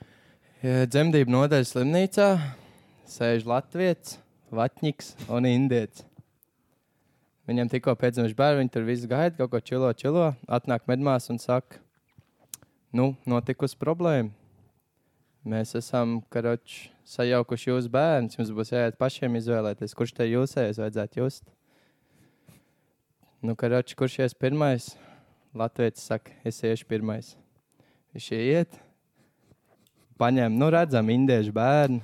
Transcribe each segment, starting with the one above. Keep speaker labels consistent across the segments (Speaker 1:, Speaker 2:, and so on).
Speaker 1: Ja Eh, Dzemdību nodaļas slimnīcā sēž Latvijas, Vatņiks un Indietis. Viņam tikko piedzimis bērns, viņi tur visu gaida, kaut ko čilo, čilo. Atnāk medmās un saka, nu, notikusi problēma. Mēs esam karoči sajaukuši jūsu bērnus. Jums būs jāiet pašiem izvēlēties, kurš te jūsējas vajadzētu just. Nu, karoči, kurš ies pirmais? Latvijas saka, es iešu pirmais. Viņš iet, paņem, nu, redzam, indiešu bērnu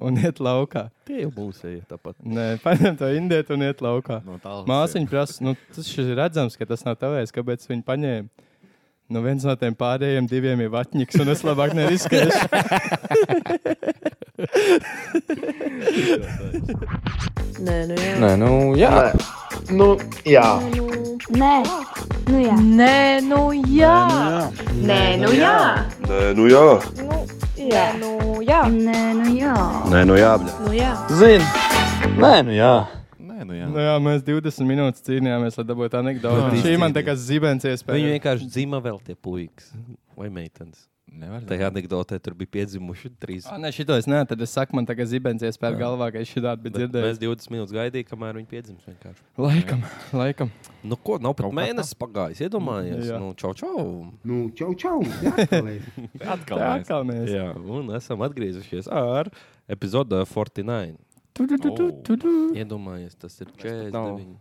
Speaker 1: un iet laukā.
Speaker 2: Tie jau būs ej, tāpat.
Speaker 1: Nē, paņem to indietu un iet laukā.
Speaker 3: Nu,
Speaker 2: No tālāk.
Speaker 1: Māsiņa prasa, nu, tas šis ir redzams, ka tas nav tavs, kāpēc viņi paņēma. Nu, viens no tiem pārējiem diviem ir vatņiks, un es labāk neriskēšu.
Speaker 4: Nē, nu jā.
Speaker 5: Nē, nu jā.
Speaker 6: Nu, jā.
Speaker 7: Nē, nu jā.
Speaker 4: Nē, nu jā.
Speaker 3: Nē, nu jā.
Speaker 8: Nē, nu jā,
Speaker 4: Jā, nu jā.
Speaker 7: Nē, nu jā.
Speaker 2: Nē, nu jābļa.
Speaker 4: Nu jā.
Speaker 5: Zini. Nē, nu jā.
Speaker 2: Nē, nu jā.
Speaker 1: Nu, jā, mēs 20 minūtes cīnījāmies, lai dabūtu anekdoti.
Speaker 2: Jā.
Speaker 1: Šī man tā kā zibens
Speaker 3: Viņu
Speaker 1: iespēja.
Speaker 3: vienkārši dzima vēl tie puikas vai meitenes.
Speaker 2: Nevar
Speaker 3: Tajā anekdotē tur bija piedzimuši trīs.
Speaker 1: Ah, nē, šito es nē, tad es saku, man tā kā zibens iespēja galvā, ka es šitādi biju
Speaker 3: Bet
Speaker 1: dzirdējis.
Speaker 3: Mēs 20 minūtes gaidījām, kamēr viņi piedzims. Vienkārši.
Speaker 1: Laikam, laikam.
Speaker 3: Nu, ko, nav pat
Speaker 2: Kaut kā tā.
Speaker 3: mēnesis pagājis. Iedomājies,
Speaker 1: Jā.
Speaker 3: nu, čau, čau.
Speaker 6: Nu, čau, čau. Jā, kolēģi.
Speaker 2: Atkal.
Speaker 1: Tā
Speaker 2: mēs.
Speaker 1: kā mēs.
Speaker 3: Jā, un esam atgriezušies ar epizodu 49.
Speaker 1: Tu, tu, tu, tu, tu, tu.
Speaker 3: Iedomājies, tas ir
Speaker 9: pat
Speaker 3: 49.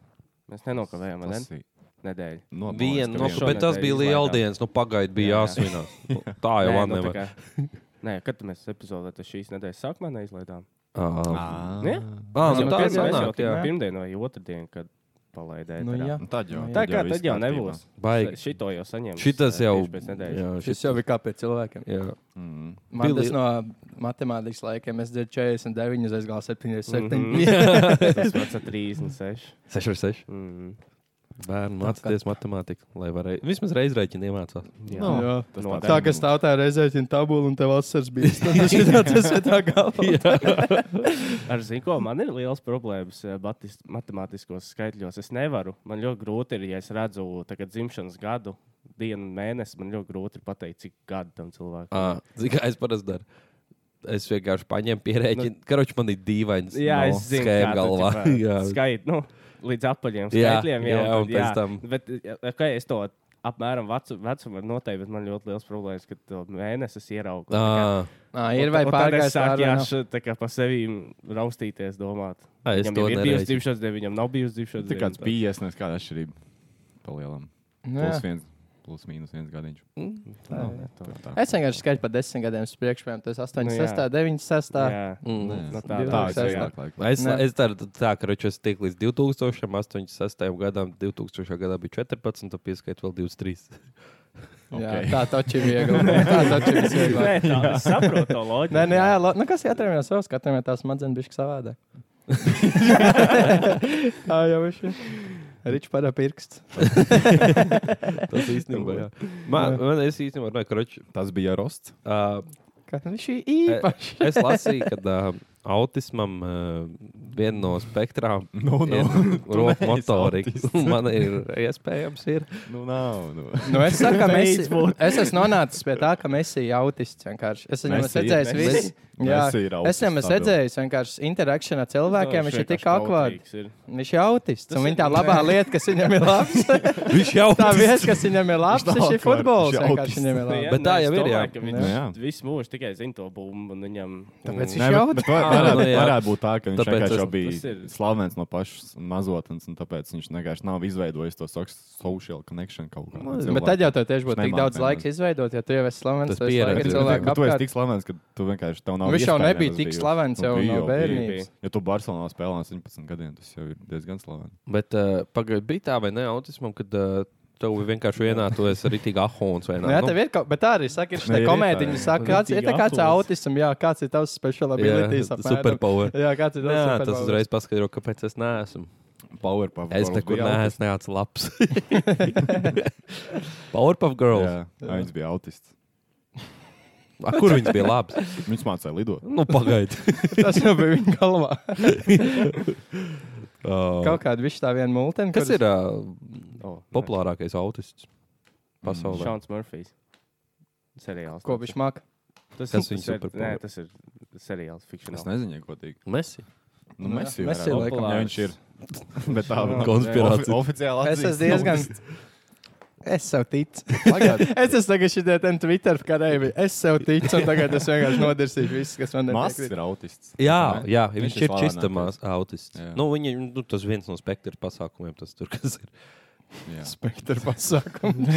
Speaker 9: Mēs nenokavējām
Speaker 2: Tas
Speaker 9: ne?
Speaker 2: ir
Speaker 9: nedēļu.
Speaker 2: no-
Speaker 3: Viena,
Speaker 2: man
Speaker 3: no,
Speaker 2: liekas, ka viena.
Speaker 9: šobrīd.
Speaker 3: nu, bet tas bija
Speaker 9: nedēļa
Speaker 3: liela
Speaker 9: izlaidām.
Speaker 3: dienas. Nu, pagaidi, bija
Speaker 9: Jā, jā.
Speaker 3: jāsvinās. Nu, tā jau
Speaker 9: Nē,
Speaker 3: man
Speaker 9: nu, tā
Speaker 3: nevar.
Speaker 9: kā- Nē, kad mēs epizodē tas šīs nedēļas sākumā neizlaidām.
Speaker 3: Ā,
Speaker 2: Ā.
Speaker 9: Nē?
Speaker 3: Ā,
Speaker 9: Mēs
Speaker 3: nu,
Speaker 9: jau
Speaker 3: tā
Speaker 9: pirmdien- mēs jau
Speaker 3: sanāk, jā.
Speaker 9: tikai pirmdien vai otrdien, kad palaidēja.
Speaker 1: Nu,
Speaker 9: ārā.
Speaker 1: jā.
Speaker 2: Nu, Tad jau.
Speaker 9: Tā kā tad jau
Speaker 2: viss kārtībā.
Speaker 9: nebūs.
Speaker 3: Baigi.
Speaker 9: Š- Šito jau saņemt.
Speaker 3: Šitas jau.
Speaker 9: pēc nedēļas.
Speaker 3: jā,
Speaker 1: Šis jau bija kā pie cilvēkiem.
Speaker 3: Jā.
Speaker 2: Mm.
Speaker 1: Man
Speaker 3: Bija
Speaker 1: tas
Speaker 3: li-
Speaker 1: no matemātikas laikiem, es dzirdu 49, es gāju 77.
Speaker 9: Mhm. Tas pats ar 36.
Speaker 3: 6 ar 6.
Speaker 9: Mm.
Speaker 3: Bērnu mācīties matemātiku, lai varētu. Vismaz reizreikini iemācās.
Speaker 9: Jā.
Speaker 2: Nu,
Speaker 1: Jā.
Speaker 2: tas
Speaker 9: No
Speaker 2: tāds
Speaker 1: Tā kā stāv tā reizēķina tabula un tev asars bija. Tas ir tas, kas tā galvā.
Speaker 9: Ar zīmolu man ir liels problēmas eh, batis- matemātiskos skaitļos. Es nevaru. Man ļoti grūti ir, ja es redzu tagad dzimšanas gadu, dienu, un mēnesi. Man ļoti grūti ir pateikt, cik gadu tam cilvēkam.
Speaker 3: Ā, Zini, kā es parasti daru. Es vienkārši paņēmu pierēķinu. Karoči man ir dīvains.
Speaker 9: Nu- Jā,
Speaker 3: no,
Speaker 9: es zinu,
Speaker 3: schēma
Speaker 9: kā tu,
Speaker 3: galvā.
Speaker 9: tipā,
Speaker 3: jā.
Speaker 9: Skait, nu, līdz apaļiem
Speaker 3: Jā,
Speaker 9: skaitļiem.
Speaker 3: jā,
Speaker 9: tad
Speaker 3: un pēc tam-
Speaker 9: Bet, eh, kā es to apmēram vecu, vecumu noteikti, bet man ļoti liels problēmas, ka to mēnesi es ieraugu.
Speaker 3: Ā,
Speaker 1: Nā, ir vai pārgājis
Speaker 9: pāri? Jā,
Speaker 1: pārgājis.
Speaker 9: tā kā pa sevi raustīties, domāt.
Speaker 3: ā, Es
Speaker 9: viņam
Speaker 3: to
Speaker 9: jau ir bijusi
Speaker 3: nedaru.
Speaker 9: dzimšanas diena, viņam nav bijusi dzimšanas
Speaker 2: Tā
Speaker 9: diena.
Speaker 2: kāds bija iesniegts, kāda atšķirība palielam.
Speaker 1: Nu,
Speaker 2: Plus
Speaker 1: jā.
Speaker 2: viens, plus mīnus viens gadiņš.
Speaker 9: Tā, tā.
Speaker 1: es vienkārši skaitu pa desmit gadiem uz priekšu, piemēram, tas 8,
Speaker 9: Nu, jā.
Speaker 1: 6, 9, 6.
Speaker 9: Jā.
Speaker 3: Mm.
Speaker 9: Nu, tā,
Speaker 1: Divi
Speaker 2: Tā
Speaker 9: tā,
Speaker 2: ir
Speaker 1: sestā.
Speaker 2: vairāk laika.
Speaker 3: Es,
Speaker 1: Ne.
Speaker 3: es daru tā, ka roču, es tiek līdz 2008. gadam, 2000. gadā bija 14, un pieskaitu vēl 23.
Speaker 1: Jā,
Speaker 2: Ok.
Speaker 1: tā taču ir viegli. Tā taču ir viegli.
Speaker 9: Nē, tā, es saprotu to loģiku.
Speaker 1: Nē, nē, jā, lo- nu kas katram ir savs, katram ir tās smadzenes bišķi savādāk. tā jau ir. Ričs parā pirksts.
Speaker 3: Tas īstenībā, jā. Man, man es īstenībā, nē, karoči,
Speaker 2: Tas bija rosts.
Speaker 3: uh,
Speaker 1: Ka nu, Viņš ir
Speaker 9: Eh,
Speaker 1: īpašs.
Speaker 3: es lasīju, ka uh, autismam uh, viena no spektrām
Speaker 2: Nu,
Speaker 3: ir
Speaker 2: nu.
Speaker 3: roka
Speaker 2: neesi
Speaker 3: motorika.
Speaker 2: autists.
Speaker 3: Man ir iespējams, ir.
Speaker 2: Nu, nav. Nu.
Speaker 1: Nu, es saku, ka mēs,
Speaker 9: Beidz būt.
Speaker 1: es esmu nonācis pie tā, ka mēs esam autisti. vienkārši. Es viņam
Speaker 2: Messi
Speaker 1: esmu
Speaker 2: ir-
Speaker 1: redzējis,
Speaker 2: Messi-
Speaker 1: visi. Jā,
Speaker 2: Messi
Speaker 1: Es
Speaker 2: ir
Speaker 1: jau esmu
Speaker 2: autists, tā
Speaker 1: redzējis, vienkārši interakcijā ar
Speaker 9: Nu,
Speaker 1: cilvēkiem. Viņš ir tik akvārds.
Speaker 9: ir.
Speaker 1: Viņš ir autists. Un viņa tā labā lieta, kas viņam ir labs,
Speaker 3: Viņš jau
Speaker 1: tā vieta, kas viņam ir labs,
Speaker 2: Viņš nav
Speaker 1: tas ir
Speaker 2: akvārds,
Speaker 1: futbols.
Speaker 2: viņš ir
Speaker 1: vienkārši
Speaker 2: autists.
Speaker 1: Viņam ir
Speaker 9: Nu
Speaker 1: labs.
Speaker 3: Bet tā jau ir, jā.
Speaker 9: Viņš
Speaker 2: Nu, jā.
Speaker 9: visu mūžu tikai zina to bumbu. un Viņam...
Speaker 1: Tāpēc
Speaker 2: Nē,
Speaker 1: viņš jau
Speaker 2: bet- bet
Speaker 1: ir.
Speaker 2: var-
Speaker 3: Ā, nu
Speaker 2: varētu,
Speaker 3: jā.
Speaker 2: varētu būt tā, ka viņš
Speaker 3: Tāpēc
Speaker 2: tāpēc
Speaker 3: es-
Speaker 2: jau
Speaker 9: tas ir-
Speaker 2: bija slavens no pašas mazotnes, un tāpēc viņš vienkārši nav izveidojis to soks- social connection kaut kādā
Speaker 9: Nu,
Speaker 2: veidā.
Speaker 1: Nu, Bet tad jau tev tieši būtu
Speaker 2: Viņš
Speaker 1: tik daudz
Speaker 2: nemāk
Speaker 1: laika
Speaker 2: vienmēr.
Speaker 1: izveidot, ja tu jau esi slavens.
Speaker 3: Tas
Speaker 1: Tas bija
Speaker 3: pieredze.
Speaker 1: cilvēks,
Speaker 2: Tu esi
Speaker 1: apkārt.
Speaker 2: tik slavens, ka tu vienkārši tev nav.
Speaker 1: Un viņš jau
Speaker 2: iespējams
Speaker 1: nebija tik
Speaker 2: bijusi.
Speaker 1: slavens
Speaker 2: Nu,
Speaker 1: jau no
Speaker 2: bija bija.
Speaker 9: bērnības.
Speaker 1: bērnības.
Speaker 2: Ja tu Barcelonā spēlē no 17 gadiem, tas jau ir diezgan slavens.
Speaker 3: Bet uh, pagaid, bija tā, vai ne autismam, kad uh, tev vienkārši ienācoties arī tik ahons vai
Speaker 1: Nu,
Speaker 3: nē?
Speaker 1: jā, tev ir kaut kas, bet tā arī saka, ir šī
Speaker 2: ir tā,
Speaker 1: komēdiņa.
Speaker 2: jā.
Speaker 1: Saka, kāds ir tā kāds
Speaker 9: Rītīgi
Speaker 1: autisms, jā, kāds ir tavs special abilities. apmēram.
Speaker 3: superpower.
Speaker 1: Jā, kāds ir
Speaker 3: Jā,
Speaker 1: tavs
Speaker 3: tas uzreiz paskaidro, kāpēc es neesmu.
Speaker 2: Powerpuff
Speaker 3: Es
Speaker 2: Girls
Speaker 3: nekur
Speaker 2: bija
Speaker 3: neesmu neats labs. Powerpuff
Speaker 2: autists.
Speaker 3: Girls.
Speaker 2: Jā, jā, viņš bija autists.
Speaker 3: A, kur viņš bija labs?
Speaker 2: Viņš mācīja lidot.
Speaker 3: Nu, pagaidi.
Speaker 1: Tas jau bija viņa galvā.
Speaker 3: Uh,
Speaker 1: Kaut kāda višķi tā viena multena.
Speaker 3: kas ir uh,
Speaker 9: Oh,
Speaker 3: populārākais autists pasaulē?
Speaker 9: Šāns Murfijs. Seriāls.
Speaker 1: Ko viņš māca?
Speaker 3: Tas
Speaker 9: Tas
Speaker 3: ir
Speaker 9: ir
Speaker 3: superpower.
Speaker 9: Nē, tas ir seriāls,
Speaker 2: Es
Speaker 9: fikšņā.
Speaker 2: nezinu, ja godīgi.
Speaker 3: Messi.
Speaker 2: Nu, mēs jau
Speaker 1: Messi
Speaker 2: tādā
Speaker 1: laikam.
Speaker 2: formā, ja viņš ir. Bet tā
Speaker 9: Jā.
Speaker 3: Konspirācija.
Speaker 2: Ofi- Oficiāli
Speaker 1: Es esmu diezgan. Es sev ticu.
Speaker 2: Pagājuši.
Speaker 1: Es esmu tagad šeit tādā Twitter karēvi. Es sev ticu, un tagad es vienkārši nodarīšu visu, kas man
Speaker 2: Mākslinieks
Speaker 1: ir.
Speaker 2: ir autists.
Speaker 3: Jā,
Speaker 2: Ne?
Speaker 3: jā, ja viņš
Speaker 2: ir
Speaker 3: ir čistamās
Speaker 2: slavinātais.
Speaker 3: autists.
Speaker 2: Jā.
Speaker 3: Nu, viņa, nu, tas viens no spektra pasākumiem, tas tur kas ir.
Speaker 2: Jā.
Speaker 1: Spektra pasākums.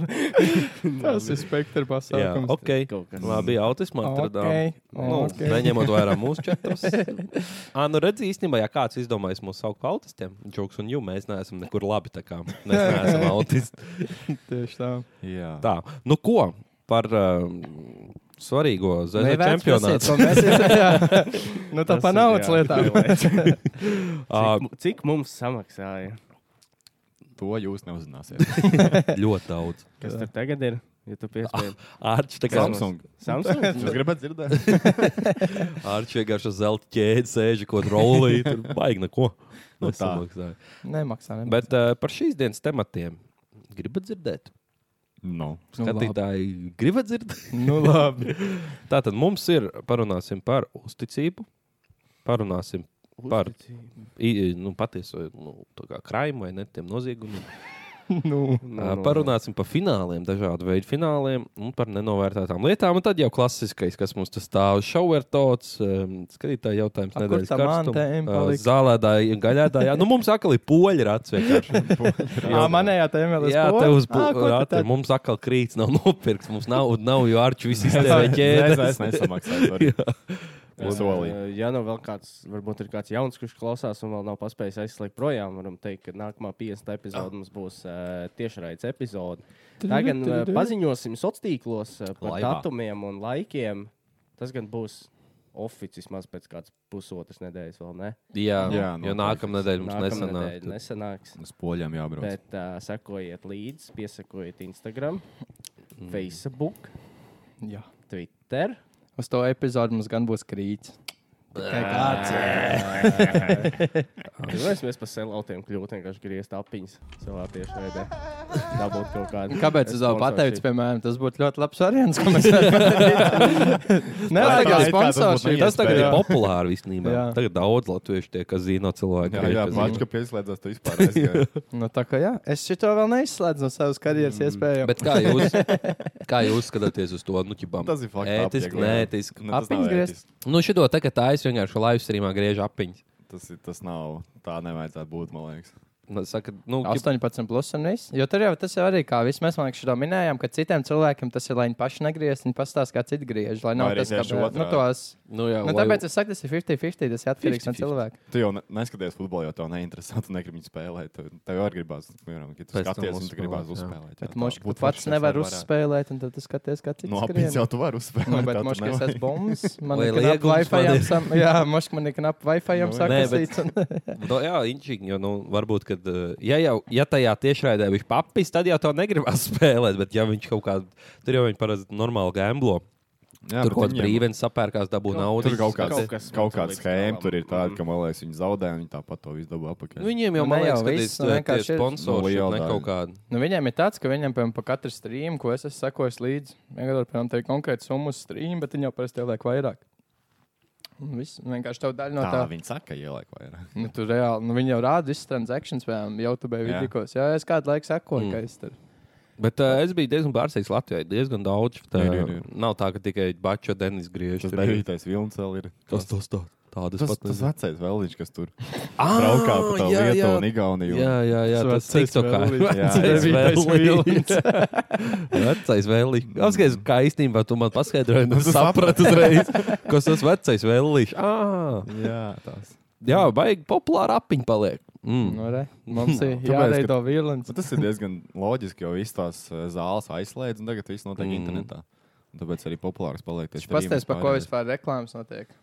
Speaker 1: Tas ir spektra
Speaker 3: Jā,
Speaker 1: pasākums.
Speaker 3: ok.
Speaker 9: kaut kas.
Speaker 3: Labi, autismu atradām.
Speaker 1: Ok,
Speaker 3: Nu,
Speaker 1: ok.
Speaker 3: Neņemot vērā mūsu četrus. Ā, nu redz, īstenībā, ja kāds izdomājis mūs saukt par autistiem, joks un jū, mēs neesam nekur labi. tā kā Mēs neesam autisti.
Speaker 1: Tieši tā.
Speaker 2: Jā.
Speaker 3: Tā, nu ko par uh, svarīgo zvaigznes
Speaker 1: Nevērts prasīt, ko
Speaker 3: čempionātu?
Speaker 1: mēs esam- jā. Nu, tā
Speaker 9: Tas
Speaker 1: pa
Speaker 9: ir,
Speaker 1: naudas
Speaker 9: jā.
Speaker 1: lietām.
Speaker 3: Ā,
Speaker 9: Cik, cik mums samaksāja?
Speaker 2: To jūs neuzzināsiet.
Speaker 3: Ļoti daudz.
Speaker 9: Kas tur tagad ir? Ja tu piespēji.
Speaker 3: Arčs tā kā
Speaker 2: Samsung.
Speaker 9: Samsung?
Speaker 2: Jūs gribat dzirdēt?
Speaker 3: Arčs vienkārši uz zelta ķēdi sēž, ko rolī, tur baigi neko.
Speaker 2: Nu tā.
Speaker 3: Nesamaksāja.
Speaker 1: Nemaksā. nemaksā.
Speaker 3: Bet uh, par šīs dienas tematiem gribat dzirdēt?
Speaker 2: No.
Speaker 1: Nu, labi.
Speaker 3: Skatītāji, gribat dzirdēt?
Speaker 1: Nu, labi.
Speaker 3: Tātad mums ir parunāsim par uzticību, parunāsim par i- nu, patieso nu, tā kā krājumu vai ne tiem noziegumiem.
Speaker 1: Nu,
Speaker 3: Ā, Parunāsim par fināliem, dažādu veidu fināliem un par nenovērtētām lietām. Un tad jau klasiskais, kas mums te stāv, ir šauvertots, em, skatītāji jautājums,
Speaker 1: A, kur
Speaker 3: nedēļas
Speaker 1: tā mantēm palika?
Speaker 3: zālēdāji, gaļēdāji. Nu, mums atkal ir poļi rats vienkārši.
Speaker 1: jā, manējā tēmā vēl ir.
Speaker 3: Jā, tev uz poļi.
Speaker 1: būvniecību.
Speaker 3: Mums atkal krīts nav nopirkts, mums nav, nav jau arču visi iztērē
Speaker 2: Es
Speaker 3: ķēdes.
Speaker 2: nesamaksāju. sorry. Es solīju.
Speaker 9: eh, Ja nav vēl kāds, varbūt ir kāds jauns, kurš klausās un vēl nav paspējis aizslēgt projām, varam teikt, ka nākamā 50.
Speaker 3: Ah.
Speaker 9: epizode mums būs uh, tiešraides epizode. Tagad uh, paziņosim sociālos tīklos uh, par
Speaker 3: Laivā.
Speaker 9: datumiem un laikiem. Tas gan būs oficiāls maz pēc kādas pusotras nedēļas vēl, ne?
Speaker 3: Jā, jā
Speaker 2: Jā,
Speaker 3: jo
Speaker 2: noteikti.
Speaker 3: nākamā nedēļa mums nesanāk.
Speaker 9: Nākamnedēļ nesanāks.
Speaker 2: Uz poļiem jābrauc.
Speaker 9: Bet uh, sekojiet līdzi, piesakojiet Instagram, mm. Facebook,
Speaker 1: Jā.
Speaker 9: Twitter.
Speaker 1: Uz to epizodu mums gan būs krīts. Tikai Kāds?
Speaker 9: Pirmais mēs par selautiem kļūtu vienkārši griezt apiņas savā tiešraidē. Dabūt kaut kādu.
Speaker 1: Kāpēc es vēl pateicu,
Speaker 9: Sponsorship.
Speaker 1: piemēram, tas būtu ļoti labs variants, ko mēs varam darīt? Nē,
Speaker 2: Tā
Speaker 1: tagad
Speaker 2: it kā tas būtu
Speaker 1: sponsorši.
Speaker 3: Tas tagad ir
Speaker 2: Jā.
Speaker 3: populāri īstenībā.
Speaker 1: Jā.
Speaker 3: Tagad daudz latviešu tie, kas zina cilvēku.
Speaker 2: Jā, jā pāri, ka pieslēdzās tu vispār. aizgāji.
Speaker 1: Nu, tā kā jā, es šito vēl neizslēdzu no savas karjeras iespējām.
Speaker 3: Bet kā jūs, kā jūs skatāties uz to? Nu, ķibam,
Speaker 2: Tas ir fakts.
Speaker 3: Ētiski, neētiski.
Speaker 2: Nu, tas nav
Speaker 1: Apiņas griezt.
Speaker 2: ētiski.
Speaker 3: Nu, šito tagad tā es vienkārši live streamā griežu apiņas.
Speaker 2: Tas, ir- tas nav. Tā nevajadzētu būt, man liekas.
Speaker 3: Nu, Saka, nu, ķip,
Speaker 1: 18 plus un viss. Jo tur jau tas jau arī kā viss mēs vienkārši to minējām, ka citiem cilvēkiem tas ir, lai viņi paši negriez, viņi pastāsta, kā citi griež. Lai nav
Speaker 2: Vai arī
Speaker 1: tas, ka
Speaker 2: tieši
Speaker 1: nu,
Speaker 2: otrādi.
Speaker 1: tos.
Speaker 3: nu, jā,
Speaker 1: Nu,
Speaker 3: lai-
Speaker 1: tāpēc es saku, tas ir 50-50, tas ir atkarīgs no
Speaker 3: 50-50.
Speaker 1: cilvēka.
Speaker 2: Tu jau ne, neskaties futbolu, jo tev neinteresē. Tu negribi viņu spēlēt. Tev, tev jau gribās, piemēram, ja tu
Speaker 3: Pēc tam
Speaker 2: skaties, un tu
Speaker 3: uzspēlēt,
Speaker 2: gribās
Speaker 3: jā.
Speaker 2: uzspēlēt.
Speaker 1: Bet moški, tu pats nevar uzspēlēt, un tad tu skaties, kā citi
Speaker 2: No
Speaker 1: skrien.
Speaker 2: apiņas Nu, jau tu vari uzspēlēt.
Speaker 1: Nu,
Speaker 2: tā
Speaker 1: bet
Speaker 2: tu
Speaker 1: moški, es
Speaker 2: nevari.
Speaker 1: esmu bombs. Man
Speaker 3: Vai
Speaker 1: ir knap
Speaker 3: liegums man
Speaker 1: Wi-Fi-am
Speaker 3: ir?
Speaker 1: sam. Jā, moški, man ir knap Wi-Fi-am
Speaker 2: Nu,
Speaker 3: nē, bet-
Speaker 1: sakasīts. un-
Speaker 3: Nu, jā, inčīgi, jo, nu, varbūt, kad, eh, ja jau ja tajā tiešraidē viņš papis, tad jau to negribas spēlēt. Bet, ja viņš kaut kādā, tur jau viņi parasti normāli gamblo.
Speaker 2: Jā,
Speaker 3: Tur
Speaker 2: bet
Speaker 3: kaut kāds
Speaker 2: viņiem-
Speaker 3: brīvens sapērkās, dabū naudu.
Speaker 2: Tur kaut
Speaker 9: kaut
Speaker 2: kāds,
Speaker 9: kas
Speaker 2: kaut kāds
Speaker 9: līdz
Speaker 2: schēma
Speaker 9: galam.
Speaker 2: tur ir tāda, ka, man liekas, viņi zaudē, un viņi tāpat to visu dabū apakaļ.
Speaker 3: Viņiem
Speaker 1: Nu,
Speaker 3: jau,
Speaker 1: ne
Speaker 3: man
Speaker 1: jau
Speaker 3: liekas, ka eh,
Speaker 1: viss,
Speaker 3: tas
Speaker 1: nu,
Speaker 3: ir
Speaker 1: vienkārši
Speaker 3: tieši
Speaker 1: ir-
Speaker 2: Nu,
Speaker 3: sponsors
Speaker 2: liela
Speaker 3: vai
Speaker 2: daļa.
Speaker 3: kaut kāda.
Speaker 1: Nu, viņiem ir tāds, ka viņiem piemēram, pa katru streamu, ko es esmu sekojis līdzi, vienkārši piemēram, tā ir konkrēta summa uz streamu, bet viņi jau parasti liek vairāk. Un viss nu, vienkārši tev daļa no
Speaker 2: tā,
Speaker 1: tā.
Speaker 2: viņi saka, ieliek vairāk.
Speaker 1: Nu, tur reāli, nu, viņi jau rāda visas transakcijas, piemēram, YouTube
Speaker 2: Jā.
Speaker 1: vidikos. Jā, es kādu laiku sekoju, mm.
Speaker 3: Mm.
Speaker 1: ka es tur.
Speaker 3: Bet uh, es biju diezgan pārsteigts Latvijā. ir Diezgan daudz. Tā,
Speaker 2: Ir, ir, ir.
Speaker 3: Nav tā, ka tikai Bačo Denis griež.
Speaker 2: Tas
Speaker 3: tur ir-
Speaker 2: devītais vilnis vēl ir.
Speaker 3: Kas tas tā? Tādas
Speaker 2: Tas,
Speaker 3: pat
Speaker 2: tas
Speaker 3: nezinu.
Speaker 2: vecais vēlniņš, kas tur
Speaker 3: Ā,
Speaker 2: braukā pa to
Speaker 3: jā,
Speaker 2: Lietuvu
Speaker 3: jā.
Speaker 2: un Igauniju.
Speaker 3: Jā, jā, jā,
Speaker 1: Tas
Speaker 3: tas ir
Speaker 1: vecais
Speaker 3: tikai
Speaker 1: vēlīts.
Speaker 2: Jā.
Speaker 3: Vecais
Speaker 1: Devītais
Speaker 3: vēlīts. Vecais vēlīts. Apskaties, kā īstenībā tu man paskaidroji, nu
Speaker 2: Es
Speaker 3: sapratu uzreiz, kas tas vecais vēlīts. Ā,
Speaker 2: jā tās.
Speaker 3: Jā, baigi populāra apiņa paliek. Mm.
Speaker 1: Nu, re, mums ir
Speaker 2: Tāpēc, ka-
Speaker 1: jāveido vilnis.
Speaker 2: Bet Tas ir diezgan loģiski, jo visas tās eh, zāles aizslēdz, un tagad viss notiek
Speaker 3: Mhm.
Speaker 2: mm. internetā. Un Tāpēc arī populārs paliek. tie
Speaker 1: Viņš
Speaker 2: streaming
Speaker 1: pastāsta, par ko
Speaker 2: pārējais.
Speaker 1: vispār reklāmas notiek.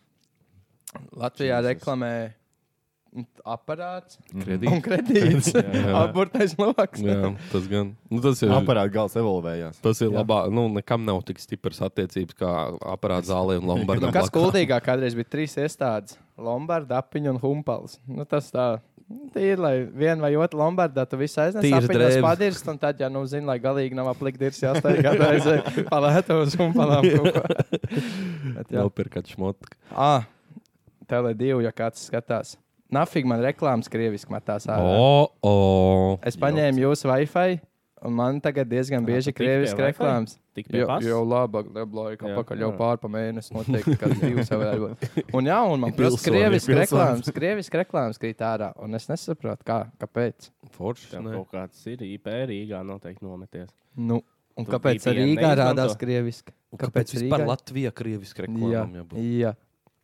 Speaker 1: Latvijā
Speaker 2: Jesus.
Speaker 1: reklamē aparāts
Speaker 3: Kredīt.
Speaker 1: un kredīts. Abortais loks.
Speaker 3: Jā, tas gan. Nu, tas ir.
Speaker 2: Aparāta Mm. gals evolūcijās.
Speaker 3: Tas ir labāk. Nu, nekam nav tik stipras attiecības kā aparāta zālē un Lombardam.
Speaker 1: Kas kuldīgāk kādreiz bija trīs iestādes - Lombarda, Apiņa un Humpals. Nu, tas tā Tīri, lai viena vai otra lombardā tu visu aiznes,
Speaker 3: Tīra
Speaker 1: apviņos
Speaker 3: drēbes.
Speaker 1: padirst, un tad, ja nu zini, lai galīgi nav aplikdirs, jāstāj kādā reizē palēto uz humpalām kaut ko. Bet, jā.
Speaker 3: Nopirkat šmotku.
Speaker 1: Ah, tele divi, ja kāds skatās. Nafīgi man reklāmas krieviski matās ārā.
Speaker 3: O, o.
Speaker 1: Es paņēmu jūsu Wi-Fi, un man tagad diezgan bieži
Speaker 9: tu tik pie
Speaker 1: krieviski
Speaker 9: Wi-Fi?
Speaker 1: reklāmas.
Speaker 9: Tik pie
Speaker 1: Jo,
Speaker 9: pasas.
Speaker 1: jau labi, labi,
Speaker 9: Jā,
Speaker 1: apakaļ jau
Speaker 9: jā.
Speaker 1: pārpa mēnesi noteikti, kad divas jau varētu būt. Un jā, un man
Speaker 2: Ir
Speaker 1: prasa,
Speaker 2: pilsoņi,
Speaker 1: krieviski
Speaker 2: ir
Speaker 1: reklāmas, krieviski reklāmas krīt ārā, un es nesaprotu, kā, kāpēc.
Speaker 3: Forši.
Speaker 9: Tam
Speaker 3: ne?
Speaker 9: kaut kāds ir IP Rīgā noteikti nometies.
Speaker 1: Nu, un
Speaker 9: Tu
Speaker 1: kāpēc
Speaker 9: VPN
Speaker 1: Rīgā
Speaker 9: neizmanto?
Speaker 1: rādās krieviski?
Speaker 3: Un Kāpēc
Speaker 1: Rīgā?
Speaker 3: vispār Latvijā krieviski
Speaker 1: Jā,
Speaker 3: reklāmām jābūt?
Speaker 1: jā,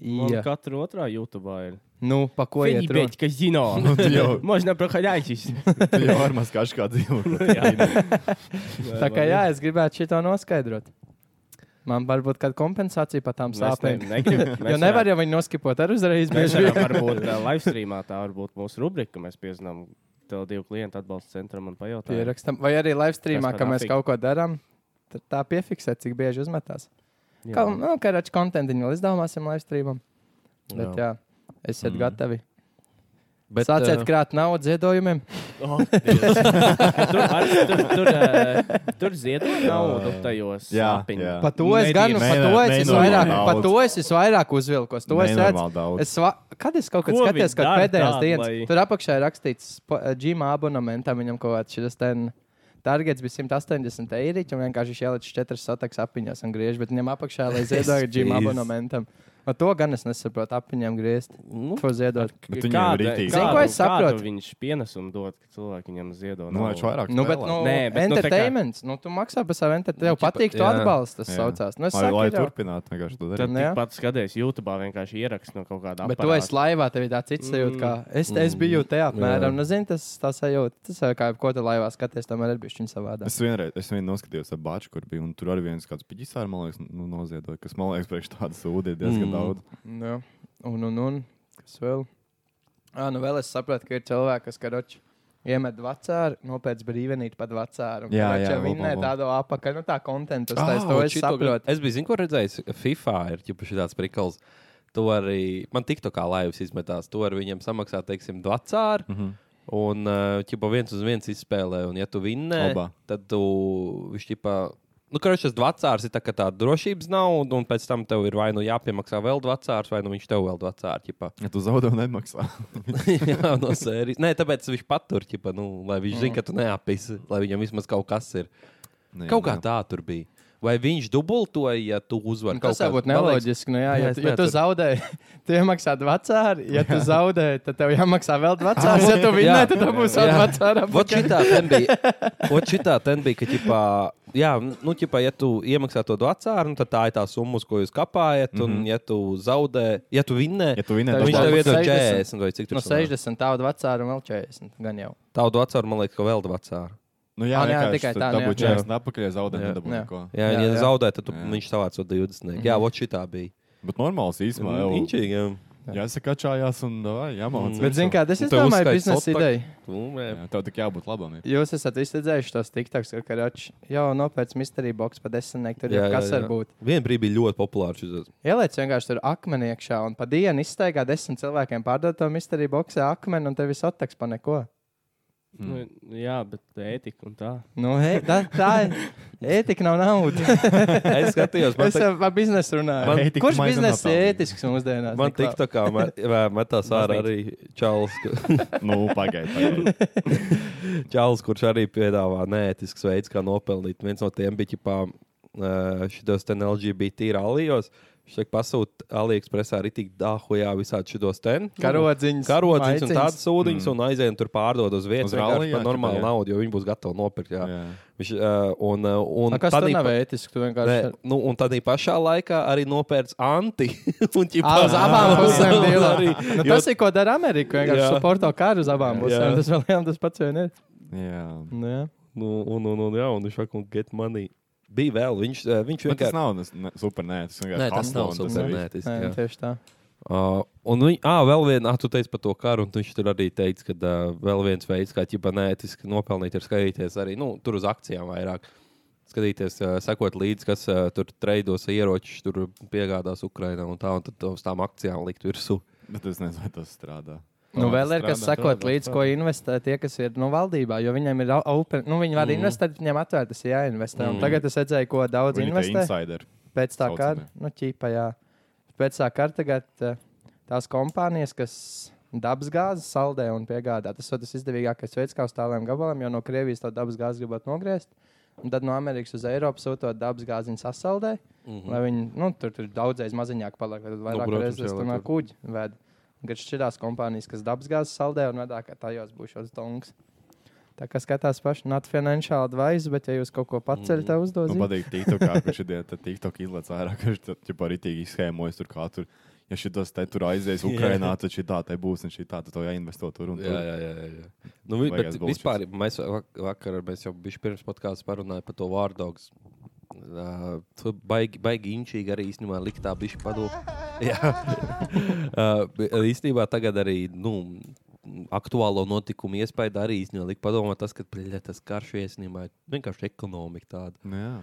Speaker 9: Jā.
Speaker 1: jā.
Speaker 9: Katru otrā YouTube ir.
Speaker 1: Nu, pa ko
Speaker 9: Viņi
Speaker 1: iet runa? Nu,
Speaker 9: pieķi, ka zino.
Speaker 2: jau-
Speaker 9: Можно проходящийся.
Speaker 2: Tu jau ar maskāšu kā dzīvo.
Speaker 1: Tā kā jā, es gribētu šito noskaidrot. Man varbūt kāda kompensācija par tām sāpēm. Jo nevar jau viņu noskipot ar uzreiz.
Speaker 9: Mēs
Speaker 1: bieži
Speaker 9: varam
Speaker 1: vien.
Speaker 9: varbūt eh, live streamā tā var būt mūsu rubrika, mēs piezinām tev divu klientu atbalsta centram un pajautājam.
Speaker 1: Pierakstam. Vai arī live streamā,
Speaker 9: Tas
Speaker 1: ka
Speaker 9: par
Speaker 1: mēs
Speaker 9: Afriku.
Speaker 1: kaut ko darām, tad tā piefiksē, cik bieži uzmetās.
Speaker 9: Jā.
Speaker 1: Kā nu, karačs kontentu vēl izdomāsim live streamam. Bet jā, esiet mm. gatavi. Bet,
Speaker 3: eh,
Speaker 1: Sāciet uh... krāt naudu ziedojumiem.
Speaker 9: Tur, ar, tur, tur, eh, tur ziedo naudu tajos
Speaker 2: Jā,
Speaker 9: apiņu.
Speaker 2: jā.
Speaker 1: Par to es
Speaker 2: Nedī-
Speaker 1: gan, nu, par to es
Speaker 2: ne-
Speaker 1: visvairāk,
Speaker 2: nenormāli
Speaker 1: par
Speaker 2: daudz.
Speaker 1: to es visvairāk uzvilkos. To es redzu.
Speaker 2: Nenormāli daudz.
Speaker 1: Es va... Kad es kaut kad
Speaker 9: Ko
Speaker 1: skatījos,
Speaker 9: viņi
Speaker 1: kad
Speaker 9: dara
Speaker 1: pēdējās
Speaker 9: tādu,
Speaker 1: dienas,
Speaker 9: lai-
Speaker 1: tur apakšā ir rakstīts, ģimā abonementā viņam kaut kāds šis ten. Targets bija 180 eiro, un vienkārši viņš ielicis četras satakas apiņās un griež, bet viņam apakšā, lai ziedoja ģimā
Speaker 3: Spīz.
Speaker 1: abonementam. Ar to gan es nesaprotu, apiņām griezt.
Speaker 3: Nu,
Speaker 1: Ko ziedot?
Speaker 2: Bet viņiem ir rītīgi.
Speaker 1: Zini, ko es
Speaker 9: kādu
Speaker 1: saprotu?
Speaker 9: Viņš pienesumu dod, ka cilvēki viņam ziedo.
Speaker 2: Nu, lai viņš
Speaker 9: naudu.
Speaker 2: vairāk
Speaker 1: Nu, bet, nu,
Speaker 2: spēlē.
Speaker 1: Nē,
Speaker 9: Nē,
Speaker 1: bet
Speaker 9: bet, nu, tā kā-
Speaker 1: entertainments, nu, tu maksā par savu entertainmentu. Tev
Speaker 3: Nu, Ķipa,
Speaker 1: patīk, tu
Speaker 3: jā.
Speaker 1: atbalsti, tas
Speaker 2: Jā.
Speaker 1: saucās. Nu, es
Speaker 2: Lai, lai
Speaker 1: saku, ir jau-
Speaker 2: turpinātu, vienkārši to
Speaker 9: Tad
Speaker 2: darīt.
Speaker 1: Nu, Jā.
Speaker 9: tik pat skaties YouTube, vienkārši ieraksts no kaut kāda
Speaker 1: Bet tu esi laivā, tev ir tāds cits sajūta,
Speaker 9: Mm.
Speaker 1: kā es, es biju te apmēram. Nu, zini, tas tā sajūta, tas jau kā ko tu laivā skaties, tomēr ir bijis viņa savādāk.
Speaker 2: Es vienreiz es vienu noskatījos ar Bāču, kur bija. un Tur arī viens kāds piņķis ar monētu nu, noziedoja, kas man liekas, priekš tādas sūdi ir
Speaker 3: Mm.
Speaker 2: diezgan mm. daudz.
Speaker 1: Jā. Un, un, un, kas vēl? Ā, nu vēl es sapratu, ka ir cilvēki, kas karoči. Iemet vecāru, nopietni brīvdienīt pat vecāru.
Speaker 2: Jā,
Speaker 1: jā,
Speaker 2: jā,
Speaker 1: jā.
Speaker 2: lūk,
Speaker 1: Viņa
Speaker 2: lūk, lūk.
Speaker 1: tāda apakaļ, nu tā kontentus, tā es
Speaker 3: Ā,
Speaker 1: to
Speaker 3: un
Speaker 1: es
Speaker 3: šito gan-
Speaker 1: saprotu.
Speaker 3: Es biju, zinu, ko redzējis. FIFA ir ķipa, šis tāds prikals. Tu arī man tiktu kā laivas izmetās. Tu arī viņam samaksā, teiksim, dvacāru. Mm
Speaker 1: Mhm.
Speaker 3: -hmm. Un ķipa viens uz viens izspēlē. Un, ja tu vinnē,
Speaker 2: Labā.
Speaker 3: tad tu viņš ķipa. Nu, Kroķis tas dvacārs ir tā, ka tāda drošības nav, un, un pēc tam tev ir vai nu jāpiemaksā vēl dvacārs, vai nu viņš tev vēl dvacārs. ķipa.
Speaker 2: Ja tu zaudē, nemaksā.
Speaker 3: Jā, no sērijas. Nē, tāpēc viņš patur, ķipa, nu, lai viņš
Speaker 2: Mm.
Speaker 3: zinātu, ka tu neapisi, lai viņam vismaz kaut kas ir.
Speaker 2: Nē,
Speaker 3: Kaut kā
Speaker 2: nē.
Speaker 3: tā tur bija. Vai viņš dubultoja, ja tu uzvari?
Speaker 1: Tas
Speaker 3: kaut
Speaker 1: jau
Speaker 3: kā-
Speaker 1: būtu
Speaker 3: Man liekas,
Speaker 1: neloģiski. Nu, jā,
Speaker 3: Jā,
Speaker 1: ja,
Speaker 3: es
Speaker 1: tu- ja tu
Speaker 3: neatceru.
Speaker 1: zaudē, tu iemaksā vecāru. Ja tu zaudē, tad tev jāmaksā vēl vecārs. Ja tu vinnē,
Speaker 3: Jā.
Speaker 1: tad tev būs vēl
Speaker 3: Jā.
Speaker 1: vecāra.
Speaker 3: Vot šitā ten bija. Vot šitā ten bija, ka, ķipā, jā, nu, ķipā, ja tu iemaksā to dvacāru, nu, tad tā ir tā summa, uz ko jūs kapājat. Un, mm -hmm. ja tu zaudē, ja tu vinnē,
Speaker 2: Mhm. Ja tu vinnē,
Speaker 1: Tad
Speaker 2: tad
Speaker 1: tev
Speaker 3: viņš tev
Speaker 1: būs
Speaker 3: iedod
Speaker 1: 60.
Speaker 3: 40 vai cik tur
Speaker 1: No 60 Nu, tādu vecāru un vēl 40. Gan jau.
Speaker 3: Tādu dvacāru, man liekas, ka vēl dvacāru.
Speaker 2: Nu, jā,
Speaker 1: Ah,
Speaker 2: jā,
Speaker 1: jā,
Speaker 2: tikai tā.
Speaker 1: nu,
Speaker 2: Tā
Speaker 1: jā.
Speaker 2: būtu
Speaker 3: Jā.
Speaker 2: čērs, apakaļ ja zaudē,
Speaker 3: Jā.
Speaker 2: nedabū
Speaker 1: Jā.
Speaker 2: neko.
Speaker 3: Jā, jā,
Speaker 1: Jā, Mhm.
Speaker 3: ja
Speaker 1: jā.
Speaker 3: zaudē, tad tu,
Speaker 2: Jā.
Speaker 3: viņš savāca to 20. Mm -hmm. Jā, vot šitā bija.
Speaker 2: Bet normāls īsumā jau
Speaker 3: Inčīgi, Nu, jā.
Speaker 2: jāsakačājās un vai, jāmācās.
Speaker 1: Bet, zin, kā, tas
Speaker 3: Un
Speaker 1: ir
Speaker 3: tev
Speaker 1: domāju,
Speaker 3: uzskaits
Speaker 1: biznesa
Speaker 3: otak.
Speaker 1: ideja.
Speaker 3: Nu, jā.
Speaker 2: Jā, Tev tik jābūt labam. ir.
Speaker 1: Jūs esat izsmējuši tos tiktoks, ka karoči jau nopērts misteriju box par desmitnieku. Tur
Speaker 3: Jā,
Speaker 1: jau
Speaker 3: jā,
Speaker 1: kas
Speaker 3: jā.
Speaker 1: var būt.
Speaker 3: Vienu brīdi bija ļoti populārs šis.
Speaker 1: Ieliec vienkārši tur akmeni iekšā un pa dienu izstaigā desmit cilvēkiem pārdot to misteriju boxē akmeni un tev viss attaks pa neko.
Speaker 9: Nu, jā, bet ētika un tā.
Speaker 1: Nu, hei, tā, tā ir. Ētika nav nauda.
Speaker 3: Es skatījos, man
Speaker 1: Es
Speaker 3: tā
Speaker 1: jau par biznesu runāju.
Speaker 2: Man-
Speaker 1: Man,
Speaker 2: Ētika
Speaker 1: Kurš
Speaker 2: maina
Speaker 1: biznesa ir
Speaker 2: nopelnība.
Speaker 1: ētisks mūsdienās?
Speaker 3: Man
Speaker 1: Niklā?
Speaker 3: tik tā kā met- vē- metās ārā arī Čāls, ka-
Speaker 2: Nu, pagaidi.
Speaker 3: Čāls, kurš arī piedāvā neētisks veids, kā nopelnīt. Viens no tiem bija ķipām šitos ten LGBT rallijos. Viņš tiek pasūtīts AliExpressā arī tik dāhujā visādi šitos ten.
Speaker 1: Karodziņas,
Speaker 3: Karodziņas un
Speaker 1: maiciņas.
Speaker 3: tādas sūdiņas, mm. un aizējām tur pārdod uz vietas.
Speaker 2: Uz
Speaker 3: Vienkārši
Speaker 2: rallijā,
Speaker 3: par normālu
Speaker 2: ķipa, jā.
Speaker 3: naudu, jo viņi būs gatavi nopirkt. Jā. Jā.
Speaker 2: Jā.
Speaker 3: Viņš, uh, un, uh, un
Speaker 1: A, Kas tas
Speaker 3: tadī
Speaker 1: nav
Speaker 3: pa-
Speaker 1: ētisks? Tu vienkārši.
Speaker 3: Nē, nu, un tādā pašā laikā arī nopērts anti. un, ķipā,
Speaker 1: Ah, uz abām pusēm
Speaker 3: un
Speaker 1: dīlā.
Speaker 3: arī-
Speaker 1: Nu,
Speaker 3: jo-
Speaker 1: tas ir ko dara Amerika. Vienkārši
Speaker 3: Jā.
Speaker 1: suporto karu uz abām
Speaker 3: Jā.
Speaker 1: pusēm. Tas vēl jau tas pats vien ir.
Speaker 2: Jā.
Speaker 1: Nu, jā.
Speaker 3: Nu, un, un, un, jā, un viņš saka, un get money. Bija vēl, viņš, eh, viņš
Speaker 2: Bet tas
Speaker 3: vienkārši.
Speaker 2: nav nes- ne- super nē, tas vienkārši
Speaker 3: Nē, tas
Speaker 2: hustle
Speaker 3: nav
Speaker 2: un tas ir viss.
Speaker 3: subordinētis.
Speaker 1: Nē, tieši tā.
Speaker 3: Uh, un viņa, ah, vēl viena, ah, tu teici par to karu, un viņš tur arī teica, ka uh, vēl viens veids, kā ķipa nētiski nopelnīt, ir skatīties arī, nu, tur uz akcijām vairāk. Skatīties, uh, sekot līdzi, kas uh, tur treidos ieročus, tur piegādās Ukrainā un tā, un tad to uz tām akcijām likt virsū.
Speaker 2: Bet es nezinu, vai tas strādā.
Speaker 1: Nu, vēl ir kas sakot, līdz ko investē tie, kas ir nu, valdībā, jo viņiem ir au- open, nu, viņi var mm. investēt, viņiem atvērtas ir jāinvestē. Mm.
Speaker 3: Mm.
Speaker 1: Tagad es redzēju, ko daudz
Speaker 2: Viņi ir
Speaker 1: investē.
Speaker 2: insideri.
Speaker 1: Pēc tā
Speaker 2: saucamie.
Speaker 1: kārta, nu, ķīpa, jā. Pēc tā kārta tagad eh, tās kompānijas, kas dabasgāzi saldē un piegādā, tas ir tas izdevīgākais veids, kā uz tāliem gabaliem, jo no Krievijas to dabasgāzi gribat nogriezt. Un tad no Amerikas uz Eiropu sūtot dabasgāzi viņa sasaldē. Mm -hmm. Lai viņi nu, tur, tur daudzreiz maziņāk paliek, tad vairāk nu,
Speaker 3: Mhm. protams, jā,
Speaker 1: reizes
Speaker 3: lai
Speaker 1: tur no
Speaker 3: tur-
Speaker 1: kuģa ved. Un Kad šķirās kompānijas, kas dabasgāzi saldē, un vadā, ka tajos būs šāds tungs. Tā kā skatās paši, not financial advice, bet ja jūs kaut ko paceļat, tad
Speaker 2: Man
Speaker 1: uzdodat.
Speaker 2: Nu, patīk, TikTokā, ka šī diena TikTok izlaiž ārā, ka viņš jau rītīgi izsēmojas tur kā tur. Ja šitas te tur aizies Ukrainā, tad šī tā te būs un šī tā, tad to jāinvesto tur un tur.
Speaker 3: Jā, jā, jā. jā, jā. Nu, vi-
Speaker 2: Vajag
Speaker 3: bet
Speaker 2: atbalstu.
Speaker 3: vispār mēs vak- vakar, mēs jau bijām pirms podkāstā parunājuši par to vārdogs. Uh, tu baigi, baigi inčīgi arī īstenībā likt tā bišķi padomu. Jā, uh, īstenībā tagad arī, nu, aktuālo notikumu iespēja arī īstenībā likt padomā tas, ka bļa, tas karš īstenībā ir vienkārši ekonomika tāda
Speaker 2: Nu jā.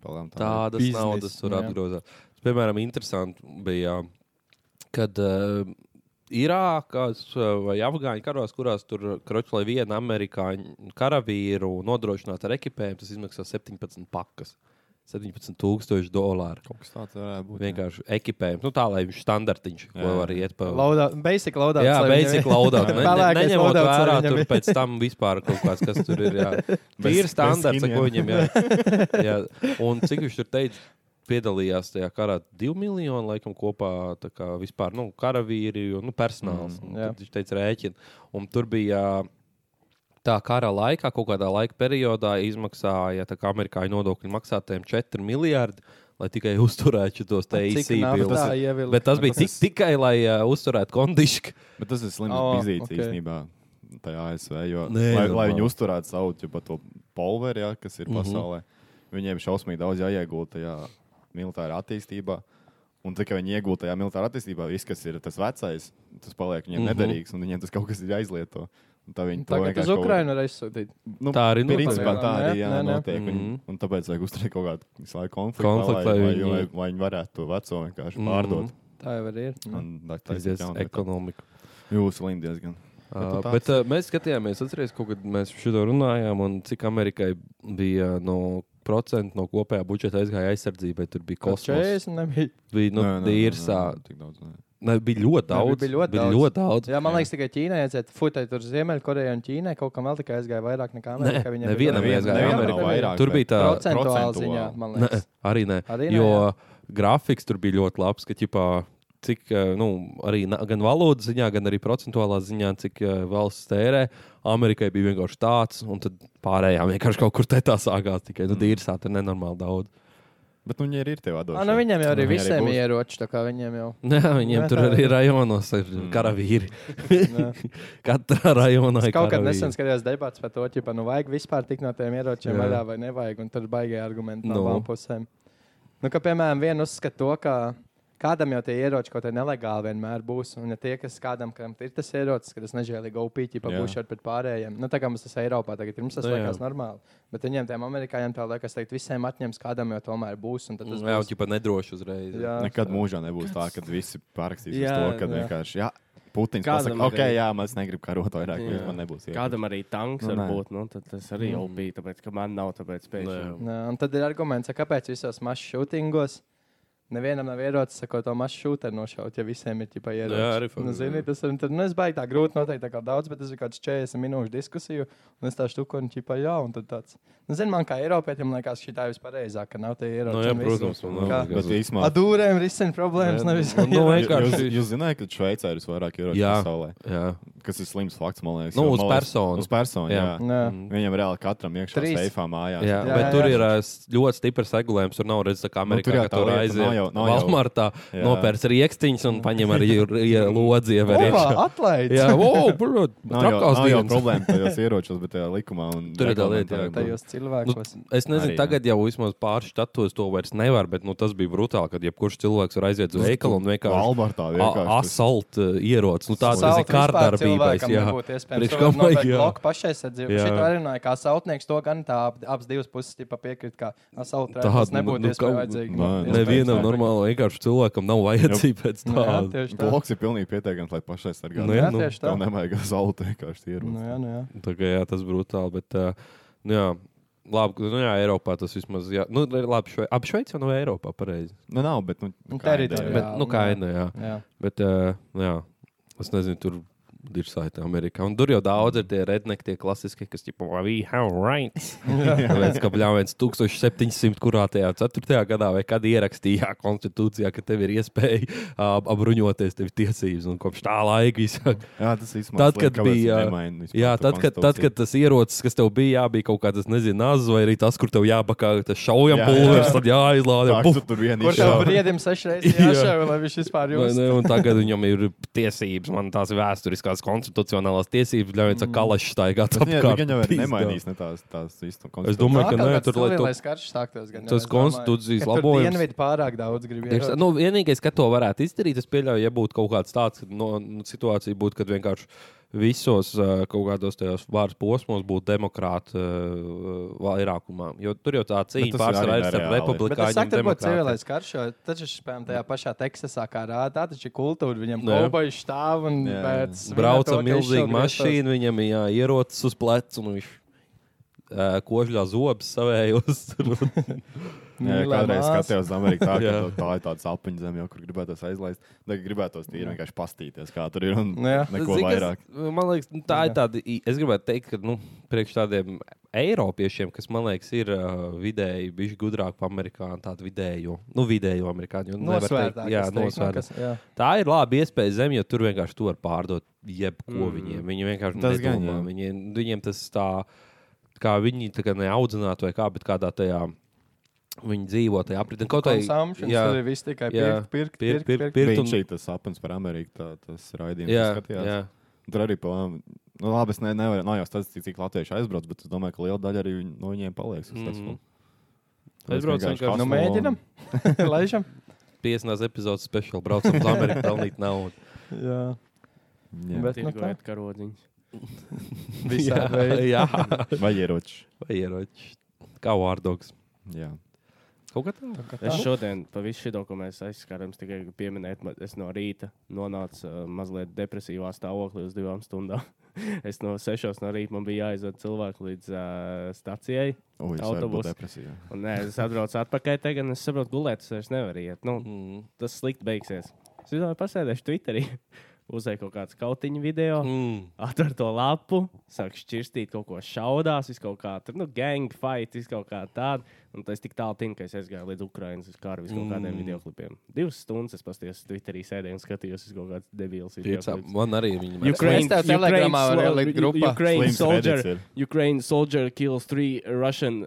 Speaker 2: Palām tā.
Speaker 3: tādas
Speaker 1: biznesa,
Speaker 3: biznes, naudas tur
Speaker 1: jā.
Speaker 3: apgrozā. Piemēram, interesanti bija, kad uh, Irākās uh, vai Afgāņu karos, kurās tur kroķis, lai vienu amerikāņu karavīru nodrošinātu ar ekipējumu, tas izmaksā 17 pakas. 17,000 dolāru.
Speaker 2: Kaut kas tāds varētu būt. jā.
Speaker 3: Vienkārši ekipējums. Nu, tā lai viņš standartiņš, ko
Speaker 2: Jā.
Speaker 3: var iet pa
Speaker 1: Lauda, basic loadout.
Speaker 3: Jā,
Speaker 1: lai viņam
Speaker 3: beidzīgi
Speaker 1: ir-
Speaker 3: laudāt. Ne- ne-
Speaker 1: Pelēkais
Speaker 3: Neņemot
Speaker 1: loadouts, lai
Speaker 3: vērā
Speaker 1: viņam
Speaker 3: tur
Speaker 1: ir.
Speaker 3: pēc tam vispār kaut kāds, kas tur ir. jā.
Speaker 2: Bez-
Speaker 3: Ir
Speaker 2: bez
Speaker 3: standarts, ar ko viņam
Speaker 2: skiniem.
Speaker 3: jā. jā. Un cik viņš tur teica? Piedalījās tajā karā divi miljoni, laikam, kopā tā kā vispār nu, karavīri un nu, personāls.
Speaker 1: Mm,
Speaker 3: Mm,
Speaker 1: jā.
Speaker 3: viņš teica, rēķina. Un tur bija tā kara laikā, kaut kādā laika periodā izmaksāja tā kā amerikāņu nodokļu maksātājiem 4 miljardi, lai tikai uzturētu tos te
Speaker 1: Cik
Speaker 3: īsi
Speaker 1: naftas tā ievilka?
Speaker 3: Bet tas bija
Speaker 2: tas
Speaker 3: tik, tikai, lai uh, uzturētu kondišķi.
Speaker 2: Bet tas ir slims
Speaker 1: Ā,
Speaker 2: oh, bizīts
Speaker 1: ok.
Speaker 2: okay. īstenībā. Tajā ASV, jo,
Speaker 3: Nē,
Speaker 2: Nē, lai, lai
Speaker 3: normāli.
Speaker 2: viņi uzturētu savu ķipa, to polveri, ja, kas ir
Speaker 3: Mhm.
Speaker 2: pasaulē, mm -hmm. viņiem šausmīgi daudz jāiegulda tajā militārā attīstībā. Un tā kā viņi iegūta tajā militārā attīstībā, viss, kas ir tas vecais, tas paliek viņiem mm
Speaker 3: Mhm.
Speaker 2: -hmm. nederīgs, un viņiem tas kaut kas ir jāizlieto. Un Tā viņi to
Speaker 1: Tagad
Speaker 2: vienkārši
Speaker 1: uz
Speaker 2: kaut-
Speaker 1: Ukrajinu var aizsūtīt.
Speaker 2: Nu,
Speaker 3: Tā arī notiek.
Speaker 2: principā tā
Speaker 1: Nē,
Speaker 2: arī jā,
Speaker 1: nē, nē.
Speaker 2: notiek. Un,
Speaker 3: Mhm.
Speaker 2: un tāpēc vajag uzturēt kaut kādu slāņu konfliktu,
Speaker 3: Konfliktu,
Speaker 2: lai,
Speaker 3: lai
Speaker 2: lai,
Speaker 3: viņi-
Speaker 2: lai, lai viņi varētu to veco vienkārši
Speaker 3: Mhm.
Speaker 2: pārdot.
Speaker 1: Tā jau nu. ir.
Speaker 2: Un tā- tā
Speaker 3: Tas ir
Speaker 2: ir jauna.
Speaker 3: ekonomika.
Speaker 2: Jūsu līnija diezgan.
Speaker 3: Uh,
Speaker 2: Bet tu
Speaker 3: bet uh, mēs skatījāmies, atcerieties, kaut kad mēs šodien runājām, un cik Amerikai bija no procentu no kopējā budžeta aizgāja aizsardzībai. Tur bija kosmos,
Speaker 1: Kosmēs nebija.
Speaker 3: bija nu, īrsā.
Speaker 2: Tik daudz. Nē.
Speaker 3: Ne, bija ļoti daudz.
Speaker 1: bija ļoti
Speaker 3: bija
Speaker 1: daudz.
Speaker 3: ļoti daudz.
Speaker 1: Jā, man liekas, tikai Ķīnā aiziet. Futai tur Ziemeļkorejā un Ķīnā kaut kam vēl tikai aizgāja vairāk nekā
Speaker 3: Nē,
Speaker 1: Amerikā. Viņiem
Speaker 3: nevienam
Speaker 1: bija-
Speaker 2: Nevienam,
Speaker 3: aizgāja
Speaker 2: nevienam
Speaker 3: Amerikā.
Speaker 2: nav vairāk,
Speaker 3: Tur bija
Speaker 2: bet-
Speaker 3: tā
Speaker 1: Procentuāli
Speaker 2: procentuāli.
Speaker 1: ziņā, man
Speaker 3: Ne,
Speaker 1: liekas.
Speaker 3: arī nē.
Speaker 1: Arī
Speaker 3: Arī
Speaker 1: nē,
Speaker 3: nē jo grafiks tur bija ļoti labs, ka ķipā, cik, eh, nu, arī na- gan valodas ziņā, gan arī procentuālā ziņā, cik eh, valsts tērē. Amerikai bija vienkārši tāds, un tad pārējām vienkārši kaut kur te tā sākās. Tikai nu, dīrsā tur nenormāli daudz.
Speaker 2: Bet nu, viņi arī ir tev atdodas.
Speaker 1: Ah, nu, viņiem jau arī
Speaker 2: Viņiem arī
Speaker 1: visiem
Speaker 2: būs.
Speaker 1: ir ieroči, tā kā viņiem jau.
Speaker 3: Jā, viņiem
Speaker 1: Jā,
Speaker 3: tur
Speaker 1: tā
Speaker 3: arī rajonos ir
Speaker 2: Mm.
Speaker 3: karavīri. Katrā rajonā ir
Speaker 1: Es kaut kad
Speaker 3: karavīri.
Speaker 1: nesen skatījos debats par to, ka nu vajag vispār tik no tiem ieročiem
Speaker 3: Jā.
Speaker 1: vaļā vai nevajag, un tur baigīja argumenti no
Speaker 3: Nu.
Speaker 1: abām pusēm. Nu, ka, piemēram, viena uzskata to, ka kādam jau tie ieroči kaut kā nelegāli vienmēr būs, un ja tie, kas kādam kam ir tas ierocis, ka tas nežēlīgi upīķi
Speaker 2: Jā.
Speaker 1: pabūšot pret pārējiem, nu, tā kā mums tas Eiropā tagad ir, mums tas
Speaker 3: Nu, jā.
Speaker 1: liekas normāli. Bet viņiem, tiem amerikāņiem, tā liekas, teikt, visiem atņems, kādam jau tomēr būs, un
Speaker 2: Mm,
Speaker 1: tad tas
Speaker 3: Mm, Jā, jau
Speaker 1: būs.
Speaker 3: tādā nedroši uzreiz.
Speaker 1: Jā.
Speaker 2: Nekad mūžā nebūs tā, ka visi pārakstīs jā,
Speaker 9: Jā,
Speaker 2: to, ka
Speaker 1: jā.
Speaker 2: vienkārši. Jā, Putins
Speaker 9: Kādam
Speaker 2: pasakā, ok,
Speaker 9: arī-
Speaker 2: jā, mēs negribam karot vairāk,
Speaker 9: Jā.
Speaker 2: viņš man nebūs. iepriekš."
Speaker 9: Kādam arī tanks
Speaker 2: Nu,
Speaker 9: var
Speaker 2: nē. Nu,
Speaker 9: būt, nu, tad tas arī jau bija, tāpēc, ka man nav tāpēc
Speaker 3: Nē.
Speaker 9: pēkšņi.
Speaker 1: Nā, un tad ir arguments, ka kāpēc visos masu šūtingos nevienam nav ierocis, ko to masu šūteni nošaut, ja visiem ir tikai ierocis.
Speaker 3: Jā, arī fakts,
Speaker 1: nu,
Speaker 3: jā.
Speaker 1: zini, tas ir. un Tad, nu, es baigi tā grūti noteikt, tā kā daudz, bet tas ir kaut kāds 40 minūšu diskusiju, un es tā štukonu ķipā jā, un tad tāds. Nu, zini, man kā Eiropietiem liekas, šī tā ir vispareizāk, ka nav tie ieroči.
Speaker 3: Nu, jā,
Speaker 1: un viss.
Speaker 3: protams, man
Speaker 1: Kā?
Speaker 3: liekas.
Speaker 2: Bet īsumā,
Speaker 1: Adūrēm risina problēmas, nevis
Speaker 3: nu,
Speaker 1: ieroči.
Speaker 3: nu,
Speaker 2: jūs,
Speaker 3: Ah, vienkārši-
Speaker 2: jūs zināt, ka Šveicē ir vairāk ieroču
Speaker 3: Jā.
Speaker 2: pasaulē,
Speaker 3: jā.
Speaker 2: kas ir slims fakts, man liekas.
Speaker 3: Nu,
Speaker 2: jo,
Speaker 3: uz
Speaker 2: man liekas-
Speaker 3: personu.
Speaker 2: Uz personu,
Speaker 3: Jā.
Speaker 2: jā. jā.
Speaker 1: Nā.
Speaker 2: Viņam reāli katram iekšā
Speaker 1: Trīs.
Speaker 2: seifā mājās.
Speaker 3: Jā,
Speaker 1: Jā,
Speaker 3: jā, bet
Speaker 1: jā,
Speaker 3: jā, tur
Speaker 1: jā.
Speaker 3: ir ā, s- ļoti stiprs regulējums. Tur nav redzams, kā Amerikā
Speaker 2: tur
Speaker 3: nu,
Speaker 2: jau
Speaker 3: tur,
Speaker 2: tā
Speaker 3: tur
Speaker 2: lieta, nav jau-
Speaker 3: aiziet.
Speaker 2: nav jau-
Speaker 3: Valmartā
Speaker 2: Jā.
Speaker 3: nopērts rīkstiņš un paņem arī lodzi.
Speaker 1: Opa, atlaid!
Speaker 3: Jā, wow, bro,
Speaker 2: Nav jau,
Speaker 3: trakās
Speaker 2: nav jau
Speaker 3: dienas.
Speaker 2: problēma tajos ieročos, bet tajā likumā un
Speaker 3: Tur ir tā lieta, jā,
Speaker 2: reglamentā.
Speaker 1: Tajos cilvēkos.
Speaker 3: Nu, es nezinu,
Speaker 2: Arī, jā.
Speaker 3: arī, tagad jau vismaz pāris status to vairs nevar, bet nu, tas bija brutāli, kad jebkurš cilvēks var aiziet uz veikalu un vienkārši
Speaker 2: Walmartā vienkārši tas-
Speaker 3: asaltu ieroci. Nu, tāds
Speaker 2: Assault
Speaker 3: ir kārdarbība. vērtības.
Speaker 1: cilvēkam
Speaker 3: Jā,
Speaker 1: nebūtu iespējams.
Speaker 3: Priekš
Speaker 1: Tur var
Speaker 3: kam,
Speaker 1: nopirkt
Speaker 3: jā.
Speaker 1: bloku pašaizsardzību.
Speaker 3: Jā.
Speaker 1: Šito arī runāja, kā sautnieks to gan tā ab- abas divas puses tipa piekrīt, ka sautnieks
Speaker 3: Tāda,
Speaker 1: tas
Speaker 3: nu, nu,
Speaker 1: nebūtu
Speaker 3: kaut-
Speaker 1: iespējams vajadzīgi.
Speaker 2: Nē,
Speaker 1: Iespējams,
Speaker 3: Nevienam
Speaker 1: jā.
Speaker 3: normālam, vienkārši cilvēkam nav vajadzība pēc
Speaker 1: Nu jā,
Speaker 3: tāda.
Speaker 1: tieši tā.
Speaker 2: Bloks ir pilnīgi pietiekams, lai pašai sargātu.
Speaker 3: Nu
Speaker 1: Jā,
Speaker 3: nu,
Speaker 1: tieši tā.
Speaker 2: Tev nevajag zelta vienkārši ir.
Speaker 1: Nu jā, nu jā.
Speaker 3: Tā kā, jā, tas brutāli. Bet, ā, nu, jā, labi, nu, jā, Eiropā tas vismaz. Jā, nu, labi, švei, ap Šveici jau nav Eiropā pareizi.
Speaker 2: Nu, nav, bet, nu,
Speaker 1: Nu,
Speaker 2: kā
Speaker 1: teritorija.
Speaker 2: ideja.
Speaker 3: Bet, nu, kā
Speaker 1: nu, jā.
Speaker 3: aina, jā.
Speaker 1: Jā.
Speaker 3: Bet, ā, nu, jā, es nezinu, tur ir saita Amerikā. Un tur jau daudz ir tie redneki, tie klasiskie, kas tipo, we have rights. Tāpēc, ka pļāvens 1700 kurā tajā 4. gadā vai kad ierakstīja konstitūcijā, ka tev ir iespēja ā, apbruņoties, tev ir tiesības. Un kopš tā laika visā
Speaker 2: Jā, tas īstenībā
Speaker 3: Tad, kad bija. Jā, tad kad, tad, kad tas ierocis, kas tev bija, jā, bija kaut kāds, nezinu, nazis, vai arī tas, kur tev jābakā, tas šaujam
Speaker 2: Jā, jā.
Speaker 3: pulveris, tad jāizlādē.
Speaker 2: Tāks,
Speaker 3: puf.
Speaker 2: tu tur vien
Speaker 1: Kur tev
Speaker 2: izšāvi.
Speaker 1: briedim sešreiz
Speaker 3: Jā.
Speaker 1: jāšauj, lai viņš vispār
Speaker 3: Vai
Speaker 1: jūs?
Speaker 3: ne? Un Tagad viņam ir tiesības, man tās vēsturiskās, konstitucionālās tiesības, ļauj viņam kalašs staigāt
Speaker 2: Tas viņa-
Speaker 3: apkārt.
Speaker 2: Viņa jau ir
Speaker 3: Pizdā.
Speaker 2: nemainījis ne tās, tās īstu
Speaker 3: Es domāju, ka nē, tur lai to.
Speaker 1: Civilais karš sāktos gan.
Speaker 3: Tas konstitūcijas labojums.
Speaker 1: Dienvidi pārāk daudz grib
Speaker 3: Ir,
Speaker 1: ieraudzīt.
Speaker 3: nu, vienīgais, ka to varētu izdarīt, es pieļauju, ja būtu kaut kāds tāds no, nu, situācija, būtu, kad vienkārši visos ā, kaut kādos tajos vārdu posmos būtu demokrāti ā, vairākumā. Jo tur jau tā
Speaker 2: Bet tas ir
Speaker 3: cīņa
Speaker 2: arī
Speaker 3: pārsvarā ir starp
Speaker 2: nereāli.
Speaker 1: Bet es
Speaker 3: republikāņiem un
Speaker 1: saku, tur būtu
Speaker 3: demokrātiem.
Speaker 1: civilais karš, jo taču, piemēram, tajā pašā Teksasā, kā rāda, tā taču ir kultūra, viņam
Speaker 3: Jā.
Speaker 1: kauboji štāv un
Speaker 2: Jā, jā.
Speaker 1: pēc...
Speaker 3: Brauca milzīga mašīna, viņam ir jā, ierocis uz pleca, un viņš uh, kožļā zobus savējos. tur.
Speaker 2: Jā, kādreiz skatījos uz Ameriku. Tā, ka
Speaker 3: Jā.
Speaker 2: tā ir tāda apaņu zeme, jau, kur gribētos aizlaist. Tagad gribētos tīri vienkārši pastīties, kā tur ir. Un
Speaker 1: Nu jā.
Speaker 2: neko
Speaker 3: Zini, kas-
Speaker 2: vairāk.
Speaker 3: Man liekas, nu, tā ir tāda. i- Es gribētu teikt, ka nu, priekš tādiem eiropiešiem, kas man liekas, ir uh, vidēji bijuši gudrāki par amerikāņu, tādu vidējo, nu, vidējo amerikāņu. nu, nevar teikt-
Speaker 1: Nosvērtāk,
Speaker 3: jā,
Speaker 1: es teiktu, nu,
Speaker 3: nosvērtāk.
Speaker 1: kas- jā.
Speaker 3: Tā ir laba iespēja zemi, jo tur vienkārši to var pārdot jebko mm. viņiem. Viņi vienkārši
Speaker 2: Tas
Speaker 3: tas
Speaker 2: gan,
Speaker 3: nedomā.
Speaker 2: jā.
Speaker 3: Viņi, viņiem tas tā, kā viņi tā kā neaudzinātu vai kā, bet kādā tajā viņi dzīvo tajā apritē. Kaut kā
Speaker 1: Consumption, tur ir viss tikai
Speaker 3: Jā.
Speaker 1: pirkt, pirkt,
Speaker 3: Pirkt,
Speaker 1: pirkt,
Speaker 3: pirkt,
Speaker 1: pirkt.
Speaker 3: pirkt.
Speaker 2: Pirkt
Speaker 3: un-
Speaker 2: un... Viņš tas sapnis par Ameriku, tā, tas raidījums jā,
Speaker 3: Jā,
Speaker 2: skatījās. Jā.
Speaker 3: jā.
Speaker 2: Tur arī plānām. Nu, labi, es ne, nevaru, nav jau tas, cik, cik latvieši aizbrauc, bet es domāju, ka liela daļa arī viņ- no viņiem paliks. Mm
Speaker 3: Mhm.
Speaker 2: -hmm.
Speaker 3: Aizbrauc vienkārši-
Speaker 1: Nu, mēģinam, laižam.
Speaker 3: 50. epizodes speciāli braucam uz Ameriku, pelnīt naudu.
Speaker 1: Jā,
Speaker 2: Bet...
Speaker 1: bet nu kā,
Speaker 9: Tirgojot karodziņus.
Speaker 1: visā veidā.
Speaker 3: jā.
Speaker 2: Vai ieroči?
Speaker 3: Vai ieroči. Kā vārdoks.
Speaker 2: Jā.
Speaker 3: Kaut kā tāda.
Speaker 9: Es šodien, pa visu šo, ko mēs aizskārām, es tikai gribu pieminēt, ka es no rīta nonācu uh, mazliet depresīvā stāvoklī uz divām stundām. es no sešos no rīta man bija jāizved cilvēku līdz uh, stacijai.
Speaker 2: Ui, es varu būt
Speaker 9: Autobus.
Speaker 2: depresijā.
Speaker 9: Un, nē, es atbraucu atpakaļ, tagad un es saprotu, gulēt, es vairs nevaru iet. Nu, tas slikti beigsies. Es domāju, pasēdēšu Twitterī, uzēju kaut kādu kautiņu video.
Speaker 3: Mm.
Speaker 9: Atver to lapu, sāk šķirstīt kaut ko šaudās, vis kaut kā tāda, nu, gang fight, vis kaut kā tāda. Un tas tik tālu tin, ka es aizgāju līdz Ukraiņas kara vis kaut kādiem
Speaker 3: Mm.
Speaker 9: mm. videoklipiem. Divas stundas es pasties Twitterī sēdēju un skatījos uz kaut kādas debilas
Speaker 3: Piecā,
Speaker 9: videoklipus.
Speaker 3: man arī viņa
Speaker 1: Ukraine- Es tev Telegramā varu ielikt grupā.
Speaker 9: Ukraiņas
Speaker 2: Slims Reddits
Speaker 9: soldier,
Speaker 2: ir.
Speaker 9: Ukraiņas soldier kills three Russian.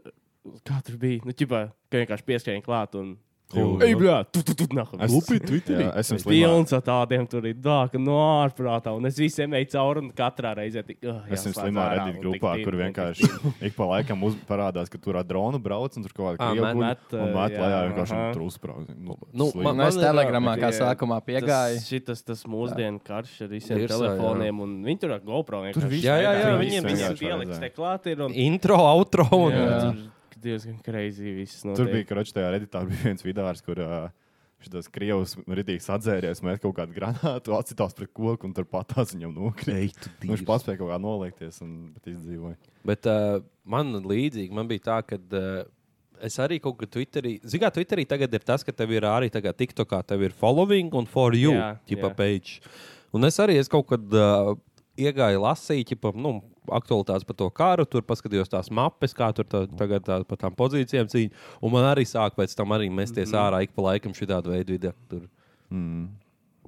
Speaker 9: Kā tur bija? Nu, ķipā, ka vienkārši pieskrēja klāt un.
Speaker 2: Jū,
Speaker 9: Ej,
Speaker 2: nu.
Speaker 9: blā, tu, tu, tu, nākamā.
Speaker 2: Lupi Twitterī. Jā, esmu
Speaker 9: Es
Speaker 2: slimā.
Speaker 9: pilns ar tādiem tur ir tā, ka no ārprātā. Un es visiem eju cauri un katrā reizē tik. Uh,
Speaker 2: Esmu slimā Reddit grupā, kur vienkārši ik pa laikam uz, parādās, ka tur ar dronu brauc un tur kaut
Speaker 3: Ā,
Speaker 2: kāda krievu
Speaker 3: met-
Speaker 2: guļ.
Speaker 9: met,
Speaker 2: Un
Speaker 9: uh,
Speaker 2: met
Speaker 9: jā,
Speaker 2: lejā vienkārši
Speaker 9: aha.
Speaker 2: un tur uzbrauc. Nu,
Speaker 3: Nu,
Speaker 2: slim.
Speaker 3: man-
Speaker 1: Nu, es
Speaker 3: ir tā,
Speaker 1: telegramā, kā
Speaker 9: bet, jā,
Speaker 1: sākumā
Speaker 9: Piegāja.
Speaker 1: piegāju.
Speaker 9: Tas, šitas, tas mūsdienu karš ar visiem
Speaker 3: Virsā,
Speaker 9: Virsā, telefoniem, jā. un viņi tur ar GoPro vienkārši.
Speaker 3: viss Jā, jā, jā,
Speaker 9: vienkārši
Speaker 3: viņiem
Speaker 9: visiem
Speaker 2: vienkārši
Speaker 9: pieliks
Speaker 2: vajadzēja.
Speaker 9: te klāt ir. Un...
Speaker 3: Intro, outro. Un,
Speaker 9: Jā,
Speaker 3: jā.
Speaker 9: tur Diezgan crazy viss.
Speaker 2: Tur
Speaker 9: notiek.
Speaker 2: bija krāšņā tajā redītā, bija viens vidārs, kur uh, šis krievs ritīgi sadzēries, met kaut kādu granātu, atcitās pret koku un tur patās viņam nokrīt. Nu, viņš paspēja kaut kā noliekties un bet izdzīvoja.
Speaker 3: Bet uh, man līdzīgi man bija tā, ka uh, es arī kaut kā Twitterī, zināmā mērā, Twitterī tagad ir tas, ka tev ir arī tagad TikTokā, tev ir following un for you
Speaker 9: Jā,
Speaker 3: tipa
Speaker 9: jā.
Speaker 3: page. Un es arī es kaut kad uh, iegāju lasīt, tipa, nu, aktualitātes par to karu, tur paskatījos tās mapes, kā tur tā, tagad tā, par tām pozīcijām cīņa. Un man arī sāk pēc tam arī mesties mm. ārā ik pa laikam šitādu veidu video. Tur. Mm.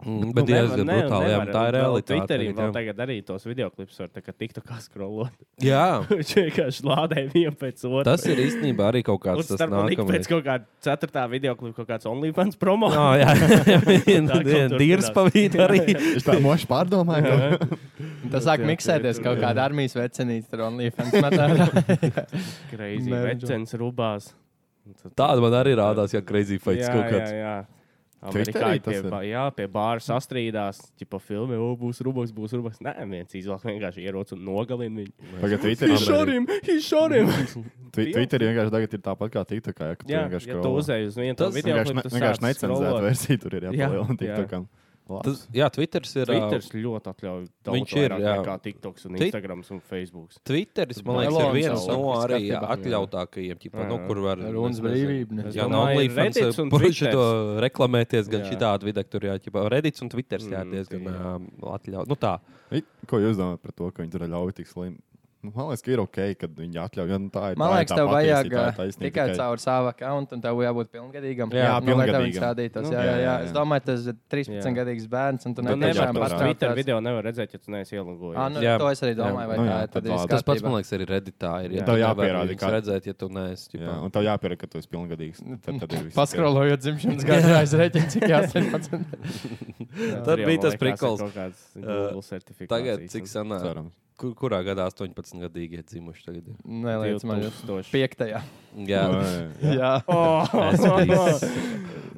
Speaker 3: Bet, nu, bet
Speaker 9: nevar-
Speaker 3: diezgan
Speaker 9: ne-
Speaker 3: brutāli, jā,
Speaker 9: nevar,
Speaker 3: tā ir
Speaker 9: un vēl
Speaker 3: realitāte.
Speaker 9: Twitterī
Speaker 3: tagad,
Speaker 9: vēl
Speaker 3: jā.
Speaker 9: tagad arī tos videoklips var tā kā TikTokā scrollot.
Speaker 3: jā,
Speaker 9: Viņš vienkārši lādē vienu pēc otras.
Speaker 3: tas ir īstenībā arī kaut
Speaker 9: Un
Speaker 3: kāds tas
Speaker 9: starp mums
Speaker 3: nākamais.
Speaker 9: pēc kaut kāda ceturtā video klipa, kaut kāds OnlyFans promo.
Speaker 3: Jā, Ah, jā,
Speaker 9: Tā
Speaker 3: jā.
Speaker 9: kaut
Speaker 3: Dīrs
Speaker 9: turpinās.
Speaker 3: pavīd arī.
Speaker 2: Viņš tā moši pārdomāja.
Speaker 1: Tas sāk
Speaker 9: Jā,
Speaker 1: miksēties
Speaker 9: tur-
Speaker 1: kaut
Speaker 9: jā.
Speaker 1: kāda armijas vecenīte, tur OnlyFans. met ārā.
Speaker 9: Crazy.
Speaker 1: Never
Speaker 9: Vecens rubās.
Speaker 3: Tāda man arī rādās, ja crazy fights
Speaker 9: Jā,
Speaker 3: kaut
Speaker 9: jā,
Speaker 3: kāds.
Speaker 9: jā.
Speaker 2: Twitterī tas ir?
Speaker 9: pie, ba- jā, pie bāra sastrīdās, tipā filmē, o, būs rubaks, būs rubaks. Nē, viens izvēlas vienkārši ieroci un nogalina viņu.
Speaker 2: Tagad
Speaker 9: He
Speaker 2: Twitterī
Speaker 9: shot him! He shot him!
Speaker 2: Twi- Twitterī vienkārši tagad ir tāpat kā TikTok, ja ka tu
Speaker 9: jā,
Speaker 2: vienkārši
Speaker 9: ja tu
Speaker 2: scrollo.
Speaker 9: uzēji uz vienu to
Speaker 3: Tas
Speaker 9: video,
Speaker 2: vienkārši, ne, vienkārši necenzēta versija tur ir
Speaker 9: Jā,
Speaker 2: jāpalielina
Speaker 9: jā.
Speaker 2: TikTokam.
Speaker 3: Tas, jā, Twitter ir. ā,
Speaker 9: Twitters ļoti atļauj daudz
Speaker 3: Viņš ir,
Speaker 9: vairāk
Speaker 3: jā.
Speaker 9: nekā TikToks un
Speaker 3: Ti-
Speaker 9: Instagrams un Facebooks.
Speaker 3: Twitteris, man liekas,
Speaker 1: Elons
Speaker 3: ir viens
Speaker 1: savu
Speaker 3: no arī
Speaker 1: skatībā, jā.
Speaker 3: atļautākajiem, ķipa,
Speaker 9: Jā,
Speaker 3: nu,
Speaker 9: jā.
Speaker 3: kur var.
Speaker 1: Runas
Speaker 3: nezinu,
Speaker 1: brīvība. ne?
Speaker 9: Es
Speaker 3: Jā, no
Speaker 9: domāju,
Speaker 3: OnlyFans
Speaker 9: Reddits un
Speaker 3: puiši
Speaker 9: Twitters.
Speaker 3: to reklamēties gan
Speaker 9: Jā.
Speaker 3: šitādi vidē, tur jāķipa. Reddits un Twitters jā,
Speaker 9: Mm,
Speaker 3: diezgan
Speaker 9: jā.
Speaker 3: um, atļauj. Nu tā,
Speaker 2: I- Ko jūs domājat par to, ka viņi tur ļauj tik slim? Nu, Man liekas, ka ir ok, kad viņi atļauj. Ja, nu, tā ir
Speaker 1: Man
Speaker 2: tā ir
Speaker 1: liekas,
Speaker 2: tā
Speaker 1: tev vajag
Speaker 2: patiesība, tā ir
Speaker 1: ā,
Speaker 2: taisnība
Speaker 1: tikai caur savu kontu, un tev jābūt pilngadīgam.
Speaker 2: Jā,
Speaker 1: nu, lai tev viņš
Speaker 2: pilngadīgam.
Speaker 1: stādītos.
Speaker 2: Nu,
Speaker 1: Jā,
Speaker 2: jā,
Speaker 1: jā, jā.
Speaker 2: jā, jā.
Speaker 1: Es domāju, tas ir 13-gadīgs bērns, un tu
Speaker 9: Tu
Speaker 2: tad
Speaker 1: nevari
Speaker 2: jā,
Speaker 9: nevari
Speaker 2: tas
Speaker 9: pat
Speaker 2: tā.
Speaker 9: Twitter video nevar redzēt, ja tu neesi
Speaker 1: Ah, nu,
Speaker 9: ielogojis.
Speaker 1: jā.
Speaker 3: Jā.
Speaker 1: To es arī domāju, vai
Speaker 2: Nu,
Speaker 1: tā
Speaker 2: jā,
Speaker 1: ir. Tad
Speaker 2: tad
Speaker 1: viss
Speaker 2: labi.
Speaker 3: tas pats, man
Speaker 1: kārtībā.
Speaker 3: liekas, arī Redditā ir.
Speaker 2: Tev
Speaker 3: tu nevari
Speaker 2: jāpierāda,
Speaker 3: viņus
Speaker 2: kā-
Speaker 3: redzēt, ja tu neesi.
Speaker 2: Jā,
Speaker 3: ķipa.
Speaker 2: un tev jāpierāda, ka tu esi pilngadīgs. Tad, tad ir viss.
Speaker 1: Paskrolojot dzimšanas gadu, aizreķinu, cik 18.
Speaker 3: Tad bija tas prikals.
Speaker 9: Google certifikāts.
Speaker 3: Tagad, cik sanāk,
Speaker 2: Cerams.
Speaker 3: kur, kurā gadā 18 gadīgi ir dzimuši tagad? ir?
Speaker 1: Nē, liec man jau.
Speaker 9: 2000.
Speaker 1: Piektajā.
Speaker 3: Jā.
Speaker 2: Jā.
Speaker 1: Jā.
Speaker 9: Oh!
Speaker 3: Es-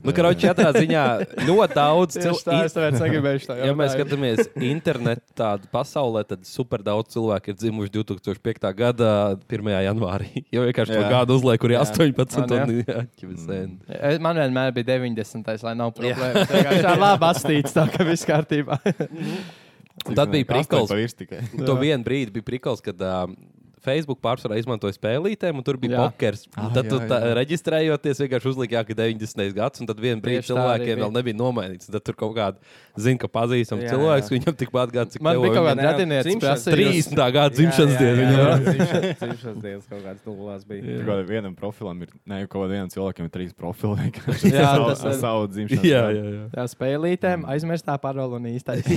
Speaker 3: Nu, karoči, katrā ziņā ļoti daudz
Speaker 1: Tieši tā,
Speaker 3: cilvēku.
Speaker 1: es tāpēc negribēju tā.
Speaker 3: Ja mēs skatāmies internetā, pasaulē, tad super daudz cilvēku ir dzimuši 2005. gada 1. janvārī. Jo vienkārši to
Speaker 2: Jā.
Speaker 3: gadu uzliek, kur ir
Speaker 1: Jā. Mm.
Speaker 3: 18.
Speaker 1: Man,
Speaker 3: un jā, ķivis sen.
Speaker 1: Es- Man vienmēr bija 90. lai nav problēmu. Tā ir labi astīts, tā ka viss kārtībā.
Speaker 3: Tad bija prikals.
Speaker 2: Tas ir tikai.
Speaker 3: To vienu brīdi bija prikals, kad um, Facebook pārsvarā izmantoja spēlītēm, un tur bija
Speaker 1: Jā.
Speaker 3: pokers.
Speaker 2: Ah,
Speaker 3: Un Tad,
Speaker 2: jā,
Speaker 3: tu tā,
Speaker 2: jā.
Speaker 3: reģistrējoties, vienkārši uzlika, jā, ka 90. gads, un tad vienā brīdī
Speaker 1: Tieši tā arī
Speaker 3: cilvēkiem
Speaker 1: bija.
Speaker 3: vēl nebija nomainīts. Tad tur kaut kāda zina, ka pazīstams
Speaker 9: Jā,
Speaker 3: cilvēks,
Speaker 9: jā.
Speaker 3: viņam tikpat gada, cik
Speaker 1: Man
Speaker 3: tev,
Speaker 1: bija
Speaker 3: un
Speaker 1: kaut
Speaker 3: viņam
Speaker 1: kāda radinieka
Speaker 9: dzimšanas-
Speaker 1: prasība.
Speaker 3: 30. gada dzimšanas diena.
Speaker 9: Cimšanas dienas kaut kāds dubulās bija.
Speaker 2: Tur Kaut kādam vienam profilam ir, ne, kaut kādam vienam cilvēkam ir trīs profili.
Speaker 1: Jā,
Speaker 2: savu,
Speaker 1: tas ir.
Speaker 2: savu dzimšanas.
Speaker 3: Jā,
Speaker 2: gadu.
Speaker 3: jā, jā.
Speaker 1: Jā, spēlītēm aizmirstā parola un īstais.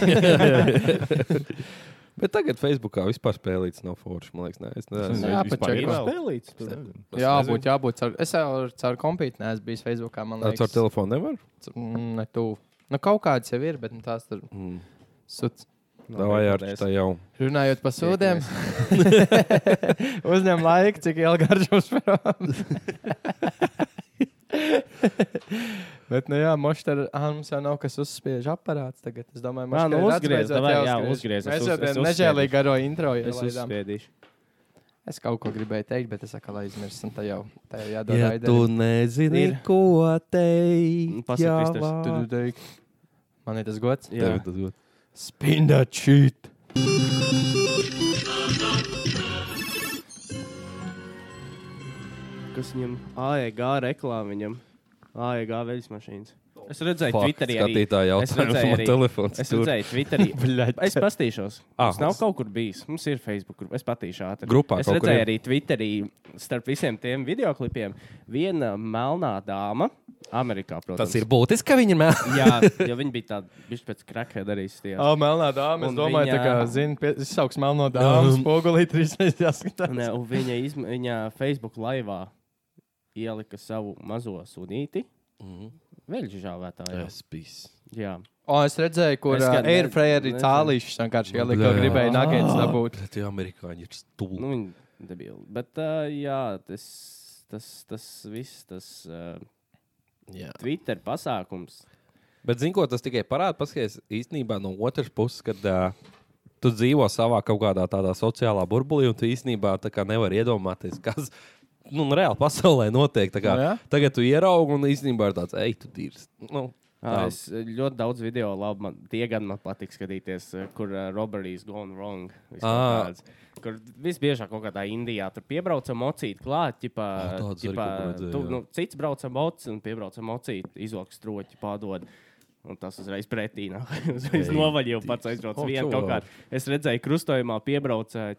Speaker 3: Bet tagad Facebookā vispār spēlīts nav forši. Man liekas, nē, es nezinu.
Speaker 1: Jā,
Speaker 2: Vispār
Speaker 1: pačakas.
Speaker 2: ir
Speaker 9: Kā
Speaker 2: vēl?
Speaker 9: spēlīts?
Speaker 2: Es nezinu.
Speaker 1: Jā, būt, jābūt. Caur, es jau ar- caur kompitu neesmu bijis Facebookā. Man
Speaker 3: Ar
Speaker 1: liekas,
Speaker 3: to telefonu nevar?
Speaker 1: C- mm, ne tuvu. Nu, kaut kādas jau ir, bet nu, tās tur
Speaker 3: Mm.
Speaker 1: suts.
Speaker 9: Nu,
Speaker 3: Vai ar tā jau?
Speaker 1: Runājot par sūdiem, uzņem laiku, cik ilgi ar šo spēlēm. Bet, nu jā, mošter, ah, mums jau nav kas uzspiež aparāts tagad. Es domāju,
Speaker 9: Ā,
Speaker 1: mošter,
Speaker 9: nu, uzgriez, davai, jā, uzgriez, es
Speaker 1: Mēs
Speaker 9: uz-
Speaker 1: jau
Speaker 9: es
Speaker 1: tādu
Speaker 9: uzspiedu.
Speaker 1: nežēlīgu garo intro
Speaker 9: Es
Speaker 1: ielaidām.
Speaker 9: uzspēdīšu.
Speaker 1: Es kaut ko gribēju teikt, bet es atkal aizmirsu, un tā jau tā jau jādara.
Speaker 3: Ja tu nezini,
Speaker 1: Ir.
Speaker 3: ko teikt,
Speaker 9: Pasaki, Kristers.
Speaker 3: vā-
Speaker 1: Man ir tas gods.
Speaker 9: Jā,
Speaker 3: Tev tas būtu.
Speaker 1: Spin that shit.
Speaker 9: kas viņam AEG reklāmā viņam. AEG veļas mašīnas. Es redzēju,
Speaker 3: Fuck,
Speaker 9: Twitterī arī.
Speaker 3: Skatītāji
Speaker 9: Es
Speaker 3: jautājums,
Speaker 9: redzēju
Speaker 3: man
Speaker 9: arī-
Speaker 3: telefons.
Speaker 9: Es
Speaker 3: tur.
Speaker 9: redzēju, Twitterī. es pastīšos.
Speaker 3: Ah,
Speaker 9: Ah, es nav kaut kur bijis. Mums ir Facebook grupa. Es patīšu ātri.
Speaker 3: Grupā
Speaker 9: es
Speaker 3: kaut kur
Speaker 9: redzēju
Speaker 3: ir.
Speaker 9: arī Twitterī starp visiem tiem videoklipiem. Viena melnā dāma, Amerikā, protams.
Speaker 3: Tas ir būtiski, ka viņi mēl.
Speaker 9: Jā, jo viņi bija tādi, viņš pēc krakē darīs tie.
Speaker 1: O, melnā dāma. Es
Speaker 9: Un
Speaker 1: domāju, viņa... tā
Speaker 9: viņa-
Speaker 1: kā zina, pie- izsauks melno dāmu.
Speaker 3: Um.
Speaker 1: Spogulī trīs reizes jāskatās.
Speaker 9: Ne, un viņa, izm, viņa Facebook laivā ielika savu mazo sunīti.
Speaker 3: Mm.
Speaker 9: Veļģi žāvētāju.
Speaker 3: Es biju.
Speaker 9: Jā.
Speaker 1: O, es redzēju, kur
Speaker 9: Es gan ne-
Speaker 1: Airfryer ir
Speaker 9: nezinu. Ah.
Speaker 1: tālīšs. Vienkārši ielika,
Speaker 3: Bļā.
Speaker 1: ko gribēja nagēns dabūt.
Speaker 3: Bet tie amerikāņi ir stulbi.
Speaker 9: Nu, viņa debila. Bet, uh, jā, tas, tas, tas viss, tas uh,
Speaker 3: Jā.
Speaker 9: Twitter pasākums.
Speaker 3: Bet, zinot, ko tas tikai parāda, paskatās īstenībā no otras puses, kad uh, tu dzīvo savā kaut kādā tādā sociālā burbulī, un tu īstenībā tā kā nevari iedomāties, kas. Nu, un reāli pasaulē notiek. tā Kā,
Speaker 1: Nu, jā.
Speaker 3: tagad tu ieraugi, un īstenībā ir tāds, ej, tu tīrs. Nu,
Speaker 9: Uh,
Speaker 3: Tā.
Speaker 9: es eh, ļoti daudz video, labi, man, tie gan man patīk skatīties, eh, kur uh, robberies gone wrong. vis
Speaker 3: Ah.
Speaker 9: kaut kāds. Kur visbiežāk kaut kādā Indijā tur piebrauca mocīt klāt, ķipā,
Speaker 3: Ah, tādas arī
Speaker 9: ķipā,
Speaker 3: kaut kur redzēju,
Speaker 9: tu,
Speaker 3: jā.
Speaker 9: nu, cits brauca mocis un piebrauca mocīt, izvelk stroķi, pārdod. Un tas uzreiz pretī nāk. Uzreiz novaļīju pats aizbraucu
Speaker 3: O,
Speaker 9: vienu kaut
Speaker 3: čau.
Speaker 9: kādu. Es redzēju, krustojumā piebrauca eh,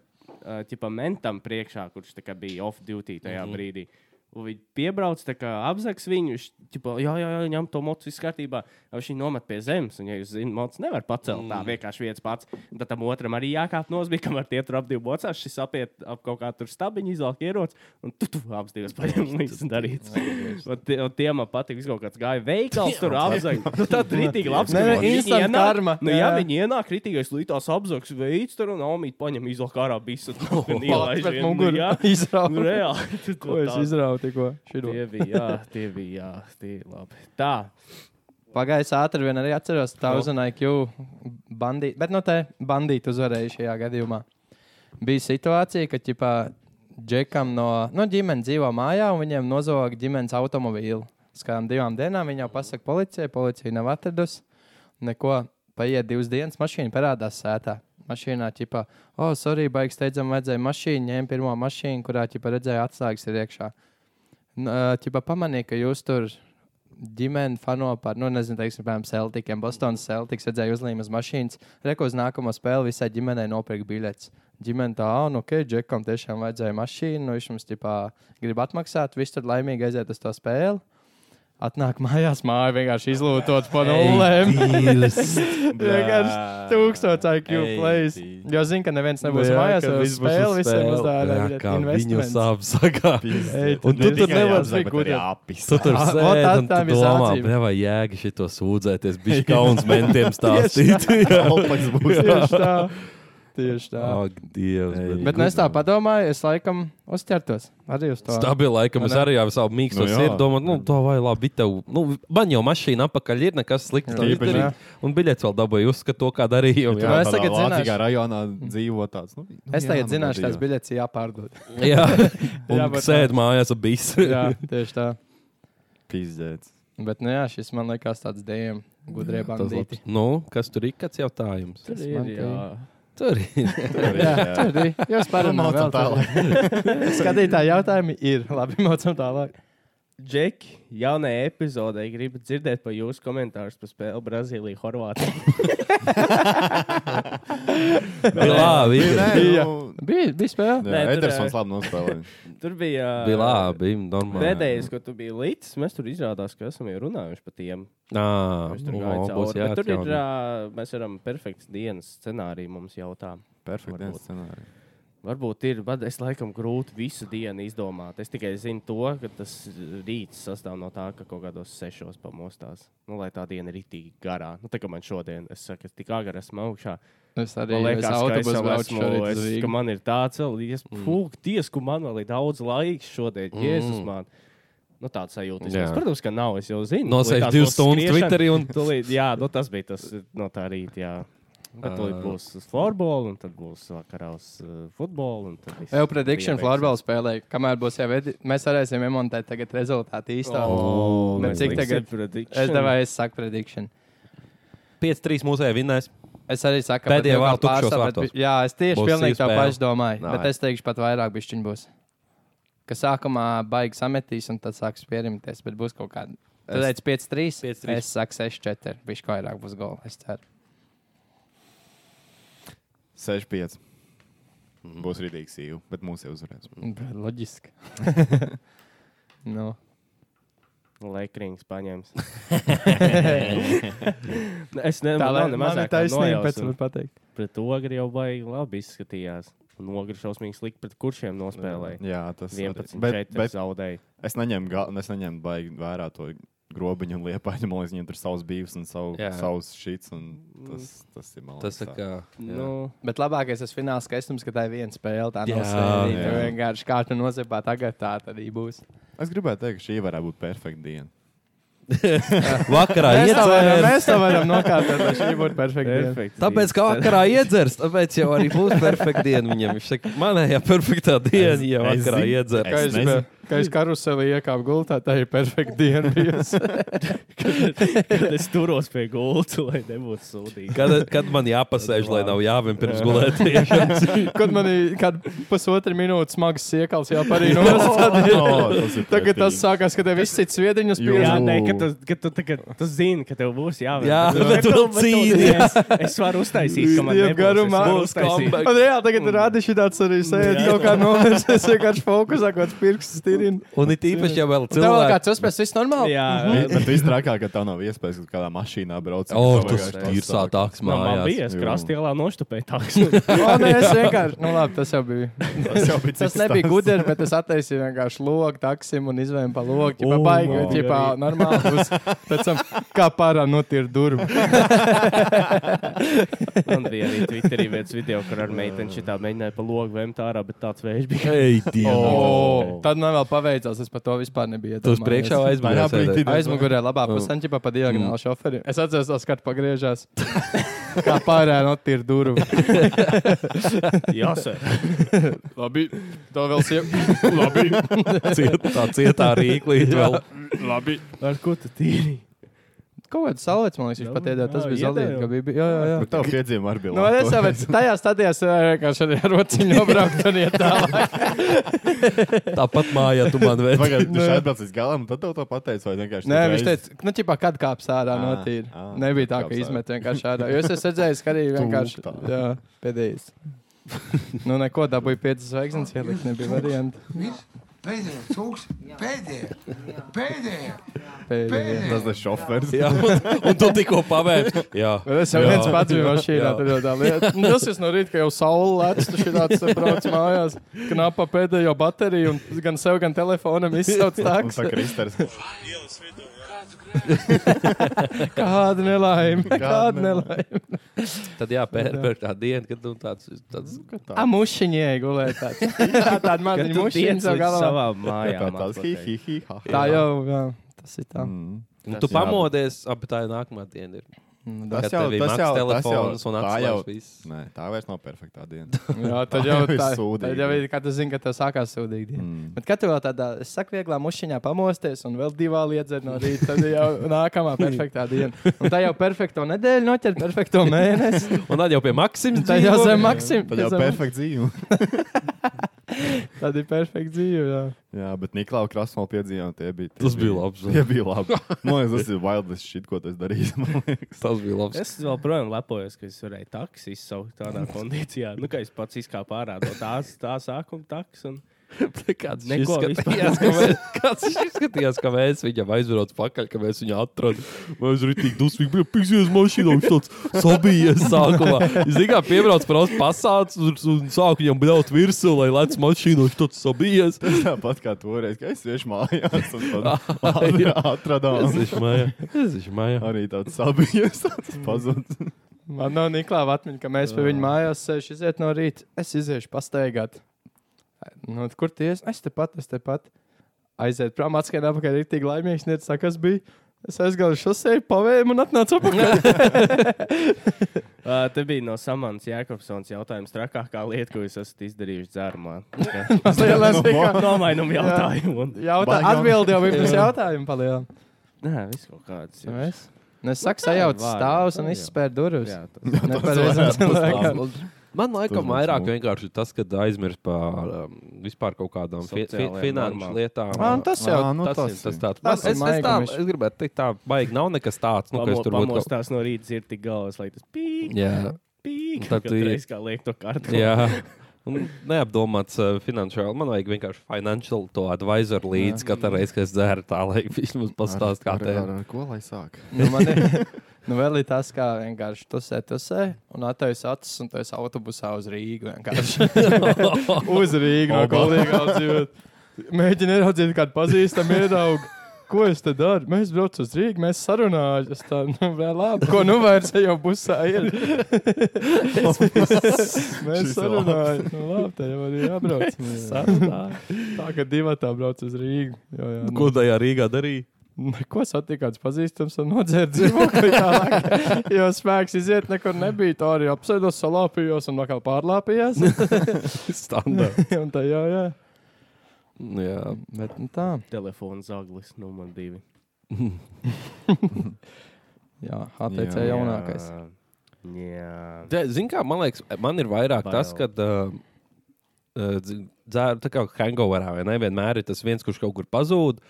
Speaker 9: ķipā mentam priekšā, kurš tā kā bija off-duty tajā
Speaker 1: Mhm.
Speaker 9: mm -hmm. brīdī. Un Viņi piebrauc, tā kā apzaks viņu, viņš ķipa, jā, jā, jā, ņem to mocu, viss kārtībā. Vai Viņš viņu nomet pie zemes, un, ja jūs zināt, mocu nevar pacelt
Speaker 1: Mm.
Speaker 9: tā vienkārši viens pats. Un Tad tam otram arī jākāp nosbīgt, kamēr tie tur ap divu mocās, šis apiet ap kaut kā tur stabiņu, izvelk ieroci, un tu, tu abas divas paņem un viss darīts. Un tie- Un tiem man patīk, viņš kaut kāds gāja veikals, tur apzaks. Nu, tā kritīgi labs.
Speaker 1: Nē, nē,
Speaker 9: ka viņi
Speaker 1: instant
Speaker 9: ienāk-
Speaker 1: karma.
Speaker 9: Nu, jā,
Speaker 1: Jā.
Speaker 9: viņi ienāk kritīgais lītās apzaks veids, tur un omīt paņem izvelk ārā visu. un
Speaker 1: Pats
Speaker 9: ielaiž
Speaker 1: pret
Speaker 9: vienu, nu,
Speaker 1: muguru
Speaker 9: jā. Nu,
Speaker 1: izrauga.
Speaker 9: reāli. tu
Speaker 1: Ko
Speaker 9: to
Speaker 1: es
Speaker 9: tā-
Speaker 1: izraugu tikko? Šito.
Speaker 9: Tie bija, jā, tie bija, jā, tie bija labi. Tā.
Speaker 1: Pagājis ātri, vien arī atceros 1000 IQ bandītu. Bet no te bandītu uzvarēja šajā gadījumā. Bija situācija, ka ķipā, Džekam no nu, ģimenes dzīvo mājā un viņiem nozaga ģimenes automobīlu. Skām divām dienām viņa jau pasaka policijai, policija nav atradusi. Neko paiet divas dienas, mašīna parādās sētā. Mašīnā ķipā, oh, sorry, baigs steidzam, vajadzēja mašīnu, ņēma pirmo mašīnu, kurā ķipā redzēja atslēgas ir iekšā. N- ā, Ķipā pamanīja, ka jūs tur ģimeni fano par, nu, nezinu, teiksim, piemēram, Celticiem. Bostonas Celtics redzēja uzlīmes mašīnas, reko uz nākamo spēli visai ģimenei nopirka biļetes. Ģimene tā, ah, nu, ok, Džekam tiešām vajadzēja mašīnu, nu, viņš mums, ķipā, grib atmaksāt, viss tur laimīgi aiziet uz to spēli. Atnāk mājās, māja vienkārši izlūkots pa nulēm.
Speaker 2: Ah,
Speaker 1: Vienkārši tūkstoš IQ
Speaker 3: Ei,
Speaker 1: plays.
Speaker 3: dīls.
Speaker 1: Jo zinu, ka
Speaker 3: Nu,
Speaker 1: neviens nebūs mājās, jau spēle visiem uzdāvināja.
Speaker 3: kā viņu sāp sakā.
Speaker 1: Ei,
Speaker 3: Un tu tur nevari
Speaker 1: būt gudri.
Speaker 2: apis.
Speaker 3: Tu tur
Speaker 1: Ah, vot
Speaker 3: sēdi
Speaker 1: tā-
Speaker 3: un tu
Speaker 1: tā bija
Speaker 3: domā,
Speaker 1: sādzība.
Speaker 3: nevajag jēga šito sūdzēties, bija kauns mentiem stāstīt.
Speaker 2: Alpaks būs.
Speaker 1: Tieši tā. Tieši tā.
Speaker 3: Ak, Dievs.
Speaker 1: Bet nu, es tā padomāju, es laikam uzķertos arī uz to.
Speaker 3: Stabilu laikam,
Speaker 1: Vai
Speaker 3: es
Speaker 1: ne?
Speaker 3: arī jau savu mīkstu
Speaker 2: Nu, jā.
Speaker 3: sirdi domāju, nu, tā vai labi, tev, nu, man jau mašīna apakaļ ir, nekas slikts.
Speaker 1: Jā,
Speaker 3: nav
Speaker 2: īpaši.
Speaker 3: izdarīts. Un biļets vēl dabūju, uzskatu to, kā darīju.
Speaker 1: Nu,
Speaker 2: Jā,
Speaker 1: es tagad
Speaker 2: es tagad
Speaker 1: zināšu.
Speaker 2: zinu, ka rajonā dzīvo tāds. Nu, nu,
Speaker 1: Es tagad
Speaker 2: jā, nu,
Speaker 1: zināšu, tās
Speaker 2: gadījās.
Speaker 1: biļetes jāpārdod.
Speaker 3: Jā,
Speaker 1: Jā,
Speaker 3: un
Speaker 1: bet-
Speaker 3: sēd mājās ar bisu.
Speaker 1: jā, tieši tā.
Speaker 2: Pizdēts.
Speaker 1: Bet, nu jā, šis man liekas tāds dēļ gudrie bandīti.
Speaker 3: Nu, kas tur ir? Kāds jautājums?
Speaker 9: Tur
Speaker 1: man
Speaker 9: ir,
Speaker 1: te-
Speaker 9: jā.
Speaker 3: Tur ir.
Speaker 1: Jā, tur bija. Jūs
Speaker 2: Maucam
Speaker 1: pārunājāt Skatītāji jautājumi ir. Labi, mācām tālāk.
Speaker 9: Džeki, jaunajā epizodē gribu dzirdēt par jūsu komentārus par spēli Brazīlija, Horvātija.
Speaker 3: Labi,
Speaker 2: Nē,
Speaker 1: Bija, bija spēle.
Speaker 2: nu,
Speaker 9: Nē, tur,
Speaker 2: Edersons
Speaker 9: eh,
Speaker 2: labi nospēlēja.
Speaker 9: Tur bija. ā,
Speaker 3: bija labi. Normāli.
Speaker 9: Pēdējais, ko tu biji līdzi, mēs tur izrādās, ka esam jau runājuši par tiem.
Speaker 3: Nā,
Speaker 9: Mēs tur
Speaker 3: nu,
Speaker 9: gājām
Speaker 3: būs
Speaker 9: cauri. Bet Tur ir,
Speaker 3: jāatjauno.
Speaker 9: ā, mēs varam perfekts dienas scenāriju mums jautāt.
Speaker 2: Perfekts
Speaker 9: Varbūt.
Speaker 2: dienas scenārijs.
Speaker 9: Varbūt ir, bet es laikam grūti visu dienu izdomāt. Es tikai zinu to, ka tas rīts sastāv no tā, ka kaut kādos sešos pamostās. Nu, lai tā diena ir itī garā. Nu, tā kā man šodien, es saku, es tik agri esmu augšā.
Speaker 1: Es arī
Speaker 9: Man liekas, ka es
Speaker 1: autobusu
Speaker 9: jau
Speaker 1: braucu
Speaker 9: esmu,
Speaker 1: šorīt uz
Speaker 9: es, ka
Speaker 1: Rīgu.
Speaker 9: man ir tāds līnijas, mm. ka man vēl ir daudz laika šodien. Mm. Jēzus, man nu, tāds sajūta.
Speaker 3: Jā.
Speaker 9: vismaz. Protams, ka nav. Es jau zinu,
Speaker 3: Nosēž
Speaker 9: Likās
Speaker 3: divas
Speaker 9: no
Speaker 3: stundas
Speaker 9: skriešana-
Speaker 3: Twitterī un-
Speaker 9: Tūlīt, jā, nu, tas bija tas no tā rīta. jā. Bet Tūlīt būs uz floorbola, un tad būs vakarā uz uh, futbola. un tad viss
Speaker 1: Jau prediction
Speaker 9: bija
Speaker 1: floorbola spēlē, kamēr būs jau edi, mēs varēsim emontēt tagad rezultātu īstā.
Speaker 9: Oh,
Speaker 1: Bet
Speaker 9: mēs
Speaker 1: cik
Speaker 9: liksim
Speaker 1: tagad?
Speaker 9: prediction.
Speaker 1: Es devu, es saku prediction.
Speaker 3: 5-3 mūzē vinnēs.
Speaker 1: Es arī saku, ka
Speaker 3: Pēdējā vēl tukšos vārtos.
Speaker 1: Jā, es tieši
Speaker 3: Būs
Speaker 1: pilnīgi tā
Speaker 3: spēle.
Speaker 1: pašu domāju.
Speaker 3: Nā,
Speaker 1: Nā, bet es teikšu, pat vairāk bišķiņu būs. Ka sākumā baigs sametīs un tad sāks pierimties, bet būs kaut kāda. Tad
Speaker 3: Es-
Speaker 1: teicu 5-3.
Speaker 3: 5-3.
Speaker 1: Es saku 6-4. Bišķi vairāk būs gola. Es ceru.
Speaker 2: 6-5.
Speaker 1: Mm.
Speaker 2: Būs rītīgs īvu, bet mūsu jau uzvarēs.
Speaker 1: Bet Loģiski. nu.
Speaker 9: Lekrīns paņems. es nezinu,
Speaker 1: Tā lai
Speaker 9: kāda ir
Speaker 1: man
Speaker 9: mazā
Speaker 1: ir taisnība, pēc
Speaker 9: nojausa.
Speaker 1: tam pateikt.
Speaker 9: Pret ogri jau baigi labi izskatījās. Nogriezās šausmīgi slikti pret kuršiem nospēlēja.
Speaker 2: Jā, tas arī.
Speaker 9: 11,
Speaker 2: Bet,
Speaker 9: 4
Speaker 2: bet
Speaker 9: zaudēja.
Speaker 2: es neņēmu, ga- un es neņēmu baigi vērā to grobiņu un liepaņu. Man liekas, viņiem tur savs bijis un savu,
Speaker 3: Jā.
Speaker 2: savs šits. un Tas,
Speaker 1: Mm.
Speaker 2: tas ir malā.
Speaker 3: Tas tā kā. jā.
Speaker 9: Nu,
Speaker 1: Bet labākais tas fināls, ka es jums skatīju vienu spēli. Tā
Speaker 3: Jā,
Speaker 1: nav sērija.
Speaker 2: jā.
Speaker 1: Tu vienkārši kā tu nozipā tagad, tā arī būs.
Speaker 2: Es gribēju teikt, ka šī varētu būt perfekta diena.
Speaker 3: Vakarā
Speaker 1: Mēs to varam-
Speaker 3: iedzers.
Speaker 1: Mēs to varam nokārtot, lai šī būtu perfekta.
Speaker 9: perfekti.
Speaker 3: Tāpēc, kā vakarā iedzers, tāpēc jau arī būs perfekta diena viņam. Viņš saka, manējā perfektā diena, ja
Speaker 2: es
Speaker 3: vakarā
Speaker 2: zinu.
Speaker 3: iedzers.
Speaker 1: Kā
Speaker 2: Es
Speaker 1: es,
Speaker 2: nezinu.
Speaker 1: kā es karuselī iekāpu gultā, tā ir perfekta diena. bijusi.
Speaker 9: Kad es turos pie gultas, lai nebūtu sūdīgi.
Speaker 3: Kad, kad man jāpasēž, lai nav jāvim pirms gulēšanas?
Speaker 1: Kad man ir kāda pusotra minūte smags siekals, jau parī nostādīja.
Speaker 2: O, Oh, tas ir
Speaker 1: Tagad tas
Speaker 2: pretīgi.
Speaker 1: sākās, kad tev viss cits viediņus
Speaker 2: Jū.
Speaker 1: pieeja.
Speaker 9: Jā, nē, ka tu, ka tu, ka tu zini, ka tev būs jāvērt.
Speaker 3: Jā, bet
Speaker 9: tu-
Speaker 3: vēl
Speaker 9: tu-
Speaker 3: cīnies.
Speaker 9: Es varu uztaisīt, ka man
Speaker 1: Dieva
Speaker 9: nebūs.
Speaker 1: garumā.
Speaker 9: Es varu uztaisīt.
Speaker 3: Būs
Speaker 1: Un reāli tagad ir rādi šī tāds arī sēdi kaut kā novērsies, vienkārši fokusā kaut kāds pirksts tirina.
Speaker 3: Un it īpaši, ja vēl
Speaker 1: Tev vēl
Speaker 3: cilvēks.
Speaker 1: kāds uzspēs, viss normāli? Mhm.
Speaker 9: Jā,
Speaker 2: Bet viss trakāk, ka tā nav iespējas, ka kādā mašīnā brauc.
Speaker 3: O,
Speaker 1: Oh,
Speaker 2: un
Speaker 3: tas
Speaker 2: vienkārši
Speaker 3: ir sātāks
Speaker 9: Man, man bija,
Speaker 3: mājās.
Speaker 9: es
Speaker 2: Jū.
Speaker 9: krāstīlā noštupēju tāks.
Speaker 1: O, nē, es vienkārši, nu labi, tas jau bija.
Speaker 2: Tas jau bija
Speaker 1: Tas
Speaker 2: cits
Speaker 1: nebija
Speaker 2: stāsts.
Speaker 1: gudri, bet es attaisīju vienkārši logu, taksim un izvēlēju pa logu. Jā,
Speaker 3: O,
Speaker 1: baigi,
Speaker 3: man
Speaker 1: jā, normāli. Būs. Pēc tam kā pārā notīra durvīm.
Speaker 9: Man bija arī Twitterī viens video, kur ar meiteni šitā mēģināja pa logu vēmt ārā, bet tāds vējš bija.
Speaker 3: Ei, Dievs!
Speaker 1: Tad man vēl paveicās, es par to vispār nebiju.
Speaker 3: Tu uz priekšu vai aizmugurē
Speaker 2: Vairāk
Speaker 3: sēdēji?
Speaker 2: brīdī.
Speaker 1: Aizmugurē, labā
Speaker 3: Mm.
Speaker 1: pusē, jau pa diagonāli šoferim. Es atceros, tas skats pagriežās. Kā pārējā notīra durvīm.
Speaker 9: Jā, sir.
Speaker 1: Labi, to vēl sieviete.
Speaker 3: Ciet, tā cietā rīklīte vēl.
Speaker 9: Labi. Ar ko tu tīri?
Speaker 1: Kaut kāds salvets, man liekas, viņš pat iedod. Tas
Speaker 9: Jā,
Speaker 1: bija
Speaker 9: iedēja.
Speaker 1: zelīts. Jā, jā, jā.
Speaker 2: Bet tev piedzīvumi arī bija.
Speaker 1: Nu, es jau biju tajā stadijā, es varēju vienkārši ar rociņu nobraukt un iet tālāk.
Speaker 3: Tāpat mājā tu man vēsti.
Speaker 2: Pagaid, viņš atbrauc līdz galam, un nu tad tev to pateicu, vai vienkārši.
Speaker 1: Nē,
Speaker 2: tu
Speaker 1: viņš
Speaker 2: reiz-
Speaker 1: teica, nu, ķipā, kad kāps ārā
Speaker 2: Ā,
Speaker 1: no tīra.
Speaker 2: ā,
Speaker 1: Nebija tā,
Speaker 2: kāps
Speaker 1: ka
Speaker 2: ārā.
Speaker 1: izmet vienkārši ārā. Jo es esmu redzējis, ka arī vienkārši
Speaker 2: tā.
Speaker 1: jā, pēdējais. Nu, neko dabūju piecas zvaigznes, ielikt nebija variantu.
Speaker 8: Pēdējais cūks, pēdējais, pēdējais.
Speaker 1: Pēdējā.
Speaker 2: Tas ir šofers.
Speaker 3: Jā, un, un tu tikko pavēsti. Jā,
Speaker 1: Bet es jau
Speaker 3: Jā.
Speaker 1: viens pats biju mašīnā.
Speaker 3: Jā.
Speaker 1: tad jau tā lieta. Nu, Tas ir no rīta, ka jau saule lēca. Tu šāds brauc mājās, knapa pēdējo bateriju un gan sev, gan telefonam izsauc
Speaker 2: Un
Speaker 1: tāks.
Speaker 2: tā Kristers.
Speaker 1: Kāda nelaime, kāda nelaime.
Speaker 3: tad jā, pērk tā diena, kad nu, tāds, tāds
Speaker 1: Amušiņie gulēja tāds. Jā, Tāda maziņa mušiņa
Speaker 9: Mūžīgi
Speaker 1: savu galvā.
Speaker 9: savā
Speaker 2: Jā,
Speaker 9: mājā.
Speaker 2: tāds hi, hi, hi, ha.
Speaker 1: Tā jau, jā, tas ir tā.
Speaker 2: Mm.
Speaker 3: Nu, tu
Speaker 9: Tas jā.
Speaker 3: pamodies, ap tā ir nākamā diena. Ir.
Speaker 1: Nu,
Speaker 2: Tas
Speaker 3: Kad
Speaker 2: jau-
Speaker 3: tev ir
Speaker 2: tas
Speaker 3: maks
Speaker 2: jau- tas
Speaker 3: telefons
Speaker 2: jau-
Speaker 3: un
Speaker 2: tā jau-
Speaker 3: atslēgs viss.
Speaker 2: Nē, tā vairs nav perfektā diena.
Speaker 1: Jā, tad
Speaker 2: Tā
Speaker 1: jau
Speaker 2: jau nu ir
Speaker 1: tā
Speaker 2: sūdīgi.
Speaker 1: Tad jau ir, kad tu zini, ka tev sākās sūdīgi diena. Mm. Bet kad tev vēl tādā, es saku, vieglā mušiņā pamosties un vēl divā liedzēt no rīta, tad jau nākamā perfektā diena. Un tā jau perfekto nedēļu noķer, perfekto mēnesi.
Speaker 3: Un tad jau pie Maksimas.
Speaker 1: Tā jau zem maksim.
Speaker 2: Tad jau perfekta dzīve.
Speaker 1: Tad ir perfekta dzīve. Jā.
Speaker 2: Jā, bet Niklaus Krasnodēļ piedzīvoja, tie bija. Tie
Speaker 3: Tas bija labs.
Speaker 2: Tie bija labi. Man liekas, tas ir wildest shit, ko tas darīja. man liekas.
Speaker 3: Tas bija labs.
Speaker 9: Es joprojām lepojos, ka es varēju taksi izsaukt tādā kondīcijā. Nu, kā es pats izkāpu ārā no tās, tā sākuma taks. Un...
Speaker 3: kāds
Speaker 9: Neko
Speaker 3: šis skatījās, ka mēs, kāds šis skatījās, ka mēs viņam aizbraucam pakaļ, ka mēs viņu atrodam. Mēs arī tik dusmīgi bijām pigzies mašīnā, viņš tāds sabījies sākumā. Zini, kā piebrauc prasa pasāts un, un sāk viņam bļaut virsū, lai lec mašīnā, viņš tāds sabījies.
Speaker 2: Tāpat kā toreiz, kad es vienkārši mājās un tad
Speaker 3: Es
Speaker 2: atradām.
Speaker 3: esmu mājā. Es esmu mājā.
Speaker 2: Arī tāds sabijies, tāds pazudis.
Speaker 1: Man nav Niklāva atmiņa, ka mēs pie viņa mājās sēžam, iziet no rīta. Es iziešu pastaigāt. Nu, tad kur tiesa? Es tepat, es tepat. Aiziet prom, atskaņot apakšā, ir tik laimīgs. Nē, tas kas bija. Es aizgāju uz šoseju, pavēju un atnācu apakšā.
Speaker 9: Uh, te bija no Samanas Jēkabsons jautājums, trakākā lieta, ko jūs esat izdarījuši dzērumā.
Speaker 1: Tas lielais bija.
Speaker 9: Nomainām jautājumu. Un...
Speaker 1: Jautā,
Speaker 2: Baigām.
Speaker 1: atbildi jau bija pirms jautājuma palielināt.
Speaker 9: Nē, viss kaut kāds.
Speaker 3: Nu,
Speaker 9: ir.
Speaker 1: Nu, Es saku, sajaucu
Speaker 9: vārdi.
Speaker 1: stāvus
Speaker 9: Jā.
Speaker 1: un izspēru durvis.
Speaker 9: Jā, tas ir.
Speaker 1: Nepareizam cilvēkam.
Speaker 3: Man laikam
Speaker 2: būs
Speaker 3: vairāk
Speaker 2: smuki.
Speaker 3: vienkārši ir tas, kad aizmirst par um, vispār kaut kādām fi fi
Speaker 9: Sociālajām
Speaker 3: finanšu
Speaker 9: normām.
Speaker 3: lietām. Ah,
Speaker 1: Ā, un Tas jau
Speaker 2: Ā, nu
Speaker 3: tas, tas,
Speaker 2: tas
Speaker 3: ir, tas
Speaker 2: ir.
Speaker 3: tāds.
Speaker 1: Tas
Speaker 3: Tas
Speaker 1: ir
Speaker 3: es, es,
Speaker 1: maiga
Speaker 3: tā,
Speaker 1: miš-
Speaker 3: es gribētu teikt, tā baigi nav nekas tāds, nu,
Speaker 9: Nu,
Speaker 3: kas
Speaker 9: Pamo,
Speaker 3: tur būtu. kaut-
Speaker 9: pamostās no rīta ir tik galvas, lai tas pīk,
Speaker 3: Jā, Nu,
Speaker 9: pīk.
Speaker 3: Tad
Speaker 9: Tad
Speaker 3: tu-
Speaker 9: tu reiz kā liek to kartu.
Speaker 3: jā. Un neapdomāts uh, finansiāli. Man vajag vienkārši finansiāli to advisoru līdzi katru reizi, kad es dzēru tā, lai viņš mums pastāstītu, kā tā ir.
Speaker 2: Ko lai sāk?
Speaker 1: Nu, man ir, nu, vēl ir tas, kā vienkārši tusē, tusē, un attaisno acis, un tas autobusā uz Rīgas vienkārši. uz Rīgas no galvenā dzīvot. Mēģini ieraudzīt kādu pazīstamu iedaugu. Ko es te daru? Mēs braucam uz Rīgā, mēs sarunājamies. Tā nu vēl labi. Ko nu vairs te jau busā ir? mēs
Speaker 2: Šis ir
Speaker 1: sarunājamies. Nu, labi, tā jau arī jābrauc. tā kā divi tā brauc uz Rīgā. Jā, jā.
Speaker 3: Ko tajā Rīgā darīja?
Speaker 1: Neko satikāts pazīstams un nodzērt dzīvokli tālāk. Jo spēks iziet, nekur nebija. Tā arī apsēdos, salāpījos un atkal pārlāpījās.
Speaker 3: Standā.
Speaker 1: un tā jā, jā.
Speaker 3: Jā,
Speaker 1: Bet nu, tā.
Speaker 9: Telefons zaglis, nu man divi.
Speaker 1: Jā, HTC
Speaker 2: Jā.
Speaker 1: jaunākais.
Speaker 9: Jā.
Speaker 3: Ziniet, kā man liekas, man ir vairāk
Speaker 9: Bail.
Speaker 3: tas, ka uh, dzēru tā kā hangoverā vai ne? Vienmēr ir tas viens, kurš kaut kur pazūd.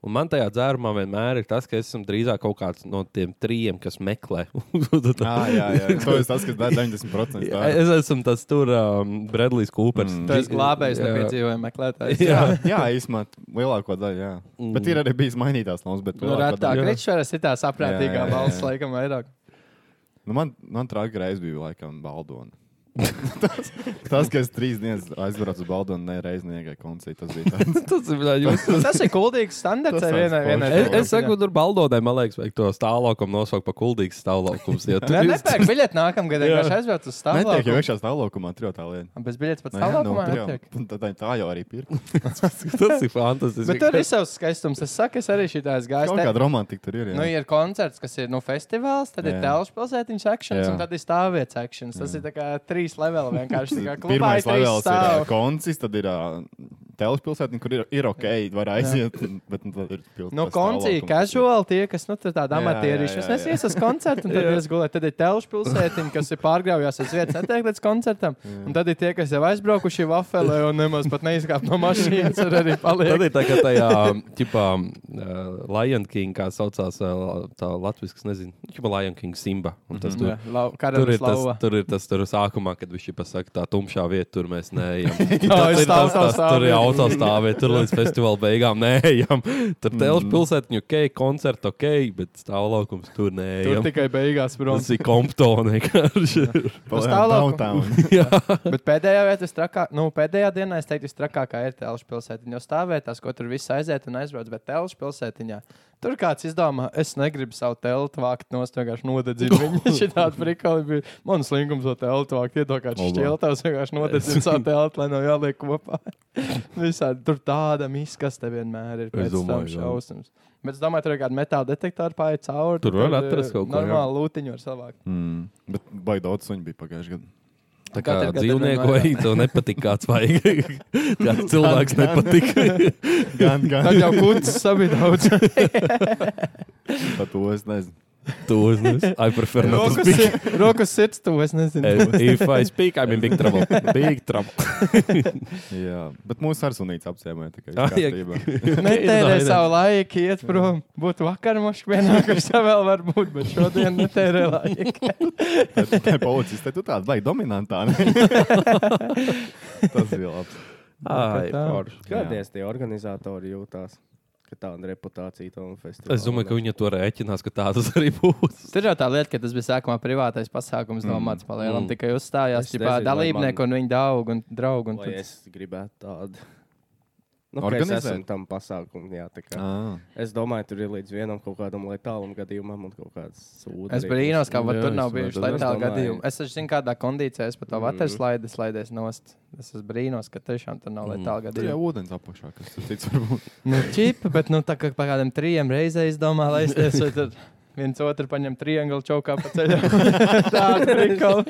Speaker 3: Un man tajā dzērumā vienmēr ir tas, ka es esmu drīzāk kaut kāds no tiem trījiem, kas meklē.
Speaker 2: Jā, Ah, jā, jā. To es tas, kas dara 90%.
Speaker 3: Jā,
Speaker 2: Tā.
Speaker 3: es esmu tas tur um, Bredlijs Kūpers.
Speaker 2: Mm.
Speaker 1: Tu esi glābējs,
Speaker 3: Jā.
Speaker 1: nepiedzīvoja meklētājs.
Speaker 2: Jā, jā īsumā lielāko daļu. Jā.
Speaker 3: Mm.
Speaker 2: Bet ir arī bijis mainītās nomas, bet
Speaker 1: Nu,
Speaker 2: lielāko
Speaker 1: retāk.
Speaker 2: daļu-
Speaker 1: Ričveras ir tā saprātīgā
Speaker 2: Jā, jā, jā,
Speaker 1: valsts,
Speaker 2: jā.
Speaker 1: laikam, vairāk.
Speaker 2: Nu, man man trāk reiz bija laikam baldona. Tas, kas trīs dienas aizbraucu uz Baldonu, ne reiz neiegai koncertu, tas bija tāds.
Speaker 3: Tas ir bijis grūti.
Speaker 1: Tas ir kuldīgs standarts.
Speaker 2: Tas
Speaker 1: ar vienai-
Speaker 2: tāds
Speaker 1: vienai
Speaker 2: foršs.
Speaker 3: Es,
Speaker 1: telefonu.
Speaker 3: es saku, tur baldodē, man liekas, vajag to stāvokli nosaukt par kuldīgu stāvokli. Jā,
Speaker 1: Nē,
Speaker 3: tur jūs-
Speaker 1: nepērk biļeti nākamgad, ja vienkārši aizbrauc uz
Speaker 2: Netiek jau
Speaker 1: stāvokli.
Speaker 2: iekšā stāvlaukumā, tur jau tā lieta.
Speaker 1: Bez biļetes pat
Speaker 2: Nē, nu,
Speaker 1: stāvokli
Speaker 2: tur jau-
Speaker 1: netiek.
Speaker 2: tā- tā- Tā jau arī pirka.
Speaker 3: tas ir fantastiski.
Speaker 1: Bet tur ir savs skaistums. Es saku, es arī šitās gāju.
Speaker 2: Kaut kāda romantika tur ir. jā.
Speaker 1: Nu, ir koncerts, kas ir nu, festivāls, tad jā.
Speaker 2: Jā.
Speaker 1: ir telpas pilsētiņas akcijas,
Speaker 2: Jā.
Speaker 1: un tad ir stāvvietas akcijas. Tas jā. ir tā kā trīs leveli vienkārši. tā kā Klubā
Speaker 2: Pirmais
Speaker 1: ir trīs
Speaker 2: levels ir
Speaker 1: stāvi.
Speaker 2: koncis, tad ir telpas pilsētā, kur ir, ir ok, var aiziet. un- Bet nu, tad ir pilsēta.
Speaker 1: Nu, koncerti, casual, tie, kas nu, tur tādi
Speaker 2: Jā,
Speaker 1: amatierīši.
Speaker 2: jā,
Speaker 1: Es
Speaker 2: jā,
Speaker 1: nesies uz koncertu, un tad es gulēju. Tad ir telpas pilsētiņa, kas ir pārgājās uz vietas, netiek līdz koncertam. Un tad ir tie, kas jau aizbraukuši vafelē un nemaz pat neizkāp no mašīnas, un arī
Speaker 3: Tad
Speaker 1: paliek.
Speaker 3: ir tā, ka tajā tipā uh, Lion King, kā saucās uh, tā latviešu, nezinu, kā Lion King Simba. Un tas tur,
Speaker 1: Mhm. Jā, lau- karalis
Speaker 3: tur, ir tas,
Speaker 1: lauva.
Speaker 3: tur ir tas, tur ir sākumā, kad viņš pasakā, tā tumšā vieta, tur mēs neejam.
Speaker 1: Jā,
Speaker 3: Tas
Speaker 1: stāv,
Speaker 3: ir
Speaker 1: stāv,
Speaker 3: tas, tas,
Speaker 1: stāv.
Speaker 3: tur ir autostāvvieta, tur līdz festivāla beigām neejam. Tur telpas
Speaker 1: Mhm.
Speaker 3: pilsētiņa, ok, koncerts ok, bet stāvlaukums tur
Speaker 1: Tur
Speaker 3: neejam.
Speaker 1: tikai beigās, protams.
Speaker 3: Tas ir komptona vienkārši.
Speaker 1: stāvlaukumu.
Speaker 2: Downtown.
Speaker 1: Bet pēdējā vietā, trakā, nu, pēdējā dienā es teiktu, trakākā ir telšu pilsētiņa. Jo stāvvietās, ko tur viss aiziet un aizbrauc, bet telšu pilsētiņā tur kāds izdomā, es negribu savu teltu vākt no stūra, vienkārši
Speaker 3: Nu.
Speaker 1: nodedzinu viņu. Šitādi frikoli bija mans līgums, to teltu vākt, iedokāt
Speaker 2: Oba.
Speaker 1: šķiltās, vienkārši nodedzinu savu teltu, lai nav jāliek kopā. Visādi tur tāda miskaste vienmēr ir
Speaker 3: Es
Speaker 1: pēc tam
Speaker 3: domāju, jā.
Speaker 1: šausmas. Bet es domāju, tur ir kāda metāla detektora pāri cauri.
Speaker 3: Tur var
Speaker 1: eh,
Speaker 3: atrast kaut ko, jā.
Speaker 1: Normāli lūtiņu var savākt.
Speaker 2: Mm. Bet baigi daudz suņu bija pagājušajā gadā.
Speaker 3: Tā kā
Speaker 1: Katru gadu ir
Speaker 3: dzīvnieku
Speaker 1: vienmēr.
Speaker 3: vai tev nepatīk kāds vai kāds cilvēks nepatīk.
Speaker 2: Gan, gan.
Speaker 1: Tad jau kūts abi daudz.
Speaker 2: Par to es nezinu.
Speaker 3: To es nezinu. I prefer not to
Speaker 1: Rokas,
Speaker 3: speak. Eh,
Speaker 1: si- rokas sirds, to es nezinu.
Speaker 3: If I speak, I'm in big trouble. Big trouble.
Speaker 2: Jā, bet mūsu arsunīca apciemē tikai
Speaker 3: Ah, jā.
Speaker 2: kārtībā.
Speaker 1: Netērē savu laiku, iet prom. Būtu vakar, mums vienā kursā vēl var būt, bet šodien netērē laiku.
Speaker 2: Tad tā Policists te tu tāds baigi dominantā. ne? Tas bija labs.
Speaker 3: Ai,
Speaker 1: tā.
Speaker 3: forši.
Speaker 9: Kādies tie organizatori jūtās? Ka tāda reputācija tam festivālam.
Speaker 3: Es domāju, ka viņi to rēķinās, ka tā tas arī būs.
Speaker 1: Tur jau tā lieta, ka tas bija sākumā privātais pasākums, domāts par lielu.
Speaker 3: Mm.
Speaker 1: Tikai uzstājās
Speaker 9: Es
Speaker 1: ģipā,
Speaker 9: nezinu, vai
Speaker 1: dalībnieku un viņa draugu. Un draugu un
Speaker 9: Lai
Speaker 1: tad-
Speaker 9: es gribētu tādu. Nu, ka es
Speaker 2: Organizēt?
Speaker 9: esmu tam pasākumam, jā. tā
Speaker 3: Ah.
Speaker 9: Kā,
Speaker 1: Ah.
Speaker 9: es domāju, tur ir līdz vienam kaut kādam letālam gadījumam un kaut kādas sūdzības.
Speaker 1: Es brīnos, kā var,
Speaker 3: Jā,
Speaker 1: tur
Speaker 3: es
Speaker 1: nav
Speaker 3: domāju,
Speaker 1: bijuši
Speaker 3: tas-
Speaker 1: tādi
Speaker 9: es domāju.
Speaker 1: gadījumi. Es taču zinu, kādā kondīcijā es pat to
Speaker 9: Mm.
Speaker 1: vateru slaidu slaidies nost. Es esmu brīnos, ka tiešām tur nav
Speaker 3: Mm.
Speaker 1: tādi
Speaker 2: Tur
Speaker 1: gadījumi.
Speaker 2: jau ūdens apakšā, kas tur cits varbūt.
Speaker 1: Nu, čipa, bet nu, tā kā pa kādam trijiem reizēm izdomā, lai es tiesu, tad viens otru paņem triangulu čaukā pa ceļam. Tāda prikala.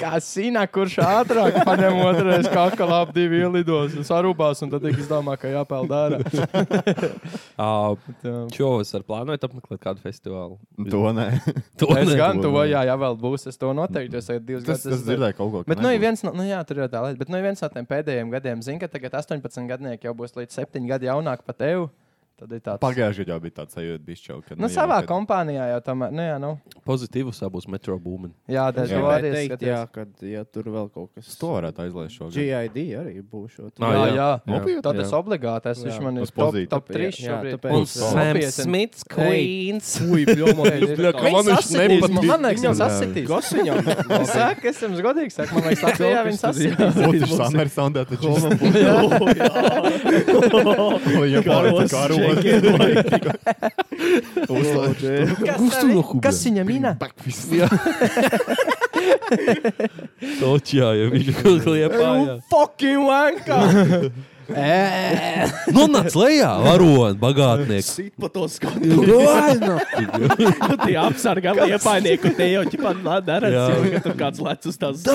Speaker 1: Kā sīnā, kurš ātrāk paņem otrais kakalā ap divi ielidos un sarūpās, un tad tik izdomā, ka jāpeld ārā.
Speaker 3: Ā,
Speaker 1: Tā.
Speaker 3: Šovasar plānojat apmeklēt kādu festivālu?
Speaker 2: To nē.
Speaker 3: To
Speaker 1: Es
Speaker 3: ne.
Speaker 1: gan
Speaker 2: to
Speaker 1: to,
Speaker 2: ne.
Speaker 1: jā, ja vēl būs, es to noteikti. Es tagad divas
Speaker 2: Tas, tas
Speaker 1: gadus. esmu-
Speaker 2: dzirdēja kaut ko. ka
Speaker 1: Bet, nu, ir
Speaker 2: nebūs.
Speaker 1: viens no, nu, jā, tur jau tā lieta, bet, nu, ir viens no tiem pēdējiem gadiem, zina, ka tagad 18 gadnieki jau būs līdz 7 gadi jaunāki par tevi. Tad ir tāds.
Speaker 2: Pagājušajā gadā jau bija tāds sajūta, bišķi, ka.
Speaker 1: Nu, savā kompānijā jau tomēr, nu, jā, nu,
Speaker 3: Pozitīvs būs Metro Boomin.
Speaker 1: jā, tas
Speaker 9: Es
Speaker 2: Jā.
Speaker 1: ir
Speaker 9: gribēju
Speaker 1: arī
Speaker 9: teikt, jā,
Speaker 1: skaties.
Speaker 9: kad ja tur vēl kaut kas
Speaker 2: To varētu aizlaist šogad.
Speaker 9: GID arī būs. šo
Speaker 1: Jā,
Speaker 9: te-
Speaker 1: jā,
Speaker 3: Ah, jā.
Speaker 1: jā.
Speaker 2: Nopietni?
Speaker 1: Tad tas obligāti. Es, viņš
Speaker 9: Jā.
Speaker 1: man ir
Speaker 2: Uz
Speaker 1: top,
Speaker 2: pozīciju.
Speaker 1: top 3
Speaker 9: Jā,
Speaker 1: šobrīd.
Speaker 9: tāpēc- Un
Speaker 3: Sam
Speaker 1: Smits,
Speaker 9: Queens. Ui, bļomo,
Speaker 1: Viņš
Speaker 9: jūs tā-
Speaker 3: man viņš nepatīk.
Speaker 1: Man liekas,
Speaker 9: Viņam-
Speaker 1: viņš sasitīs.
Speaker 9: Kas viņam?
Speaker 1: Saka, es jums godīgi saku, man liekas, Latvijā viņš
Speaker 9: Kaut kas tur jā.
Speaker 1: sasitīs.
Speaker 2: Būtu Summer Sound, tad viņš jau
Speaker 9: Karos,
Speaker 2: Uzlaiž.
Speaker 1: Kas tā vi- Kas viņa mina?
Speaker 3: Točijā, ja viņš kaut kā liepā.
Speaker 1: Fucking wanka! Ē,
Speaker 3: Nu, nāc lejā, varon, bagātnieks.
Speaker 9: Sit pa to skatu. Tu tie apsargā liepainieku, te jau ķipan ladara,
Speaker 3: Jā.
Speaker 9: ka tur kāds lec uz tās.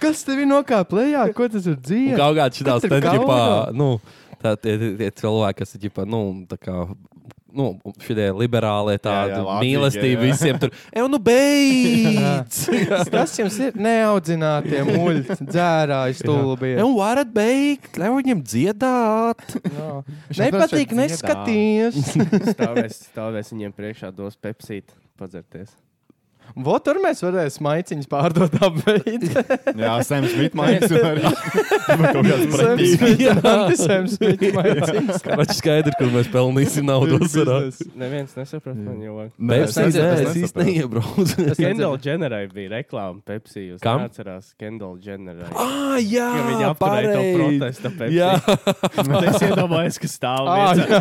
Speaker 1: Kas tev nokāp lejā? Ko tas ir
Speaker 3: Un
Speaker 1: dzīve?
Speaker 3: Kaut kādā citā
Speaker 1: Kas ir
Speaker 3: stāstā,
Speaker 1: galvā?
Speaker 3: nu, tā tie, tie, tie cilvēki, kas ir ģipa, nu, tā kā. Nu, šie liberālie tādi
Speaker 2: jā, Latvija,
Speaker 3: mīlestība
Speaker 2: jā.
Speaker 3: visiem tur. Ej, nu beidz!
Speaker 1: Kas jums ir neaudzinātie muļķi, dzērāji, stulbi?
Speaker 3: Ej, nu varat beigt, ļauj viņiem dziedāt.
Speaker 1: Jā.
Speaker 2: šeit
Speaker 1: Nepatīk,
Speaker 2: dziedā.
Speaker 1: neskaties.
Speaker 9: Stāvēs, stāvēs viņiem priekšā, dos pepsīt, padzerties.
Speaker 1: Vot tur mēs varēsim maiciņus pārdot apveidot.
Speaker 2: Jā, Sam Smith mains un arī kaut kāds pretīgi.
Speaker 1: Antisēms Smits maiciņus.
Speaker 3: Račs skaidri, kur mēs pelnīsim naudu. vasarā.
Speaker 9: Neviens nesaprot, man jau vajag.
Speaker 2: Nē,
Speaker 3: Pepsi,
Speaker 1: nezinu,
Speaker 3: nē,
Speaker 1: es
Speaker 3: Es īsti neiebraucu.
Speaker 9: Kendall Jennerai bija reklāma Pepsi. Jūs
Speaker 3: Kam?
Speaker 9: neatcerās Kendall Jennerai.
Speaker 3: Ah, jā,
Speaker 9: Ka Viņa apturēja to protestu. Pepsi.
Speaker 3: Jā,
Speaker 9: Bet es iedomājos, ka stāv
Speaker 1: Ā,
Speaker 9: viens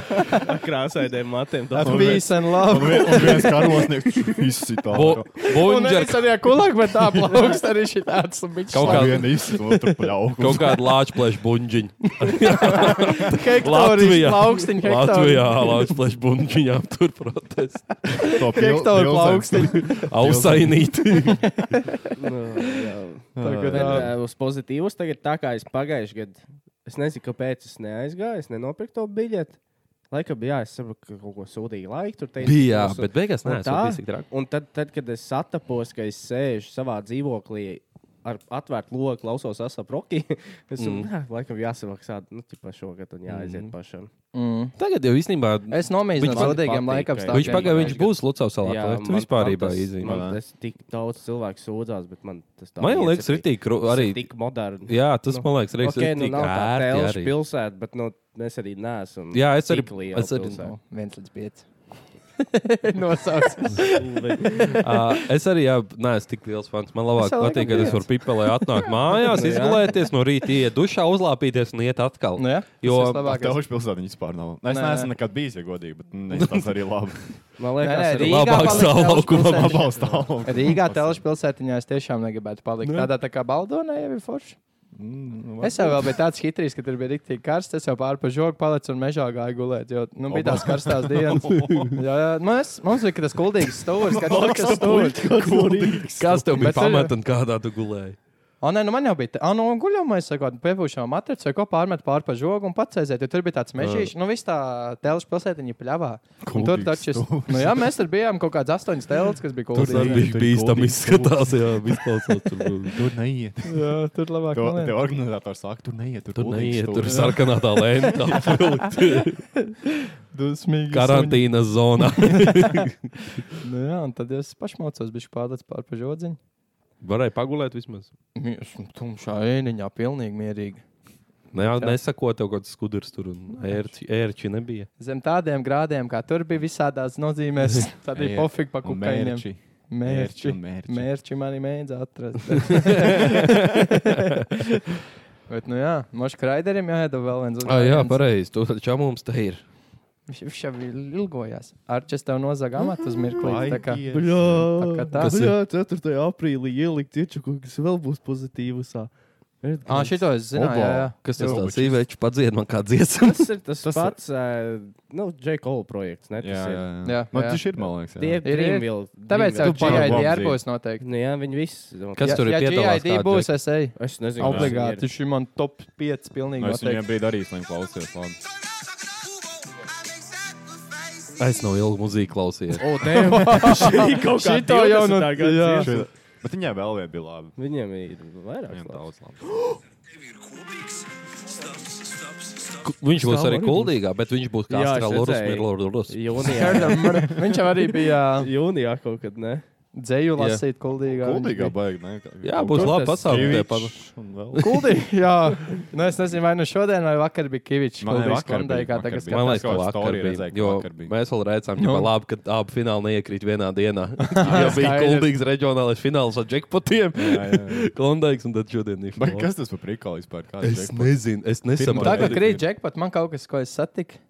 Speaker 9: ar krāsainiem matiem. to
Speaker 2: Esmu
Speaker 9: pavērš.
Speaker 1: Peace and love.
Speaker 2: Un vien- un viens karosnieks izsitā.
Speaker 3: Bo-
Speaker 1: Un
Speaker 3: Bunģer,
Speaker 1: es arī kulāk, bet tā plaukst arī šī tāds.
Speaker 3: Kaut
Speaker 2: Kaut
Speaker 3: kā-
Speaker 2: kā viena izsitā, tur pļauka.
Speaker 3: kaut kāda lāčplēša bunģiņa.
Speaker 1: Hektorīši
Speaker 3: Latvijā.
Speaker 1: plaukstiņi.
Speaker 3: Latvijā lāčplēša bunģiņā tur protest.
Speaker 2: to
Speaker 1: Hektoru plaukstiņi.
Speaker 3: Ausainīti.
Speaker 9: Nu, jā.
Speaker 1: Tagad,
Speaker 9: Bet,
Speaker 1: ā,
Speaker 9: ā, Uz pozitīvas tagad tā kā es pagājušajā gadā, es nezinu, kāpēc es neaizgāju, es nenopirku to biļeti. Laikam, jā, es saprotu, ka kaut ko sūdīja laika. Tur teica,
Speaker 3: Bija, jā,
Speaker 9: mums-
Speaker 3: bet beigās
Speaker 9: Un
Speaker 3: nē, tas
Speaker 9: Nu, tā?
Speaker 3: bija tik traki.
Speaker 9: Un tad, tad, kad es satapos, ka es sēžu savā dzīvoklī ar atvērtu loku, klausos asaproki, es domāju, mm. laikam jāsamaksā, nu, tipā šogad un jāaiziet mm. pašam.
Speaker 1: mm.
Speaker 3: Tagad jau īstenībā.
Speaker 1: Es nomīju no
Speaker 9: man
Speaker 1: sodīgiem
Speaker 9: patīk,
Speaker 1: laikam
Speaker 9: ka-
Speaker 1: stāvot.
Speaker 3: Viņš pagāja, viņš būs Lucavs salā.
Speaker 9: Jā,
Speaker 3: Tu
Speaker 9: man-
Speaker 3: vispār
Speaker 9: man tas-
Speaker 3: īzīmē.
Speaker 9: man Tas tik daudz cilvēku sūdzās, bet man tas tā
Speaker 3: Man jau liekas,
Speaker 9: iecepīja.
Speaker 3: ritīgi,
Speaker 9: Tas ir
Speaker 3: arī.
Speaker 9: tik moderns.
Speaker 3: Jā, tas
Speaker 9: Nu,
Speaker 3: man liekas,
Speaker 9: Reiks,
Speaker 3: reiks
Speaker 9: okay, nu,
Speaker 3: ritīgi
Speaker 9: nav tā
Speaker 3: ērti
Speaker 9: ir
Speaker 3: arī.
Speaker 9: pilsēta, bet nu, mēs arī neesam.
Speaker 3: Jā, es arī-
Speaker 9: tik liela
Speaker 3: es arī-
Speaker 9: pilsēta.
Speaker 1: No, Nu, viens līdz pieci. Nosauc.
Speaker 3: Uh, es arī jā, neesmu tik liels fans. Man labāk
Speaker 1: jau
Speaker 3: patīk, ka
Speaker 1: laikam
Speaker 3: es varu pipelē atnākt mājās,
Speaker 9: Nu jā.
Speaker 3: izgulēties, no rīta iet dušā, uzlāpīties un iet atkal.
Speaker 1: Nu, jā,
Speaker 3: Jo-
Speaker 1: tas vislabākais.
Speaker 2: Tev uz pilsētu viņa vispār nav. Nu, Es
Speaker 1: Nē.
Speaker 2: neesmu nekad bijis, ja godīgi, bet mm, ne, tas arī labi.
Speaker 9: Man
Speaker 1: Nē, nē,
Speaker 9: liekas, arī
Speaker 1: Rīgā
Speaker 3: labāk
Speaker 1: palikt
Speaker 3: savu
Speaker 1: telšu
Speaker 3: laukumā
Speaker 1: pilsētiņā.
Speaker 2: Atbalsta tālu.
Speaker 1: Rīgā telšu pilsētiņā es tiešām negribētu palikt. Tādā tā kā Baldonē jau ir forši. Es jau vēl biju tāds hitrīs, ka tur bija rīktīgi karsts. Es jau pāri pa žogu palicu un mežā gāju gulēt. Jo, nu, bija tās karstās dienas. jā, jā. Mēs, mums bija tas kuldīgs stūris, kad tur bija stūris.
Speaker 3: Kas tev bija
Speaker 1: Bet arī-
Speaker 3: pamatā un kādā tu gulēji?
Speaker 1: O, nē, nu man jau bija tā, nu, guļamā es saku, piepūšām matraci, vai ko pārmet pār pa žogu un pacēzēt, jo tur bija tāds mežīšs, nu, viss tā telšu pilsētiņa pļavā. Un tur
Speaker 2: Kuldīgs
Speaker 1: taču, es-
Speaker 2: stūris.
Speaker 1: nu, jā, mēs tur bijām kaut kāds astoņas telts, kas bija
Speaker 3: Tur
Speaker 1: kuldīgs.
Speaker 3: tas bija
Speaker 2: tur
Speaker 3: bīstami
Speaker 2: gudīgi
Speaker 3: izskatās, jā, izklausās. Tur,
Speaker 2: Tur neiet.
Speaker 1: Jā, tur labāk.
Speaker 2: Tev,
Speaker 1: noliec.
Speaker 2: tev organizators saka, tur neiet. Tur,
Speaker 3: tur
Speaker 2: kuldīgs
Speaker 3: neiet, tur
Speaker 2: stūris.
Speaker 3: sarkanā tā lēna.
Speaker 1: Dusmīgi.
Speaker 3: Karantīnas zonā.
Speaker 1: suņi. Nu, jā, un tad es pašmācos, bišķi pārlēc pār pa žodziņu.
Speaker 3: Varēja pagulēt vismaz.
Speaker 1: Esmu nu, tumšā ēniņā, pilnīgi mierīgi.
Speaker 3: Ne, nesako tev kaut kāds skudurs tur un ērči, ērči nebija.
Speaker 1: Zem tādiem grādiem, kā tur bija visādās nozīmēs, tad bija
Speaker 2: Ērči
Speaker 1: pofīgi pa
Speaker 2: Un
Speaker 1: kukainiem.
Speaker 2: mērķi.
Speaker 1: Mērķi.
Speaker 2: un Mērķi.
Speaker 1: Mērķi mani mēdz atrast. Bet, nu jā, Moškraiderim jāiedod vēl viens
Speaker 3: Ah, jā,
Speaker 1: uzvārds.
Speaker 3: pareizi. Tu taču mums te ir.
Speaker 1: Viņš, viņš jau ilgojās. Arčes tev nozaga amatu uz mirkli. Tā kā
Speaker 2: Aidies.
Speaker 1: tā. Kā tā.
Speaker 3: Kas ir?
Speaker 9: 4. aprīlī ielikt iečuku, kas vēl būs pozitīvs.
Speaker 1: Ah, šito es zinu. Jā, jā.
Speaker 3: Kas tas
Speaker 1: Jau.
Speaker 3: tāds ir? Veids, padzied man kā dziesmu.
Speaker 9: Tas ir tas, tas pats, ir... nu, J.Cole projekts. Ne,
Speaker 2: Jā,
Speaker 9: tas
Speaker 2: jā, jā.
Speaker 1: Jā,
Speaker 2: Man
Speaker 1: jā.
Speaker 2: tas ir, man liekas. jā.
Speaker 9: Tie ir
Speaker 1: Ir, ir.
Speaker 9: Dreamville.
Speaker 1: Tāpēc jau
Speaker 2: Tu pārbaudi.
Speaker 1: GIDR būs noteikti.
Speaker 9: Nu, jā, viņi visi.
Speaker 3: Kas
Speaker 1: Ja-
Speaker 3: tur ir
Speaker 1: ja
Speaker 3: piedalās
Speaker 1: GID
Speaker 3: kādi,
Speaker 1: būs, es eju.
Speaker 9: Es nezinu, kas
Speaker 1: Obligāti.
Speaker 9: viņi ir.
Speaker 1: Šī man top 5 pilnīgi
Speaker 2: Nu, Es viņam
Speaker 1: noteikti.
Speaker 2: biju darījis, lai viņš klausījās. labi.
Speaker 3: Es nav ilgi muzīku klausījies.
Speaker 9: O, tev! Šī kaut kā
Speaker 1: Šito jau no-
Speaker 9: 20. gads
Speaker 1: jā.
Speaker 9: dziesma.
Speaker 2: Šeit- Bet viņai vēl vien bija labi.
Speaker 9: Viņiem ir vairāk.
Speaker 2: Viņam
Speaker 9: labs.
Speaker 2: daudz labi.
Speaker 3: Ku- Viņš būs
Speaker 9: Stāv
Speaker 3: arī
Speaker 9: arī
Speaker 3: kuldīgā, bet viņš būs kā
Speaker 9: Jā, es
Speaker 3: astrālurus,
Speaker 9: redzēju.
Speaker 3: mirlurus.
Speaker 9: Jūnijā.
Speaker 1: Viņš jau arī bija
Speaker 9: Jūnijā kaut kad, ne?
Speaker 1: dzēju lasīt kuldīgā.
Speaker 2: Kuldīgā baigi, ne?
Speaker 3: Jā, būs labi
Speaker 9: tas
Speaker 3: pasākumi.
Speaker 1: Kuldīgā, jā. Nu, es nezinu, vai nu šodien vai vakar bija Kivičs.
Speaker 2: Man
Speaker 1: Kuldīgs
Speaker 2: vakar
Speaker 1: kondai,
Speaker 2: bija,
Speaker 1: kā
Speaker 2: vakar
Speaker 1: tagad
Speaker 2: bija.
Speaker 1: skatās.
Speaker 3: Man
Speaker 2: tas
Speaker 3: liekas, ka
Speaker 2: kaut kāds
Speaker 3: vakar
Speaker 2: story
Speaker 3: bija.
Speaker 2: redzēju, ka
Speaker 3: Jo
Speaker 2: vakar bija.
Speaker 3: mēs vēl redzējām, ka labi, ka abi fināli neiekrīt vienā dienā. Jā, bija
Speaker 1: skaidrs.
Speaker 3: kuldīgs reģionālais fināls ar džekpotiem. Klondaiks un tad šodien ir.
Speaker 2: Bet kas tas par prikālu vispār? Kā
Speaker 3: Es nezinu, es nesaprotu.
Speaker 1: Tā kā
Speaker 2: Pirmā
Speaker 1: krīt džekpot, man kaut kas, ko es satiku.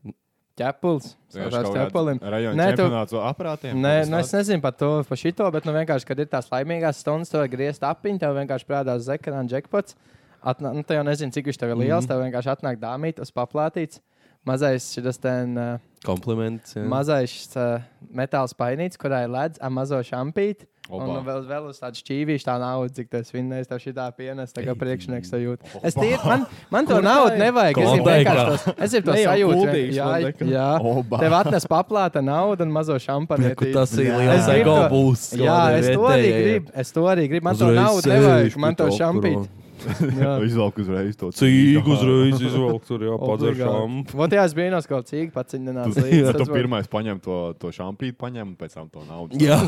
Speaker 1: Ķepuls. Ar ķepulim.
Speaker 2: Rajona
Speaker 1: Nē, tu-
Speaker 2: čempionāts ar aparātiem?
Speaker 1: Nē, nu es nezinu par to, par šito, bet nu vienkārši, kad ir tās laimīgās stundas, tev ir griezt apiņu, tev vienkārši prādās uz ekrāna džekpots. Atnā, nu, tev jau nezinu, cik viņš tev ir
Speaker 3: Mhm.
Speaker 1: liels, mm -hmm. tev vienkārši atnāk dāmīt uz paplātīts. Mazais šis ten, uh,
Speaker 3: Kompliments. jā.
Speaker 1: mazais uh, metāls painīts, kurā ir ledus, ar mazo šampīti. Un nu,
Speaker 2: Opa.
Speaker 1: vēl, vēl uz tādu šķīvīšu, tā naudu, cik tas vinnēs, tev šī tā pienes, tā kā priekšnieks to jūt. Es tīri, man, man to naudu nevajag. Es gribu
Speaker 3: Klondike.
Speaker 1: vienkārši tos, es gribu to
Speaker 9: Ne jau
Speaker 1: sajūtu.
Speaker 9: kuldīgs,
Speaker 1: Jā,
Speaker 9: man nekā.
Speaker 1: jā.
Speaker 2: Oba.
Speaker 1: Tev atnes paplāta naudu un mazo šampani.
Speaker 3: Kur Tas ir
Speaker 1: Es
Speaker 3: liels
Speaker 1: gribu
Speaker 3: ego
Speaker 1: to-
Speaker 3: būs.
Speaker 1: Jā,
Speaker 3: kādai
Speaker 1: es to arī
Speaker 3: vietējai.
Speaker 1: gribu. Es to arī gribu. Man to
Speaker 3: Uzreiz
Speaker 1: naudu
Speaker 3: sēž
Speaker 1: nevajag,
Speaker 3: pie
Speaker 1: man to
Speaker 3: tā, kur-
Speaker 1: šampīt. Jā.
Speaker 2: Izvelk uzreiz to
Speaker 3: Cīgu uzreiz izvelk tur, jā, padzer šām.
Speaker 1: Obligāti. Man tajās brīnās, ka cīņa paciņinās līdzi.
Speaker 2: Jā, tu
Speaker 1: Tas var-
Speaker 2: pirmais paņem to, to šampīnu, paņem un pēc tam to naudu.
Speaker 3: Jā,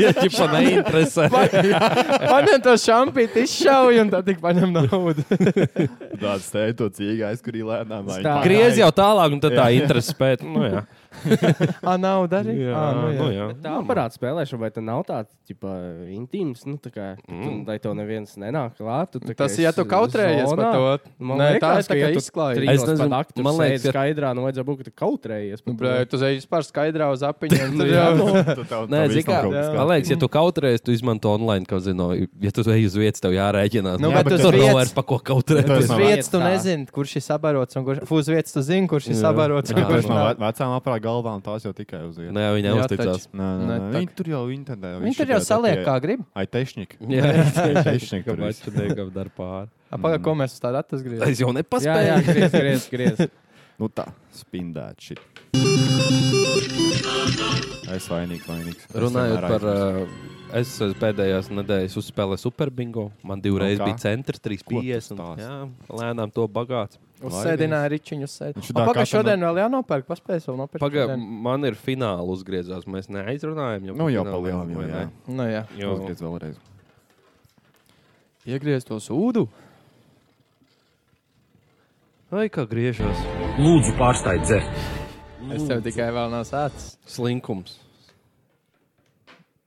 Speaker 3: ja ķipa neinteresē.
Speaker 1: Paņem to šampīti, izšauj un tad tik paņem naudu.
Speaker 2: Tāds steigts, to cīņā aizkurīja lēnām. lai viņi
Speaker 1: Stā-
Speaker 2: pārēj.
Speaker 3: Griez jau tālāk, un tad tā
Speaker 2: Jā.
Speaker 3: interese pēc. Nu, jā.
Speaker 1: Ā, Ah, nauda arī.
Speaker 3: Jā,
Speaker 1: Ā,
Speaker 3: nu jā.
Speaker 9: Bet Tā parāda spēlēšana, vai tā nav tāda tipa intīms, nu, tā kā, mm. lai to neviens nenāk klāt. tu tā kā
Speaker 1: Nu, Tas,
Speaker 9: esi
Speaker 1: ja tu kautrējies
Speaker 9: zonā.
Speaker 1: par to,
Speaker 9: Man
Speaker 1: Nē, tā ir
Speaker 9: liekas,
Speaker 1: tā, ka
Speaker 9: tu
Speaker 1: tu izklāji.
Speaker 9: trīs
Speaker 3: Es nezinu,
Speaker 9: pat naktī,
Speaker 3: man
Speaker 9: man
Speaker 3: liekas,
Speaker 9: liekas,
Speaker 3: ka-
Speaker 9: ka skaidrā nu vajadzēja būt, ka tu kautrējies. par
Speaker 1: Nu,
Speaker 9: to.
Speaker 1: Bļā, tu ej vispār skaidrā uz apiņiem. Tur
Speaker 2: Jā,
Speaker 1: jau
Speaker 2: nu, tu-
Speaker 3: Nē,
Speaker 2: tev- tev
Speaker 3: zini,
Speaker 2: viss nav
Speaker 3: kā
Speaker 2: kaut kas
Speaker 3: man liekas, ja tu kautrējies, tu izmanto online kazino. Ja tu ej uz vietas, tev jārēķinās.
Speaker 1: Nu,
Speaker 3: Jā,
Speaker 1: bet uz
Speaker 3: tur nav
Speaker 1: vietas-
Speaker 3: vairs pa ko
Speaker 2: Tas
Speaker 3: kautrēties.
Speaker 1: uz
Speaker 2: nav-
Speaker 1: vietas tu
Speaker 9: Tā.
Speaker 1: nezini, kurš ir sabarots un kurš uz vietas tu zini, kurš ir
Speaker 3: Jā.
Speaker 1: sabarots un
Speaker 3: Jā,
Speaker 1: kurš
Speaker 2: Kurš no
Speaker 1: nav.
Speaker 2: ve- vecām aprā galvām tās jau tikai uz vietas?
Speaker 3: Nē, viņi
Speaker 1: Jā,
Speaker 3: neuzticās.
Speaker 2: Nē, nē,
Speaker 1: Nē,
Speaker 2: nē,
Speaker 1: tak-
Speaker 2: viņi tur jau internetā.
Speaker 1: Viņi tur jau saliek, kā grib.
Speaker 2: Ai, tehnika.
Speaker 3: Jā,
Speaker 2: tehnika tur
Speaker 3: kāpēc
Speaker 2: viss.
Speaker 3: tu negav dar pāri?
Speaker 1: Pagaidām, ko mēs uz tādā atgriezīsimies.
Speaker 3: Es jau
Speaker 9: Jā, jā,
Speaker 3: nepaspēju.
Speaker 9: griez, griez, griez.
Speaker 2: Nu tā, spindēt šit. Es vainīgs, vainīgs. Es
Speaker 3: Runājot par.
Speaker 2: vienmēr aizmirstu.
Speaker 3: ā, Es eh, pēdējās nedēļas uzspēlēju superbingo. Man divreiz
Speaker 2: kā?
Speaker 3: bija centrs,
Speaker 2: Ko tu
Speaker 3: 3,5. un,
Speaker 2: stāsti?
Speaker 3: Jā, lēnām to bagāts.
Speaker 1: Uzsēdināja ričiņu,
Speaker 2: Viņš
Speaker 1: uzsēdināja.
Speaker 2: tā
Speaker 1: Pagaidām,
Speaker 2: katram-
Speaker 1: šodien vēl jānopērk, paspējas vēl nopērkt.
Speaker 3: Pagaidām,
Speaker 1: šodien.
Speaker 3: man ir fināls uzgriezās. Mēs neaizrunājām.
Speaker 2: Nu, jau
Speaker 3: finālā,
Speaker 2: palielinām, jau,
Speaker 3: vai
Speaker 2: jā.
Speaker 3: ne?
Speaker 1: Nu, jā.
Speaker 3: Jo-
Speaker 2: Uzgriez vēlreiz.
Speaker 1: Iegriez to sūdu.
Speaker 3: Ai, kā griežas.
Speaker 10: Lūdzu, pārstāj dzert.
Speaker 1: Es tev tikai vēl nav sācis.
Speaker 3: Slinkums.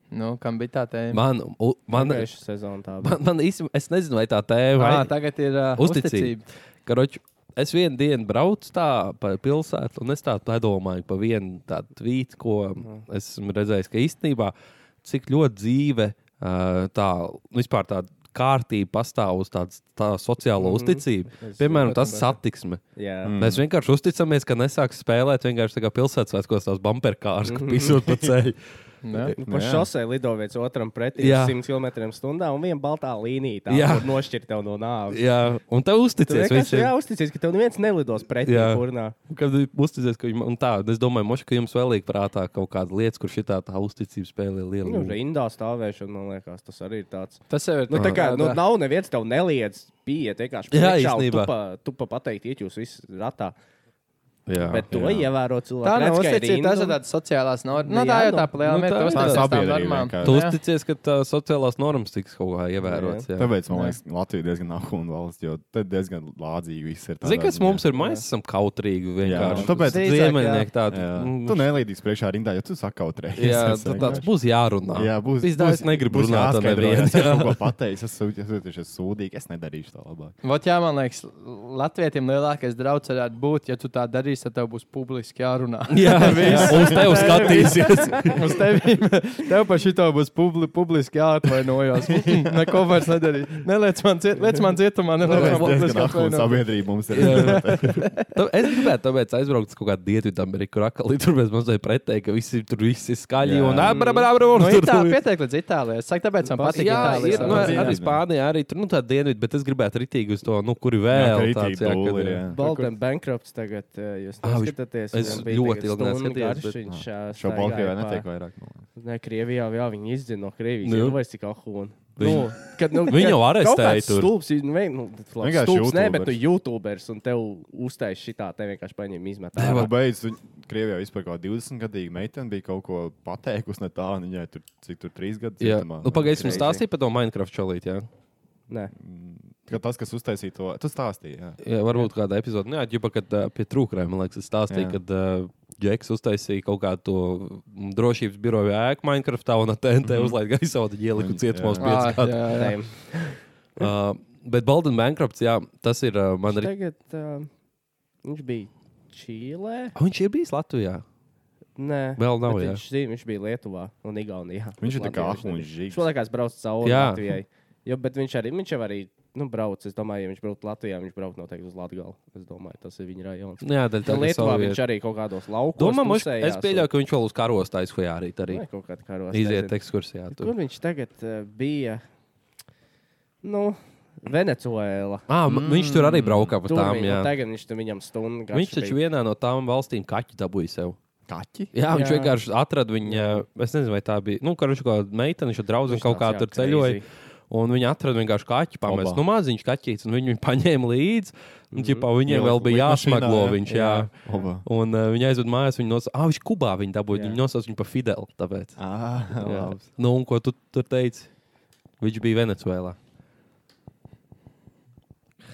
Speaker 1: Nu, kam bija tā tēma?
Speaker 3: Man, u, man, man,
Speaker 9: Pagājušā sezonā tā bija.
Speaker 3: man īstenībā, es nezinu, vai tā tēma
Speaker 1: Ā,
Speaker 3: ir.
Speaker 1: tagad ir uh,
Speaker 3: Uzticība. Karoči, es vienu dienu braucu tā pa pilsētu, un es tā domāju par vienu tādu tvītu, ko esmu redzējis, ka īstenībā cik ļoti dzīve ā, tā vispār tāda kārtība pastāv uz tādas tā sociālo uzticību.
Speaker 9: Mhm. Es
Speaker 3: Piemēram,
Speaker 9: saprotu,
Speaker 3: tas
Speaker 9: bet-
Speaker 3: satiksme.
Speaker 9: Jā,
Speaker 3: Mm. Mēs vienkārši uzticamies, ka nesāks spēlēt vienkārši tā kā pilsētas, tās bumperkārs, kas pisot pa ceļu.
Speaker 1: Jā.
Speaker 9: Nu, pa
Speaker 2: Jā.
Speaker 9: šosei lidojums otram pretī
Speaker 3: Jā.
Speaker 9: 100 km/h un viena baltā līnija. Tā
Speaker 3: Jā.
Speaker 9: kur nošķir tev no nāves.
Speaker 3: Jā, un tev
Speaker 9: Tu
Speaker 3: uzticies
Speaker 9: vienkārši
Speaker 3: visiem.
Speaker 9: jā, uzticies, ka tev neviens nelidos pretī
Speaker 3: Jā.
Speaker 9: turnā.
Speaker 3: Kad viņi uzticas, ka viņi tā, es domāju, moši, ka jums vēl liek prātā kaut kāda lieta, kur šī tā uzticība spēlē lielu
Speaker 9: Nu,
Speaker 3: lomu.
Speaker 9: rindā stāvēšana, man liekas, tas arī ir tāds.
Speaker 1: Tas jau ir
Speaker 9: Nu, tā kā nu,
Speaker 1: tāda-
Speaker 9: nav neviens tev neliedz, bija
Speaker 3: Jā,
Speaker 9: vienkārši priekšā, un
Speaker 3: īstenībā.
Speaker 9: Tu pa, tu pa pateikt, iet jūs visi ratā.
Speaker 3: Jā,
Speaker 9: Bet to
Speaker 3: jā.
Speaker 9: ievēro cilvēki.
Speaker 1: Tā nav
Speaker 9: Redz, ka ir
Speaker 1: uzticība,
Speaker 9: rinda
Speaker 1: tas ir
Speaker 9: un-
Speaker 1: tāds sociālās normas. Nu,
Speaker 9: Nu,
Speaker 1: tā
Speaker 9: jā,
Speaker 1: jau tā
Speaker 9: nu.
Speaker 1: plēma,
Speaker 3: Nu,
Speaker 1: nu,
Speaker 3: tā
Speaker 1: tu
Speaker 3: ir
Speaker 1: uzticies
Speaker 2: tā
Speaker 1: tām
Speaker 2: sabiedrība
Speaker 1: normām.
Speaker 2: vienkārši.
Speaker 3: Tu
Speaker 1: Jā.
Speaker 3: uzticies, ka tā sociālās normas tiks kaut kā ievērotas. jā.
Speaker 2: Tāpēc man liekas, Latvija diezgan nahūna valsts, jo te diezgan lādzīgi viss ir. tādā
Speaker 3: Zini, kas
Speaker 2: ziņā.
Speaker 3: mums ir? Mēs esam kautrīgi. vienkārši.
Speaker 2: Jā, tāpēc-
Speaker 3: Uz ziemeļnieki tādi.
Speaker 2: Jā.
Speaker 3: mm,
Speaker 2: Tu nelīdīsi priekšā rindā, ja tu sakautrējies.
Speaker 3: Jā,
Speaker 2: Es
Speaker 3: tad
Speaker 2: vienkārši-
Speaker 3: tāds būs jārunā.
Speaker 2: Jā, būs.
Speaker 3: Viss tā, es negribu runāt ar nevienu.
Speaker 2: Es kaut ko pateicu, es jūtu- es jūtos sūdīgi. Es nedarīšu tā labāk.
Speaker 1: Vot, jā, man liekas, Latvijam lielākais draudz varētu būt, ja tu tā darīsi, tad tev būs publiski jārunā.
Speaker 3: Jā, viss. Uz tevi skatīsies.
Speaker 1: Uz tevi tev par šito būs publi, publiski jāatvainojas. Neko vairs nedarīt. Neliec man, ciet, liec man cietumā, neliec man
Speaker 2: Tāpēc
Speaker 1: publiski
Speaker 2: diezgan nahūna
Speaker 1: atvainojas.
Speaker 2: sabiedrība mums ir.
Speaker 3: Tu- Es gribētu, tāpēc aizbraukt uz kaut kādu Dienvidameriku, kur akāli tur mēs mazliet pretēji, ka visi tur viss ir skaļi
Speaker 2: Jā.
Speaker 3: un abrabrabra.
Speaker 1: Nu, ir tā pieteikta līdz Itālijai. Es saku, tāpēc man patīk
Speaker 3: Jā,
Speaker 1: Itālijas
Speaker 3: ir, nu,
Speaker 2: saprotu.
Speaker 1: saruna.
Speaker 2: Jā,
Speaker 3: arī
Speaker 2: jā.
Speaker 3: Spānijā, arī tur nu, tā dienvidu, bet es gribētu ritīgi uz to, nu, kuri vēl tāds, jā, kad, jā.
Speaker 9: Baltkrievis bankrupts tagad, eh, jūs
Speaker 3: Ā, viņš-
Speaker 9: neskatāties.
Speaker 3: es
Speaker 9: viņam bija
Speaker 3: ļoti
Speaker 9: tagad
Speaker 3: ilgi
Speaker 9: stundu
Speaker 3: neskatījos,
Speaker 9: garš,
Speaker 3: bet-
Speaker 9: viņš, eh,
Speaker 2: Šo
Speaker 9: staigāja
Speaker 2: Baltkrievijā
Speaker 9: pa-
Speaker 2: netiek vairāk. man liekas.
Speaker 9: Ne, Krievijā jau viņi izdzina no Krievijas.
Speaker 3: Nu.
Speaker 9: Nu. Vai cik ahūna?
Speaker 3: Viņi-
Speaker 9: Nu, kad, nu,
Speaker 3: Viņi
Speaker 9: kad
Speaker 3: jau arestēja
Speaker 9: kaut kāds
Speaker 3: tur.
Speaker 9: Stulbs, nu, vei- nu, labi,
Speaker 2: Vienkārši
Speaker 9: stulbs nē, bet tu
Speaker 2: youtubers.
Speaker 9: YouTubers un tev uztais šitā, te vienkārši paņem
Speaker 2: Jā,
Speaker 9: izmetā.
Speaker 2: Nu, beidz. un Krievijā vispār kaut kāda 20 gadīga meitene bija kaut ko pateikusi ne tā, un viņai tur cik tur 3 gadi.
Speaker 3: Jā,
Speaker 2: cietumā.
Speaker 3: nu, pagaidīsim,
Speaker 9: Crazy.
Speaker 3: stāstīja par to Minecraft čalīti. Jā.
Speaker 9: Nē,
Speaker 2: Ka Tas, kas uztaisīja to, tu stāstīji. jā.
Speaker 3: Jā, varbūt kādā epizodē, nu, jā, ģipa, kad uh, pie trūkrēm, man liekas, es stāstīju,
Speaker 2: Jā.
Speaker 3: kad uh, Džeks uztaisīja kaut kādu to mm, drošības biroju ēku Minecraftā un ar TNT mm -hmm. uzlaika gaisā, un tad ieliku
Speaker 2: Viņi-
Speaker 3: cietumā uz
Speaker 2: jā.
Speaker 9: Ah,
Speaker 1: Ā,
Speaker 3: 5 gadu.
Speaker 1: jā, jā.
Speaker 9: nē.
Speaker 3: Uh, bet Baldan Bankrupts, jā, tas ir uh, man arī.
Speaker 9: Tagad uh, viņš bija Čīlē.
Speaker 3: Ah, Viņš ir bijis Latvijā.
Speaker 9: Nē,
Speaker 3: Vēl nav,
Speaker 9: bet
Speaker 3: jā.
Speaker 9: Viņš, zin, viņš bija Lietuvā un Igaunijā.
Speaker 2: Viņš ir tā
Speaker 9: Bet
Speaker 2: kā
Speaker 9: Latvijā viņš
Speaker 2: ahūns
Speaker 9: nebija.
Speaker 2: žigs.
Speaker 9: Viņš man liekas, brauc cauri
Speaker 3: Jā.
Speaker 9: Latvijai. Jo, bet viņš arī, viņš jau arī nu, brauc. Es domāju, ja viņš brauc Latvijā, viņš brauc noteikti uz Latviju. Es domāju, tas ir viņa rajons.
Speaker 3: Nu Jā, daļa
Speaker 9: Tā
Speaker 3: tā
Speaker 9: Lietuvā viņš arī kaut kādos laukos.
Speaker 3: Domā, moš,
Speaker 9: pusējās
Speaker 3: es pieļauju, ka viņš vēl uz karostājas hojārīt arī.
Speaker 9: un- Vai kaut kādā karos.
Speaker 3: Iziet
Speaker 9: nezinu.
Speaker 3: ekskursijā.
Speaker 9: Kur
Speaker 3: Tur.
Speaker 9: viņš tagad uh, bija? Nu, Venecuēla.
Speaker 3: Ah, mm. Viņš tur arī braukā pa
Speaker 9: Tur
Speaker 3: tām.
Speaker 9: viņu-
Speaker 3: Jā.
Speaker 9: tagad viņš tur viņam stundu garš
Speaker 3: Viņš taču
Speaker 9: bija.
Speaker 3: vienā no tām valstīm kaķi dabūja sev.
Speaker 2: Kaķi?
Speaker 3: Jā, viņš jā.
Speaker 9: Jā.
Speaker 3: vienkārši atrada viņu. Es nezinu, vai tā bija. Nu, kā viņš kaut kāda meitene, viņš draugs
Speaker 9: Viņš
Speaker 3: kaut kā
Speaker 9: tāds, jā,
Speaker 3: tur ceļoja.
Speaker 9: crazy.
Speaker 3: Un viņi atrada vienkārši kaķu pamestu.
Speaker 2: Oba.
Speaker 3: Nu, maziņš kaķis, un viņi viņu paņēma līdzi. Un,
Speaker 9: Mm-hmm.
Speaker 3: ķipā, viņiem
Speaker 2: Ielika
Speaker 3: vēl bija
Speaker 2: lidmašīnā,
Speaker 3: jāsmaglo
Speaker 2: jā.
Speaker 3: viņš. Jā.
Speaker 2: Jā. Oba.
Speaker 3: Un uh, viņi aizved mājās, viņi nosauca, ah, viņš Kubā viņu dabūja. Viņi nosauca viņu par Fidelu. Tāpēc.
Speaker 2: Ah,
Speaker 3: Jā.
Speaker 2: labs.
Speaker 3: nu, un ko tu tur teici? Viņš bija Venecuēlā.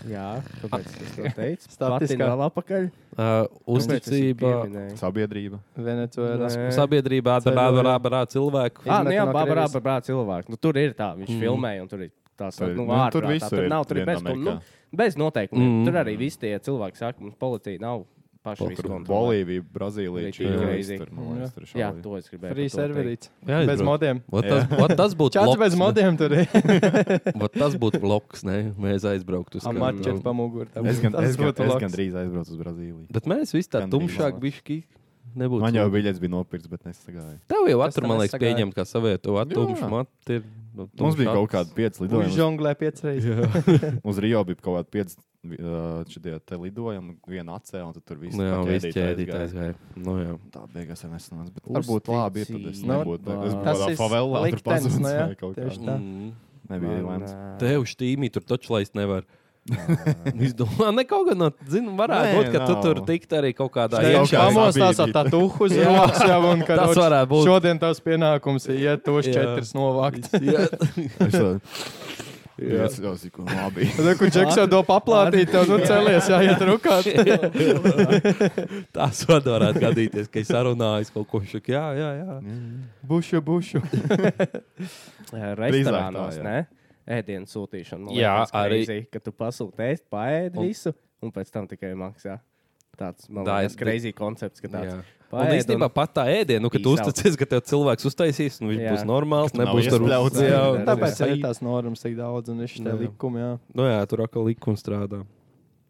Speaker 9: Jā, tāpēc es to teicu.
Speaker 1: Statistiskā-
Speaker 9: Patiņ vēl apakaļ.
Speaker 3: Uh,
Speaker 9: Kāpēc es viņu
Speaker 3: uzticība,
Speaker 9: pieminēju?
Speaker 2: Sabiedrība.
Speaker 1: Venecijā.
Speaker 9: Nē.
Speaker 3: sabiedrībā, tā
Speaker 1: Ceļojam.
Speaker 3: bāra, bāra cilvēku.
Speaker 1: Ah,
Speaker 9: Ah, nu jā,
Speaker 1: Izmetu no
Speaker 9: Bāba
Speaker 1: Krievijas.
Speaker 9: Rāba brāl cilvēku. Nu, tur ir tā, viņš
Speaker 3: Mm.
Speaker 9: mm. filmēja un tur ir tās
Speaker 2: Tur ir-
Speaker 9: nu,
Speaker 2: nu,
Speaker 9: vārdu.
Speaker 2: tur
Speaker 9: Tur,
Speaker 2: visur
Speaker 9: tur
Speaker 2: ir
Speaker 9: nav, tur ir
Speaker 2: viena
Speaker 9: bez, kom- nu,
Speaker 2: Amerikā.
Speaker 9: bez noteikumiem.
Speaker 3: Mm.
Speaker 9: Mm. Tur arī visi tie cilvēki saka, mums policija nav paši visu kontrolē.
Speaker 2: Bolīvija, Brazīlija,
Speaker 9: nu, Bija
Speaker 2: Čīna.
Speaker 9: crazy.
Speaker 2: Tur, man liekas, tur
Speaker 9: Jā,
Speaker 2: šādi.
Speaker 9: to es gribēju.
Speaker 1: Free
Speaker 9: par to teikt.
Speaker 1: serverīts.
Speaker 3: Jā,
Speaker 1: Bez modiem.
Speaker 3: Vot tas, vot tas būtu
Speaker 1: Čats bez
Speaker 3: bloks,
Speaker 1: modiem tur ir.
Speaker 3: ne? Vot tas būtu bloks, ne? Mēs aizbrauktu uz
Speaker 1: Ar
Speaker 3: kādu- nu-
Speaker 1: mačetu pa muguru. tam.
Speaker 2: Es gan,
Speaker 1: Tas
Speaker 2: es, gan,
Speaker 1: būtu
Speaker 2: es
Speaker 1: labs.
Speaker 2: gan drīz aizbraucu uz Brazīliju.
Speaker 3: Bet mēs visi tā
Speaker 2: Gan
Speaker 3: tumšāk
Speaker 2: bija.
Speaker 3: bišķi nebūtu.
Speaker 2: Man jau biļets bija nopirkts, bet nesagāju.
Speaker 3: Tev jau
Speaker 1: Tas
Speaker 3: atur,
Speaker 1: tā
Speaker 3: man liekas,
Speaker 1: nesagāja.
Speaker 3: pieņemt kā savietu
Speaker 2: Jā.
Speaker 3: atumšu mati. ir- nu,
Speaker 2: Mums bija
Speaker 3: tumšāks.
Speaker 2: kaut kāda 5
Speaker 1: Viņš
Speaker 2: lidojuma.
Speaker 1: žonglē piecas reizes.
Speaker 2: Uz Rio bija kaut kāda 5 šitie te lidojumi, viena acē, un tad tur viss
Speaker 3: Nu jā,
Speaker 2: tā
Speaker 3: viss
Speaker 2: ķēdīte
Speaker 3: ķēdīt
Speaker 2: aizgāja.
Speaker 3: aizgāja. Nu jā.
Speaker 2: Tā beigās jau nesanāca. bet Varbūt labi, ja tad es
Speaker 9: Nu,
Speaker 2: nebūtu. Es būtu
Speaker 9: tas
Speaker 2: tādā
Speaker 1: ir
Speaker 2: favelā, tur
Speaker 1: liktenis,
Speaker 2: pazudis
Speaker 1: nu jā,
Speaker 2: vai kaut kā.
Speaker 1: tieši tā.
Speaker 3: Mm.
Speaker 2: Nebija
Speaker 9: Man,
Speaker 2: lēmums.
Speaker 9: ā,
Speaker 3: Tev štīmī tur taču laist nevar. Es domāju, ne kaut kā no, zinu, varētu
Speaker 2: Nē,
Speaker 3: būt, ka tu
Speaker 2: nav.
Speaker 3: tur tikt arī kaut kādā
Speaker 2: Šeit
Speaker 1: Viņš
Speaker 2: jau
Speaker 3: iekšā.
Speaker 2: kā
Speaker 1: pamostās ar
Speaker 2: sabiedrība.
Speaker 1: tādu uhu uz rokas jau un ka
Speaker 3: Tas
Speaker 1: roks,
Speaker 3: varētu būt.
Speaker 1: Šodien tavs pienākums ir iet uz
Speaker 3: Jā.
Speaker 1: četras novākt.
Speaker 3: Jā,
Speaker 2: Es tā- Jā, es jau saku, labi.
Speaker 1: Tad, kur Džeks jau to paplātīt, tev nu celies jāiet rukāt.
Speaker 3: Tas var- varētu gadīties, ka es sarunājos kaut ko šādu. Jā, jā, jā.
Speaker 1: Bušu, bušu.
Speaker 9: Eh, restorānos,
Speaker 2: jā.
Speaker 9: ne? Ēdienu sūtīšanu. man
Speaker 3: Jā,
Speaker 9: liekas
Speaker 3: arī-
Speaker 9: crazy, Ka tu pasūti ēst, paēd visu, un pēc tam tikai maksā. Tāds, man
Speaker 3: Tā ir
Speaker 9: liekas, crazy koncepts, ka tāds.
Speaker 3: jā. Un Nu, īstenībā pat tā ēdienu, nu, ka tu
Speaker 9: Peace out.
Speaker 3: uzticies, ka tev cilvēks uztaisīs, un viņš
Speaker 9: Jā.
Speaker 3: būs normāls,
Speaker 2: nav
Speaker 3: nebūs tur
Speaker 2: iespļauts.
Speaker 3: Jā, un-
Speaker 1: Tāpēc arī tās normas tik daudz un viņš te
Speaker 3: Jā.
Speaker 1: likumi, jā.
Speaker 3: Nu jā, tur atkal likums strādā.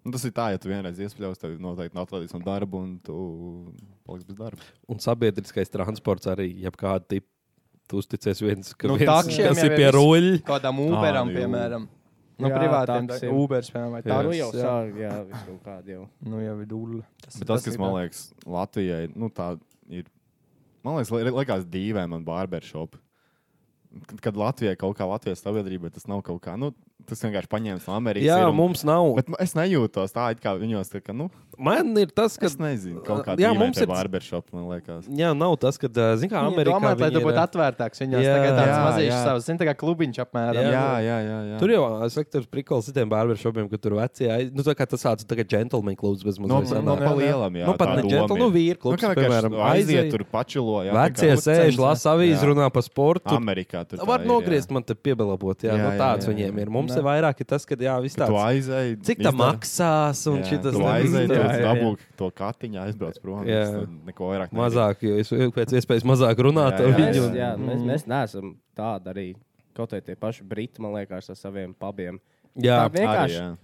Speaker 2: Nu, tas ir tā, ja tu vienreiz iespļaus, tad noteikti atlaidīs no darba un tu paliksi bez darba.
Speaker 3: Un sabiedriskais transports arī, ja kāda tipa tu uzticies viens, ka
Speaker 1: Nu,
Speaker 3: viens,
Speaker 1: takšiem
Speaker 3: kas
Speaker 1: jau
Speaker 3: ir
Speaker 1: ir
Speaker 3: pie
Speaker 1: viss.
Speaker 3: roļļa.
Speaker 1: Kādām Uberam,
Speaker 2: Ā, nu,
Speaker 1: piemēram. Nu,
Speaker 9: Jā,
Speaker 1: privātiem, tā,
Speaker 9: taksim.
Speaker 1: Ubers, piemēram, vai
Speaker 3: Jā.
Speaker 9: Nu jau
Speaker 1: tāds. Jā,
Speaker 9: sāk, jā, viss kaut kādi jau.
Speaker 1: nu jau ir dūle.
Speaker 2: Bet tas, kas man liekas, Latvijai, nu, tā ir. Man liekas, li- liekas dīvaini man barbershop. Kad, kad Latvijai kaut kā Latvijas sabiedrībai tas nav kaut kā, nu, tas vienkārši paņēmis no Amerikas. ir
Speaker 3: Jā,
Speaker 2: un,
Speaker 3: mums nav.
Speaker 2: Bet nu, es nejūtos tā, it kā viņos tā, ka, nu,
Speaker 3: Man ir tas, ka.
Speaker 2: es nezinu, kaut kā
Speaker 3: Jā,
Speaker 2: dīvaini
Speaker 3: mums
Speaker 2: tie
Speaker 3: ir-
Speaker 2: barbershop, man liekas.
Speaker 3: Jā, nav tas, ka, zināmā
Speaker 1: Amerikā
Speaker 3: mērā, Amerikā
Speaker 1: domāju, lai
Speaker 3: viņi
Speaker 1: tu
Speaker 3: ir,
Speaker 1: būtu atvērtāks viņās.
Speaker 3: Jā.
Speaker 1: Tagad tāds
Speaker 2: Jā,
Speaker 1: mazīšs
Speaker 2: jā.
Speaker 1: savs, zini, tā kā klubiņš apmēram.
Speaker 3: Jā. nu,
Speaker 2: Jā, jā, jā. jā.
Speaker 3: Tur jau ir slikts priklis ar tiem barbershopiem, ka tur vecie aiz... nu, tā kā tas tāds - džentlmeņa klubs bez
Speaker 2: no,
Speaker 3: mazliet.
Speaker 2: no, no,
Speaker 3: sanāk.
Speaker 2: no lielam, jā.
Speaker 3: nu, pat
Speaker 2: tā
Speaker 3: ne
Speaker 2: doma
Speaker 3: džentlmeņa, nu,
Speaker 2: ir.
Speaker 3: vīri
Speaker 2: Nu,
Speaker 3: klubs,
Speaker 2: kā
Speaker 3: nu, piemēram,
Speaker 2: vienkārši aiziet tur pačilo. jā, tā kā nu,
Speaker 3: Vecie sēž,
Speaker 2: uzcenas,
Speaker 3: lasa avīzi,
Speaker 2: jā.
Speaker 3: runā par sportu.
Speaker 2: Amerikā. Tur
Speaker 3: Var
Speaker 2: tā ir,
Speaker 3: nogriezt, man te piebelabot, jā, jā,
Speaker 2: Jā,
Speaker 3: nu,
Speaker 2: jā,
Speaker 3: tāds jā,
Speaker 2: jā,
Speaker 3: jā, viņiem
Speaker 2: jā.
Speaker 3: ir. Mums ir vairāk ir tas, ka jā, viss
Speaker 2: Tu
Speaker 3: tāds.
Speaker 2: aizēji.
Speaker 3: Cik tā maksās un šitas
Speaker 2: Tu
Speaker 3: ne- Jā,
Speaker 2: aizēji, tu
Speaker 3: jā, jā.
Speaker 2: dabūji to katiņu, aizbrauc prom.
Speaker 3: Jā.
Speaker 2: tas tad Neko vairāk. negrib.
Speaker 3: Mazāk, jo es pēc iespējas mazāk runātu ar
Speaker 2: Jā, jā,
Speaker 9: Mēs,
Speaker 3: viņu. Mm.
Speaker 9: jā, mēs, mēs neesam tādi arī. Kaut arī tie paši briti, man liekas, ar saviem pabiem.
Speaker 3: Jā,
Speaker 9: tā
Speaker 2: Arī,
Speaker 9: vienkārši
Speaker 2: jā.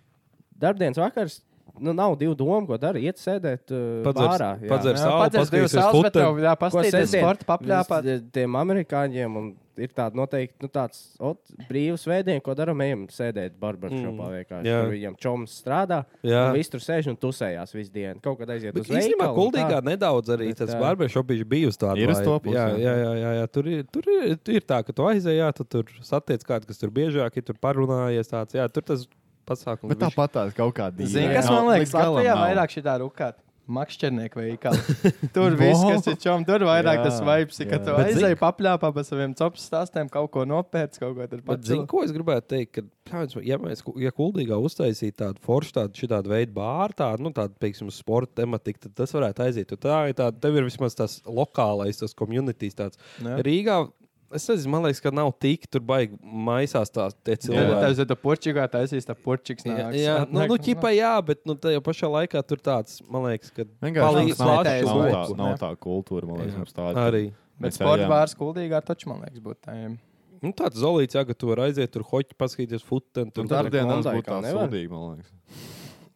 Speaker 9: darbdienas vakars. Nu, nav divu domu, ko dara. Iet sēdēt, uh, bārā, jā.
Speaker 3: padzers savu,
Speaker 1: Padzers divas
Speaker 3: paskaties uz
Speaker 1: savas, bet
Speaker 3: futbolu.
Speaker 1: tev
Speaker 9: Ko
Speaker 1: jāpastīties
Speaker 9: sestdien?
Speaker 1: sporta papļāpāt.
Speaker 9: Vis- Tiem amerikāņiem un ir tāda noteikti nu, tāds ot, brīvs veidiens, ko darām. Ejam sēdēt barbershopā
Speaker 3: Mm,
Speaker 9: vienkārši.
Speaker 3: jā.
Speaker 9: Tur viņam čoms strādā.
Speaker 3: Jā.
Speaker 9: un Viņš tur sēž un tusējās visu dienu. Kaut kad aiziet
Speaker 3: Bet
Speaker 9: uz
Speaker 3: īstenībā
Speaker 9: veikalu. un
Speaker 3: gudrīgā nedaudz arī
Speaker 9: Bet,
Speaker 3: tas
Speaker 9: ā,
Speaker 3: barbershopīši bija uz tādu
Speaker 2: Ir uz to pusi,
Speaker 3: jā,
Speaker 2: jā.
Speaker 3: jā, jā, jā, jā. Tur, ir, tur ir, ir tā, ka tu aizēji, jā, tu tur satiec kādu, kas tur biežāk ir, tur parunājies tāds, jā, tur tas pasākums.
Speaker 2: Bet tāpat tās kaut kāda
Speaker 1: Zini, kas man liekas, Latvijā vairāk šī tā rūkā. Makšķernieku veikali. Tur viss, kas ir čom, tur vairāk
Speaker 2: Jā,
Speaker 1: tas vibes, ir, ka
Speaker 2: jā.
Speaker 1: tu
Speaker 3: Bet
Speaker 1: aizēji papļāpā pa saviem copas stāstiem, kaut ko nopērts, kaut ko tur
Speaker 3: Bet, zini,
Speaker 1: pats.
Speaker 3: ko es gribētu teikt, ka, piemēram, ja mēs ku- ja kuldīgā uztaisītu tādu foršu, tādu, šitādu veidu bāru, tādu, nu, tādu, piemēram, sporta tematiku, tad tas varētu aiziet. Jo Tā ir tāda, tev ir vismaz tas lokālais, tas komunitīs tāds.
Speaker 1: Jā.
Speaker 3: Rīgā, es nezinu, man liekas, ka nav tik, tur baigi maisās tās tie
Speaker 1: Jā,
Speaker 3: cilvēki.
Speaker 1: tā ir tā porčīgā, tā aizīs tā porčiks.
Speaker 3: Jā,
Speaker 1: nāks.
Speaker 3: jā nu,
Speaker 1: Atnāk,
Speaker 3: nu ķipa, jā, bet nu, tajā pašā laikā tur tāds, man liekas, ka
Speaker 2: Vienkārši
Speaker 3: palīdz
Speaker 2: nav, nav,
Speaker 1: plātējas
Speaker 3: plāšu
Speaker 2: nav, tā,
Speaker 1: loku.
Speaker 2: nav
Speaker 1: Jā.
Speaker 2: tā kultūra, man liekas,
Speaker 3: Jā.
Speaker 2: mums tāda.
Speaker 3: Arī.
Speaker 1: Bet
Speaker 2: Mēs
Speaker 1: sporta
Speaker 2: ejam-
Speaker 1: bārs kuldīgā taču, man liekas, būtu tājiem.
Speaker 3: Nu, tāds zolīts, jā, ka tu vari aiziet tur hoķi, paskatīties futbolu. Tur
Speaker 2: Tur
Speaker 3: tur
Speaker 2: darbdienās
Speaker 9: Klondaikā
Speaker 2: būtu Nu, tā
Speaker 9: nevar?
Speaker 2: sūdīga, man liekas.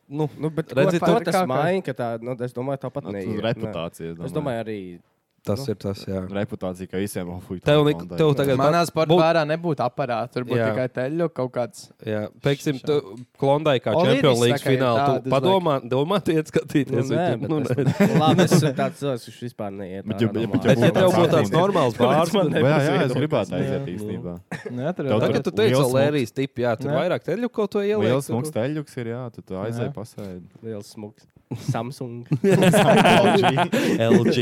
Speaker 3: nu,
Speaker 9: Nu, bet,
Speaker 3: Redzi,
Speaker 9: redzi, ko,
Speaker 1: tur
Speaker 9: tas
Speaker 1: kā- kā-
Speaker 9: maina, ka tā, nu, es domāju, tāpat
Speaker 2: Nu,
Speaker 9: neiet.
Speaker 2: tur
Speaker 9: Nē.
Speaker 2: Reputācija.
Speaker 9: Es domāju, arī
Speaker 3: Tas ir tas, jā.
Speaker 2: Nu, Reputācija, ka visiem ir fuck.
Speaker 3: Tev nek- tev tagad
Speaker 1: Manā
Speaker 3: pat-
Speaker 1: sportā
Speaker 3: būt-
Speaker 1: vērā nebūtu aparāta. Tur būtu
Speaker 3: Jā.
Speaker 1: tikai teļu kaut kāds.
Speaker 3: Jā, teiksim, Klondai kā
Speaker 1: Olīvis
Speaker 3: Champions League
Speaker 1: saka, ir
Speaker 3: finālā.
Speaker 1: tādas,
Speaker 3: Tu padomā, domātiet, skatīties. vai tu- nu, nē.
Speaker 9: Labi, es esmu tāds cilvēks, kurš vispār neiet.
Speaker 3: Bet ja- ja- bet ja Bet, ja būtu tev tāds būtu tāds attīstīts- normāls bārs, tad-
Speaker 2: Jā, jā, es
Speaker 3: Jā.
Speaker 2: gribētu aiziet
Speaker 3: Jā. Nu,
Speaker 2: īstenībā.
Speaker 1: Neatradu.
Speaker 2: Tev
Speaker 3: Tagad
Speaker 2: tur
Speaker 3: tu teici,
Speaker 2: liels
Speaker 3: Lērijas
Speaker 2: smuks.
Speaker 3: tipi, jā, tur
Speaker 2: Jā.
Speaker 3: vairāk teļu kaut ko ieliek.
Speaker 2: Liels
Speaker 3: tur.
Speaker 2: smuks teļuks ir, jā, tu, tu aizēji
Speaker 3: Jā.
Speaker 2: pasēdi.
Speaker 9: Liels smuks. Samsung.
Speaker 3: LG.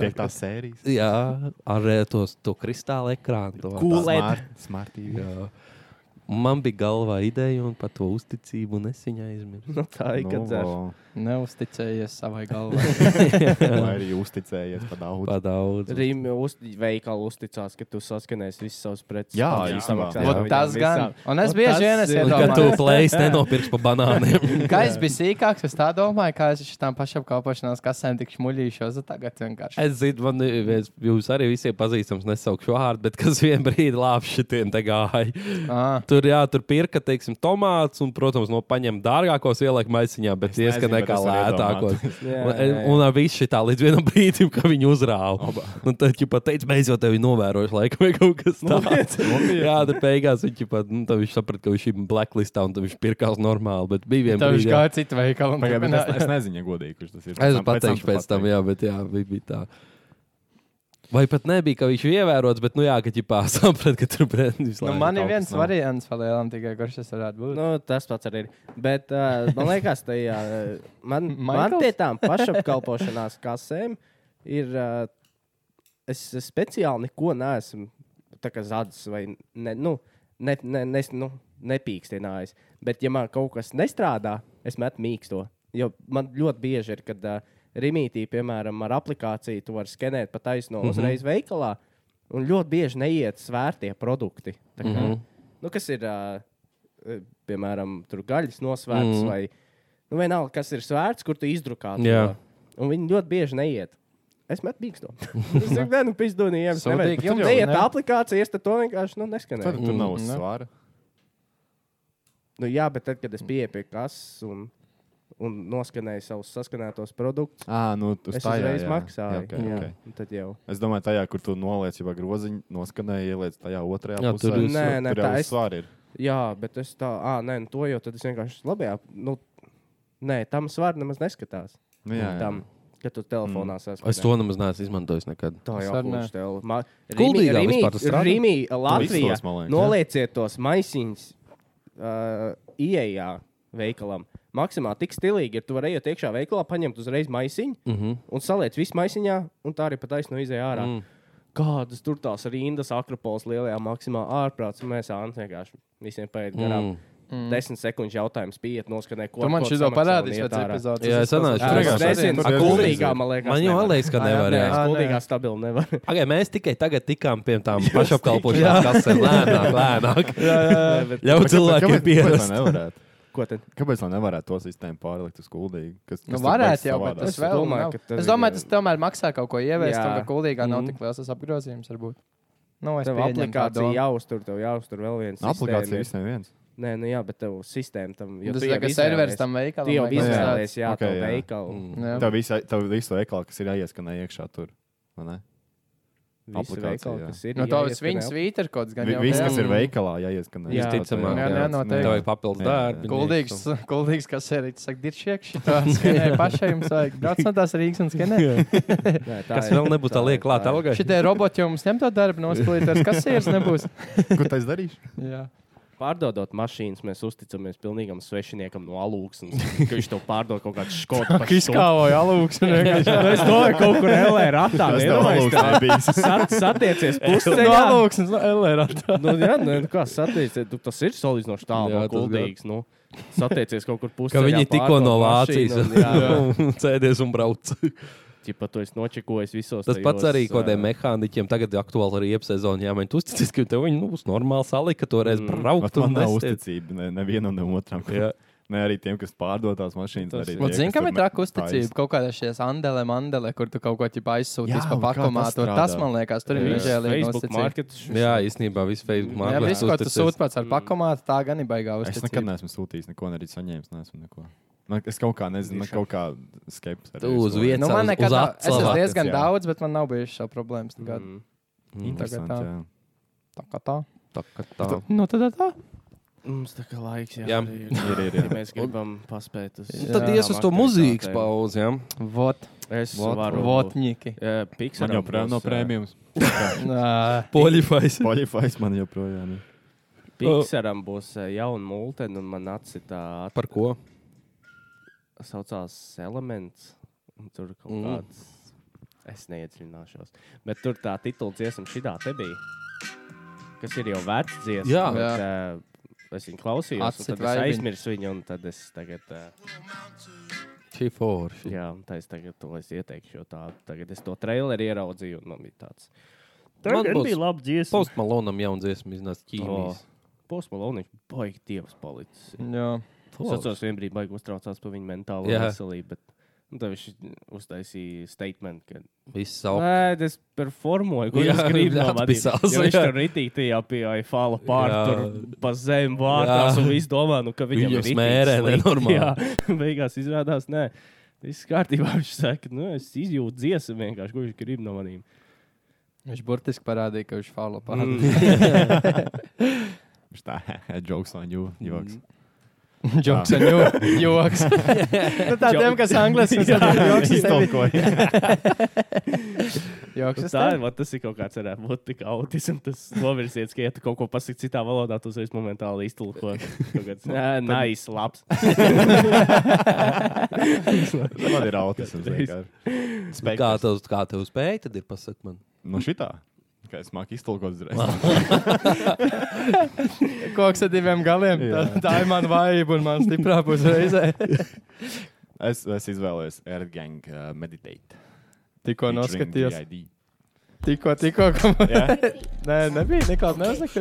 Speaker 2: Piektās sērijas.
Speaker 3: Jā, ar eh, tos, to kristāla ekrānu. to-
Speaker 2: Cool LED. Smart- smart TV.
Speaker 3: Jā. Man bija galvā ideja un par to uzticību, un es viņu aizmirsu.
Speaker 9: Nu, tā ir, kad, eh,
Speaker 1: Neusticējies savai galvai.
Speaker 2: Vai arī uzticējies par daudz?
Speaker 3: Par daudz.
Speaker 9: Rīmi uz, veikalu uzticās, ka tu saskanēsi visus savus preces.
Speaker 2: Jā,
Speaker 9: Tu
Speaker 2: īstenībā.
Speaker 9: samaksā
Speaker 2: Vot
Speaker 9: viņam
Speaker 1: tas
Speaker 9: visām.
Speaker 1: gan. Un es
Speaker 9: Vot
Speaker 1: bieži
Speaker 9: tas
Speaker 1: vien es
Speaker 9: ir.
Speaker 1: iedomājos.
Speaker 3: Ka tu plēsi nenopirks pa banāniem.
Speaker 1: Kā es biju sīkāks, es tā domāju, kā es uz tām pašām kalpošanās kasēm tik šmuļīšos. un Tagad vienkārši.
Speaker 3: Es zinu, man ir viens, jūs arī visiem pazīstams, nesaukšu vārdu, bet kas vienā brīdī lāpš šitiem te gāja. Tur, jā, tur pirka, teiksim, tomātus, un, protams, no paņem dārgākos ieliek maisiņā, bet
Speaker 2: nezinu,
Speaker 3: diezgan
Speaker 2: bet
Speaker 3: kā
Speaker 2: es arī
Speaker 3: lētākos.
Speaker 2: domātu.
Speaker 3: Un,
Speaker 2: Jā, jā, jā.
Speaker 3: un ar visu šitā līdz vienam brīdim, kad viņi uzrāva. Un tad viņi pat teica, mēs jau tevi novērojam, laikam, ir kaut
Speaker 2: Nu,
Speaker 3: kas tāds. jā, tad beigās viņš pat, nu, tad viņš saprata, ka viņš ir blacklistā, un tad viņš pirkās normāli, bet bija viena
Speaker 1: Tad viņš gāja citu veikalu. un
Speaker 2: Pagaid, bet es,
Speaker 1: turpināja.
Speaker 2: es nezinu, ja godīgi, kurš tas ir.
Speaker 3: Es
Speaker 2: Pēc tam- tam
Speaker 3: pateikšu
Speaker 2: tu
Speaker 3: pēc tam, jā, bet jā, bija, bija tā. Vai pat nebija, ka viņš ir ievērots, bet, nu, jā, ka ķipā saprat, ka tur brendis.
Speaker 1: Nu, man ir viens variants, palielam, tikai kurš tas varētu būt.
Speaker 9: Nu, tas pats arī ir. Bet uh, man liekas, tajā, eh, man, man
Speaker 1: Maikls?
Speaker 9: tie tām pašapkalpošanās kasēm ir. Uh, es speciāli neko neesmu tā kā zadzis vai ne, nu, ne, ne, ne, nu, nepīkstinājis. Bet, ja man kaut kas nestrādā, es metu mīksto. Jo man ļoti bieži ir, kad uh, rīmītī, piemēram, ar aplikāciju, tu vari skenēt pa taisno mm
Speaker 3: Mhm.
Speaker 9: -hmm. uzreiz veikalā, un ļoti bieži neiet svērtie produkti. Tā Kā, mm
Speaker 3: Mhm.
Speaker 9: -hmm. nu, kas ir, uh, piemēram, tur gaļas nosvērts
Speaker 3: Mhm.
Speaker 9: mm -hmm. vai nu, vienalga, kas ir svērts, kur tu izdrukā.
Speaker 3: Jā.
Speaker 9: Un viņi ļoti bieži neiet. Es metu mīksto. Es saku, nē, nu, pizdūnīgi, jums
Speaker 2: Sūdīgi,
Speaker 9: nevajag.
Speaker 2: bet
Speaker 9: Jums
Speaker 2: tur jau
Speaker 9: neiet
Speaker 2: ne-
Speaker 9: tā aplikācija, es te to vienkārši nu, neskanu.
Speaker 2: Tad tur nav svara.
Speaker 9: Nu, jā, bet tad, kad es biju pie kases un, un noskanēju savus saskanētos produktus,
Speaker 2: Ā, nu, tu
Speaker 9: es
Speaker 2: tā jā,
Speaker 9: uzreiz
Speaker 2: jā.
Speaker 9: maksāju.
Speaker 2: Jā, okay,
Speaker 9: Jā.
Speaker 2: okay.
Speaker 9: Un Tad jau.
Speaker 2: Es domāju, tajā, kur tu noliec jau groziņu, noskanēji, ieliec tajā otrajā
Speaker 3: Jā,
Speaker 2: pusē.
Speaker 3: tur ir-
Speaker 9: Nē, nē,
Speaker 2: tur
Speaker 9: tā
Speaker 2: jau
Speaker 9: es-
Speaker 2: svāri ir.
Speaker 9: Jā, bet es tā, ah, nē, nu, to jau tad es vienkārši labajā. Nu, nē, tam svaru nemaz neskatās.
Speaker 3: Nu, jā, jā.
Speaker 9: Tam, kad tu telefonā mm.
Speaker 3: Es to nemaz neesmu izmantojis nekad.
Speaker 9: Tā jau
Speaker 3: Sar, nē.
Speaker 9: būs tev. Ma- Rīmī,
Speaker 3: Kuldīgā
Speaker 9: Rīmī,
Speaker 3: vispār tas strādā?
Speaker 9: Rīmī,
Speaker 3: Tu
Speaker 9: Latvijā.
Speaker 3: visos, man liekas, jā.
Speaker 9: Nolieciet tos maisiņus uh, ieejā veikalam. Maksimāli tik stilīgi ir. Tu vari iet iekšā veikalā, paņemt uzreiz maisiņu
Speaker 3: Mhm.
Speaker 9: un saliec visu maisiņā, un tā arī pataisno izēja ārā.
Speaker 3: Mm.
Speaker 9: Kādas tur tās rindas, akropolis lielajā maksimā ārprāts, un mēs ānti vienkārši visiem paiet garām.
Speaker 3: Mm.
Speaker 9: Mm. Desmit sekundes jautājums, pieiet, noskanē, ko
Speaker 1: Tu man
Speaker 9: ko
Speaker 1: šito
Speaker 9: samaksā
Speaker 1: parādīsi
Speaker 9: un iet
Speaker 1: pēc
Speaker 9: ārā.
Speaker 1: epizodes.
Speaker 3: Jā, es sanāšu.
Speaker 9: Jā, es nezinu,
Speaker 3: Ak,
Speaker 9: kuldīgā, man liekas,
Speaker 3: Man jau
Speaker 9: nevar.
Speaker 3: liekas, ka
Speaker 9: Ā, jā,
Speaker 3: nevar.
Speaker 9: nē,
Speaker 3: jā.
Speaker 9: es kuldīgā stabili nevaru.
Speaker 3: Pagai, mēs tikai tagad tikām pie tām pašapkalpošanās kasēm. Lēnāk, lēnāk.
Speaker 9: Jā, jā, jā. Bet-
Speaker 3: Ļauj
Speaker 9: Bet kāpēc-
Speaker 3: cilvēkiem
Speaker 9: kāpēc-
Speaker 3: pierast.
Speaker 2: Kāpēc lai nevarētu?
Speaker 9: Ko tad?
Speaker 2: Kāpēc lai nevarētu to sistēmu pārlikt uz kuldīgu? Kas,
Speaker 1: Nu,
Speaker 2: kas tur beigs
Speaker 1: varētu jau,
Speaker 2: savādāk?
Speaker 1: bet tas vēl nav. Es domāju, tas tomēr maksā kaut ko ieviest,
Speaker 9: Jā.
Speaker 1: un ka kuldīgā nav
Speaker 9: Mhm.
Speaker 1: tik liels tas apgrozījums varbūt. Nu, es
Speaker 9: Tev
Speaker 1: pieņemu tā
Speaker 9: aplikācija
Speaker 1: domu.
Speaker 9: jāuztur, tev jāuztur vēl viens.
Speaker 2: Nu, aplikācija visiem viens.
Speaker 9: Nē, nu jā, bet tev sistēma tam
Speaker 1: Tas tā kā serveris tam veikalam
Speaker 9: Tu jau
Speaker 1: vai kaut kas
Speaker 9: izvēlējies,
Speaker 1: tāds.
Speaker 9: jā,
Speaker 1: Ok,
Speaker 9: okay,
Speaker 1: jā.
Speaker 9: veikalu.
Speaker 1: Mm. Jā.
Speaker 2: Tev visa- Tev visu veikalu, kas ir jāieskanē iekšā tur. vai ne?
Speaker 9: Visi
Speaker 2: Aplikācija,
Speaker 9: veikali,
Speaker 2: jā.
Speaker 9: kas ir
Speaker 1: Nu, to viss viņa svītra kaut gan
Speaker 2: Vi-
Speaker 1: jau.
Speaker 2: Viss,
Speaker 1: jā.
Speaker 2: kas ir veikalā, jāieskanē.
Speaker 1: Jā.
Speaker 3: Visticamāk,
Speaker 1: Jā, jā,
Speaker 3: jā.
Speaker 1: noteikti.
Speaker 3: Tev vajag papildus darbi.
Speaker 1: Kuldīgs, kuldīgs kas ir īņķis, saka, diršiek, šitā skenēja pašai, jums vajag brauc no tās Rīgas un skenēja.
Speaker 3: tā Kas ir, vēl nebūtu tā tā liek ir, klāt tā ir. algai?
Speaker 1: Šitie roboti jau mums ņem to darbu, nosplītās kasieris nebūs.
Speaker 2: Ko tas darīšu?
Speaker 1: Jā.
Speaker 9: Pārdodot mašīnas, mēs uzticamies pilnīgam svešiniekam no alūksnes. ka Viņš to pārdod kaut kādā skotu.
Speaker 1: Kā izkāvoja alūksni vienkārši.
Speaker 9: Es domāju, kaut kur LR ratā.
Speaker 1: Tas
Speaker 2: nav alūksnē bijis.
Speaker 9: Satiecies pusceļā.
Speaker 1: No alūksnes, no LR ratā.
Speaker 9: Nu, jā, nu, nu, kā satiecies, tu- tas ir salīdzinoši
Speaker 3: Jā,
Speaker 9: tālu no
Speaker 3: tas
Speaker 9: kuldīgas. Nu, satiecies kaut kur pusē.
Speaker 3: Ka viņi tikko no Vācijas cēdies un brauc.
Speaker 9: Čipa, nu, tu esi nočekojis visos.
Speaker 3: Tas
Speaker 9: tajos,
Speaker 3: pats arī kaut
Speaker 9: ā,
Speaker 3: kādiem mehāniķiem tagad ir aktuāli arī iepsezonā. Jā, viņi uzticas, ka tev viņi nu, būs normāli salika, ka toreiz
Speaker 9: Mm.
Speaker 2: Bet
Speaker 3: braukt
Speaker 2: Man
Speaker 3: un
Speaker 2: nav
Speaker 3: nestiet.
Speaker 2: uzticība ne- nevienam, ne otram.
Speaker 3: Jā.
Speaker 2: Ne arī tiem, kas pārdod tās mašīnas.
Speaker 3: Tas-
Speaker 2: arī
Speaker 1: Un
Speaker 2: tie,
Speaker 1: zini,
Speaker 2: kas
Speaker 1: kam
Speaker 2: tur
Speaker 1: ir traka
Speaker 2: me-
Speaker 1: uzticība? Kaut kādā šajās andele, mandele, kur tu kaut ko ķipa aizsūtīsi
Speaker 2: Jā,
Speaker 1: pa
Speaker 2: un kā tas
Speaker 1: pakomātu.
Speaker 2: strādā?
Speaker 1: Tas, man liekas, tur ir
Speaker 9: Jā.
Speaker 1: izžēlīgi.
Speaker 9: Facebook marketus.
Speaker 3: Jā, īstenībā viss Facebook
Speaker 1: Jā,
Speaker 3: mākslinieks
Speaker 1: viss, ko tu sūti pats ar pakomātu, tā gan ir baigā
Speaker 2: Es nekad
Speaker 1: uzticība.
Speaker 2: neesmu sūtījis, neko neesmu saņēmis. Neesmu neko. Man, es kaut kā nezinu, man kaut kā skeptiski.
Speaker 3: Tu uz vietas
Speaker 1: Nu, man
Speaker 3: uz-
Speaker 1: nekad
Speaker 3: uz
Speaker 1: nav. Es
Speaker 3: acu
Speaker 1: esmu
Speaker 3: savākas,
Speaker 1: diezgan
Speaker 3: jā.
Speaker 1: daudz, bet man nav bijušas šā problēmas.
Speaker 9: Mm.
Speaker 1: nekad.
Speaker 2: Mm.
Speaker 1: Tagad tā.
Speaker 2: Interesanti,
Speaker 1: Tā kā tā.
Speaker 3: Tā kā tā.
Speaker 1: Nu, tad tā.
Speaker 9: Mums tā kā laiks jā,
Speaker 3: Jā.
Speaker 9: arī
Speaker 2: Ir, ir, jā.
Speaker 9: Ja mēs gribam paspēt uz
Speaker 3: Un Nu, Tad ies uz to mūzikas pauzi. Ja?
Speaker 1: Vot,
Speaker 9: Es
Speaker 2: Vot,
Speaker 9: varu.
Speaker 1: votņiki.
Speaker 9: Jā, Pixar.
Speaker 2: Man joprojām nav prēmijas.
Speaker 1: Nā.
Speaker 3: Poļifais.
Speaker 2: Spotify man joprojām ir.
Speaker 9: Pixaram būs eh, jauna multena, un man atsitā
Speaker 3: Par ko?
Speaker 9: saucās Elements. un Tur kaut
Speaker 3: Mm.
Speaker 9: mm. kāds. Es neiedziļināšos. Bet tur tā titula dziesma šitā te bija. Kas ir jau vecs dziesma.
Speaker 3: Jā.
Speaker 9: bet, eh, Es viņu klausījos, un
Speaker 1: Atsit
Speaker 9: tad
Speaker 1: vaibiņu.
Speaker 9: es aizmirsu viņu, un tad es tagad, eh,
Speaker 3: Šī forša.
Speaker 9: jā, un tā es tagad to es ieteikšu, jo tā, tagad es to traileri ieraudzīju, un man bija tāds.
Speaker 3: Man
Speaker 9: Tagad
Speaker 3: būs
Speaker 9: bija laba dziesma.
Speaker 3: Post Malonam jauna dziesma iznāca
Speaker 9: Oh.
Speaker 3: Ķīnijas.
Speaker 9: Posmaloniņš, baigi dievs palicis.
Speaker 1: Jā.
Speaker 9: Es atceros, vienā brīdī baigi uztraucās par viņa mentālo
Speaker 3: Jā.
Speaker 9: yeah. veselību. Bet... Un tad viņš uztaisīja statement, ka
Speaker 3: Viss savu.
Speaker 9: nē, es performoju, ko
Speaker 3: Jā,
Speaker 9: viņš grib no
Speaker 3: jā,
Speaker 9: manis.
Speaker 3: atpisās,
Speaker 9: Jo Viņš
Speaker 3: jā.
Speaker 9: tur ritīgi tajā pie fāla pār,
Speaker 3: Jā.
Speaker 9: tur pa zem vārtās,
Speaker 3: Jā.
Speaker 9: un viss domā, nu, ka viņam
Speaker 3: Viņu
Speaker 9: ir ritīgi
Speaker 3: smērē
Speaker 9: slikti.
Speaker 3: nenormāli.
Speaker 9: Jā, beigās izrādās, nē, viss kārtībā. Viņš saka, nu, es izjūtu dziesmu vienkārši, ko viņš grib no manīm. Mm.
Speaker 1: Viņš burtiski parādīja, ka viņš faulo pāri.
Speaker 2: Viņš tā, jokes on you,
Speaker 3: Mm.
Speaker 2: joks.
Speaker 1: Joks, jau joks. Nu, Tādiem, kas angliski saprot, joks. es tevi-
Speaker 2: Iztolkoju.
Speaker 1: Joks,
Speaker 9: Tas
Speaker 1: es
Speaker 9: Nu, tā ir,
Speaker 1: tevi-
Speaker 9: man tas ir kaut kāds varētu būt tik autisms, tas novirsies, ka, ja tu kaut ko pasaki citā valodā, tu uzreiz momentāli iztulko. Kaut kāds, Nē, nice, labs.
Speaker 2: Man ir autisms vienkārši.
Speaker 3: Kā tev, kā tev spēja, tad ir pasak man.
Speaker 2: No Nu, šitā. Kā es māku iztolkot uzreiz.
Speaker 1: Ah. koks ar diviem galiem. Tā, tā ir mana vājība un man stiprā puse reizē.
Speaker 2: Es, es izvēlējos Erdgang uh, Meditate.
Speaker 1: Tikko
Speaker 2: Featuring
Speaker 1: noskatījos.
Speaker 2: DID.
Speaker 1: Tikko, tikko. ko-
Speaker 2: Jā,
Speaker 1: Nē, nebija. Niklaus, neuzlikt.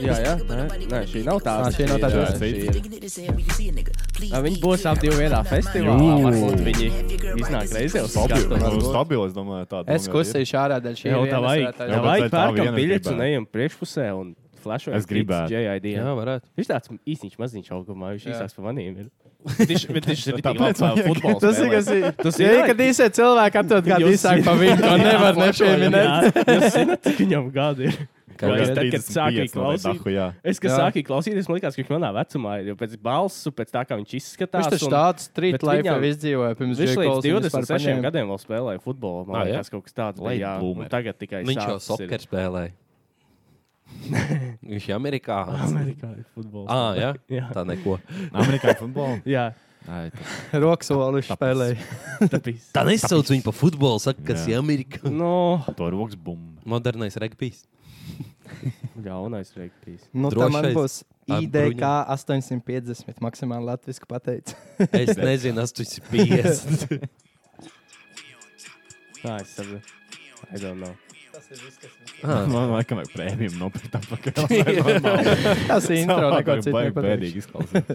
Speaker 9: Jā, jā, nē, nē šī nav tā.
Speaker 1: Ā, šī nav tā
Speaker 2: tas
Speaker 1: dziesma.
Speaker 2: ir.
Speaker 9: Nā, viņi būs ap divu vienā festivālā. Varbūt viņi iznāk reizē uz skatu.
Speaker 2: Stabils, es domāju, tāda.
Speaker 1: Es kustīju šārā dēļ šī.
Speaker 9: Jā,
Speaker 1: vienas
Speaker 9: tā vajag.
Speaker 1: varētu
Speaker 9: Tā
Speaker 2: Jā,
Speaker 1: aiziet.
Speaker 2: bet
Speaker 9: vajag
Speaker 2: vai tā
Speaker 9: pērkam
Speaker 2: viena
Speaker 9: biļets un
Speaker 2: gribētu?
Speaker 9: ejam priekšpusē un flashojam.
Speaker 2: Es gribētu.
Speaker 9: JID.
Speaker 3: Jā, varētu.
Speaker 9: Viņš tāds īsniņš maziņš augumā, viņš
Speaker 1: Jā.
Speaker 9: īsāks par maniem ir. Viņš- Bet viņš ir tik labs
Speaker 2: Tāpēc vajag.
Speaker 9: futbols.
Speaker 1: Tas ir kas ir.
Speaker 9: Tas ir
Speaker 1: Ja iekadīsiet cilvēku aptuveni kādu
Speaker 9: Jūs-
Speaker 1: īsāku pa viņu, to nevar nepieminēt.
Speaker 9: Jūs zināt, cik viņam gadi ir.
Speaker 3: Kaut
Speaker 9: Vai
Speaker 3: kā
Speaker 9: es tad, kad sāku klausīt,
Speaker 2: Dahu, jā.
Speaker 9: Es, kad
Speaker 1: Jā.
Speaker 9: sāku klausīties, man liekas, ka viņš manā vecumā ir jau pēc balss, pēc tā, kā viņš izskatās.
Speaker 1: Viņš taču
Speaker 9: un
Speaker 1: tāds
Speaker 9: bet
Speaker 1: street life
Speaker 9: viņam-
Speaker 1: jau izdzīvoja pirms
Speaker 9: Viņš
Speaker 1: J.
Speaker 9: līdz
Speaker 1: Cole's viņu vispār
Speaker 9: 26
Speaker 1: paņēma.
Speaker 9: gadiem vēl spēlēja futbolu. Man
Speaker 3: Ā, Ah, jā?
Speaker 9: liekas, kaut kas tāds
Speaker 3: Late
Speaker 9: bija. jā, un
Speaker 3: bloomer.
Speaker 9: Tagad tikai
Speaker 3: Viņš jau
Speaker 9: sācis ir-
Speaker 3: sokā spēlēja. Viņš ir amerikānis.
Speaker 9: Amerikā ir futbols.
Speaker 3: Ah, jā?
Speaker 9: Jā.
Speaker 3: tā neko.
Speaker 2: Amerikāņu futbolu.
Speaker 9: Jā,
Speaker 1: Rokas soliņš spēlēja.
Speaker 9: tāpēc.
Speaker 3: Tā nesauc viņu par futbolu, saka, kas ir Amerikā.
Speaker 9: No,
Speaker 2: To rokas bumbu.
Speaker 3: Modernais regbijs.
Speaker 9: jaunais reakcijas.
Speaker 1: Nu, tā man
Speaker 3: Drošais
Speaker 1: būs
Speaker 3: ar
Speaker 1: IDK 850, maksimāli latviešu pateicis.
Speaker 3: Es nezinu, kas tas ir bijis.
Speaker 9: Tā es saprotu. I don't know.
Speaker 1: Ah.
Speaker 2: Man laikam vajag prēmiju nopirkt tam pakaļ.
Speaker 1: Tas ir intro, neko citu nepateikšu.
Speaker 2: Bēdīgi izklausās.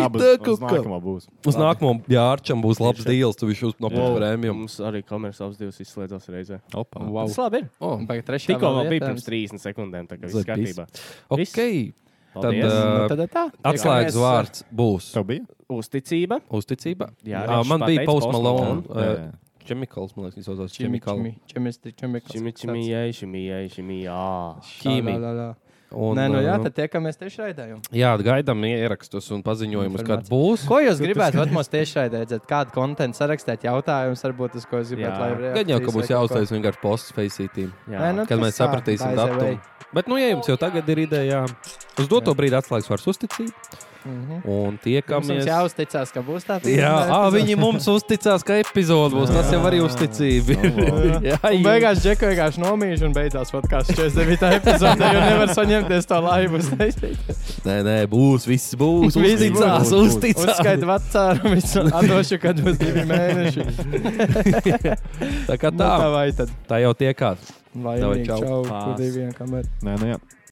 Speaker 2: Abas-
Speaker 3: tā
Speaker 2: uz
Speaker 3: kaut kā.
Speaker 2: Nākamā būs.
Speaker 3: Uz nākamo jārčam būs labs deals, tu viņš nopirks prēmiju.
Speaker 9: Mums arī komerciāls abas divas izslēdzās reizē.
Speaker 2: Opa.
Speaker 3: Wow.
Speaker 9: Tas labi ir.
Speaker 1: Un Tagad trešā
Speaker 9: Tikko
Speaker 1: vēl
Speaker 9: vēl bija
Speaker 1: vietā.
Speaker 9: pirms 30 sekundēm, tā kā viss
Speaker 3: Zat viss.
Speaker 9: kārtībā.
Speaker 3: Okay. Tad
Speaker 9: Paldies.
Speaker 1: Nu,
Speaker 3: uh,
Speaker 1: tad tā.
Speaker 3: atslēgas
Speaker 9: mēs,
Speaker 3: vārds būs
Speaker 2: Tev bija?
Speaker 9: Uzticība.
Speaker 3: uzticība.
Speaker 9: Jā,
Speaker 3: Ā,
Speaker 9: viņš
Speaker 3: man bija
Speaker 9: pateica
Speaker 3: Post
Speaker 9: Post
Speaker 3: Malone.
Speaker 9: Malone.
Speaker 3: uh, Chemicals, man liekas, viņš saucās Chemicals.
Speaker 1: Čemistri,
Speaker 9: Šimi, šimi,
Speaker 1: čemikals.
Speaker 9: jai, šimi, jai, šimi, jā.
Speaker 3: Ķīmi. Un,
Speaker 1: Nē, nu jā,
Speaker 3: uh,
Speaker 1: tad tiekamies tiešraidējumā.
Speaker 3: jā, gaidām ierakstus un paziņojumus, kad
Speaker 1: Informāciju.
Speaker 3: būs.
Speaker 1: Ko jūs gribētu? Vat mums tiešraidē redzēt, kādu kontentu sarakstīt, jautājumus varbūt uz ko jūs
Speaker 9: Jā.
Speaker 1: gribētu, lai reakcijas
Speaker 3: Gan jau, ka
Speaker 1: vai
Speaker 3: būs
Speaker 1: kaut ko.
Speaker 3: jāuztais vienkārši posts feisītīm,
Speaker 9: Jā.
Speaker 1: Nē, nu,
Speaker 3: kad mēs
Speaker 1: tas tā,
Speaker 3: sapratīsim
Speaker 1: by the way.
Speaker 3: datumu. Bet, nu, ja jums jau tagad ir ideja, uz doto brīdi atslēgas vairs uzticība
Speaker 1: Mhm.
Speaker 3: un
Speaker 1: Mums
Speaker 3: tiekamies.
Speaker 1: mums jāuzticās, ka būs tāds.
Speaker 3: Jā, à, Ah, viņi mums uzticās, ka epizode būs. Tas jau arī uzticība. Jā,
Speaker 1: Un beigās Džeku vienkārši nomīž un beidzās podkāsts 49. epizodē, jo nevar saņemties to laivu.
Speaker 3: Nē, nē, būs, viss būs.
Speaker 1: Viss
Speaker 3: Uzticās,
Speaker 1: būs.
Speaker 3: uzticās.
Speaker 1: Uzskaita vecāru, visu atdošu, kad būs divi mēneši.
Speaker 3: Tā kā
Speaker 1: Tā
Speaker 3: tā,
Speaker 1: vai tad.
Speaker 3: tā jau tiekās.
Speaker 1: Vai
Speaker 3: Davai,
Speaker 1: arī
Speaker 3: čau.
Speaker 1: čau,
Speaker 9: Pās.
Speaker 1: kur diviem kamerām.
Speaker 2: Nē, nu jā.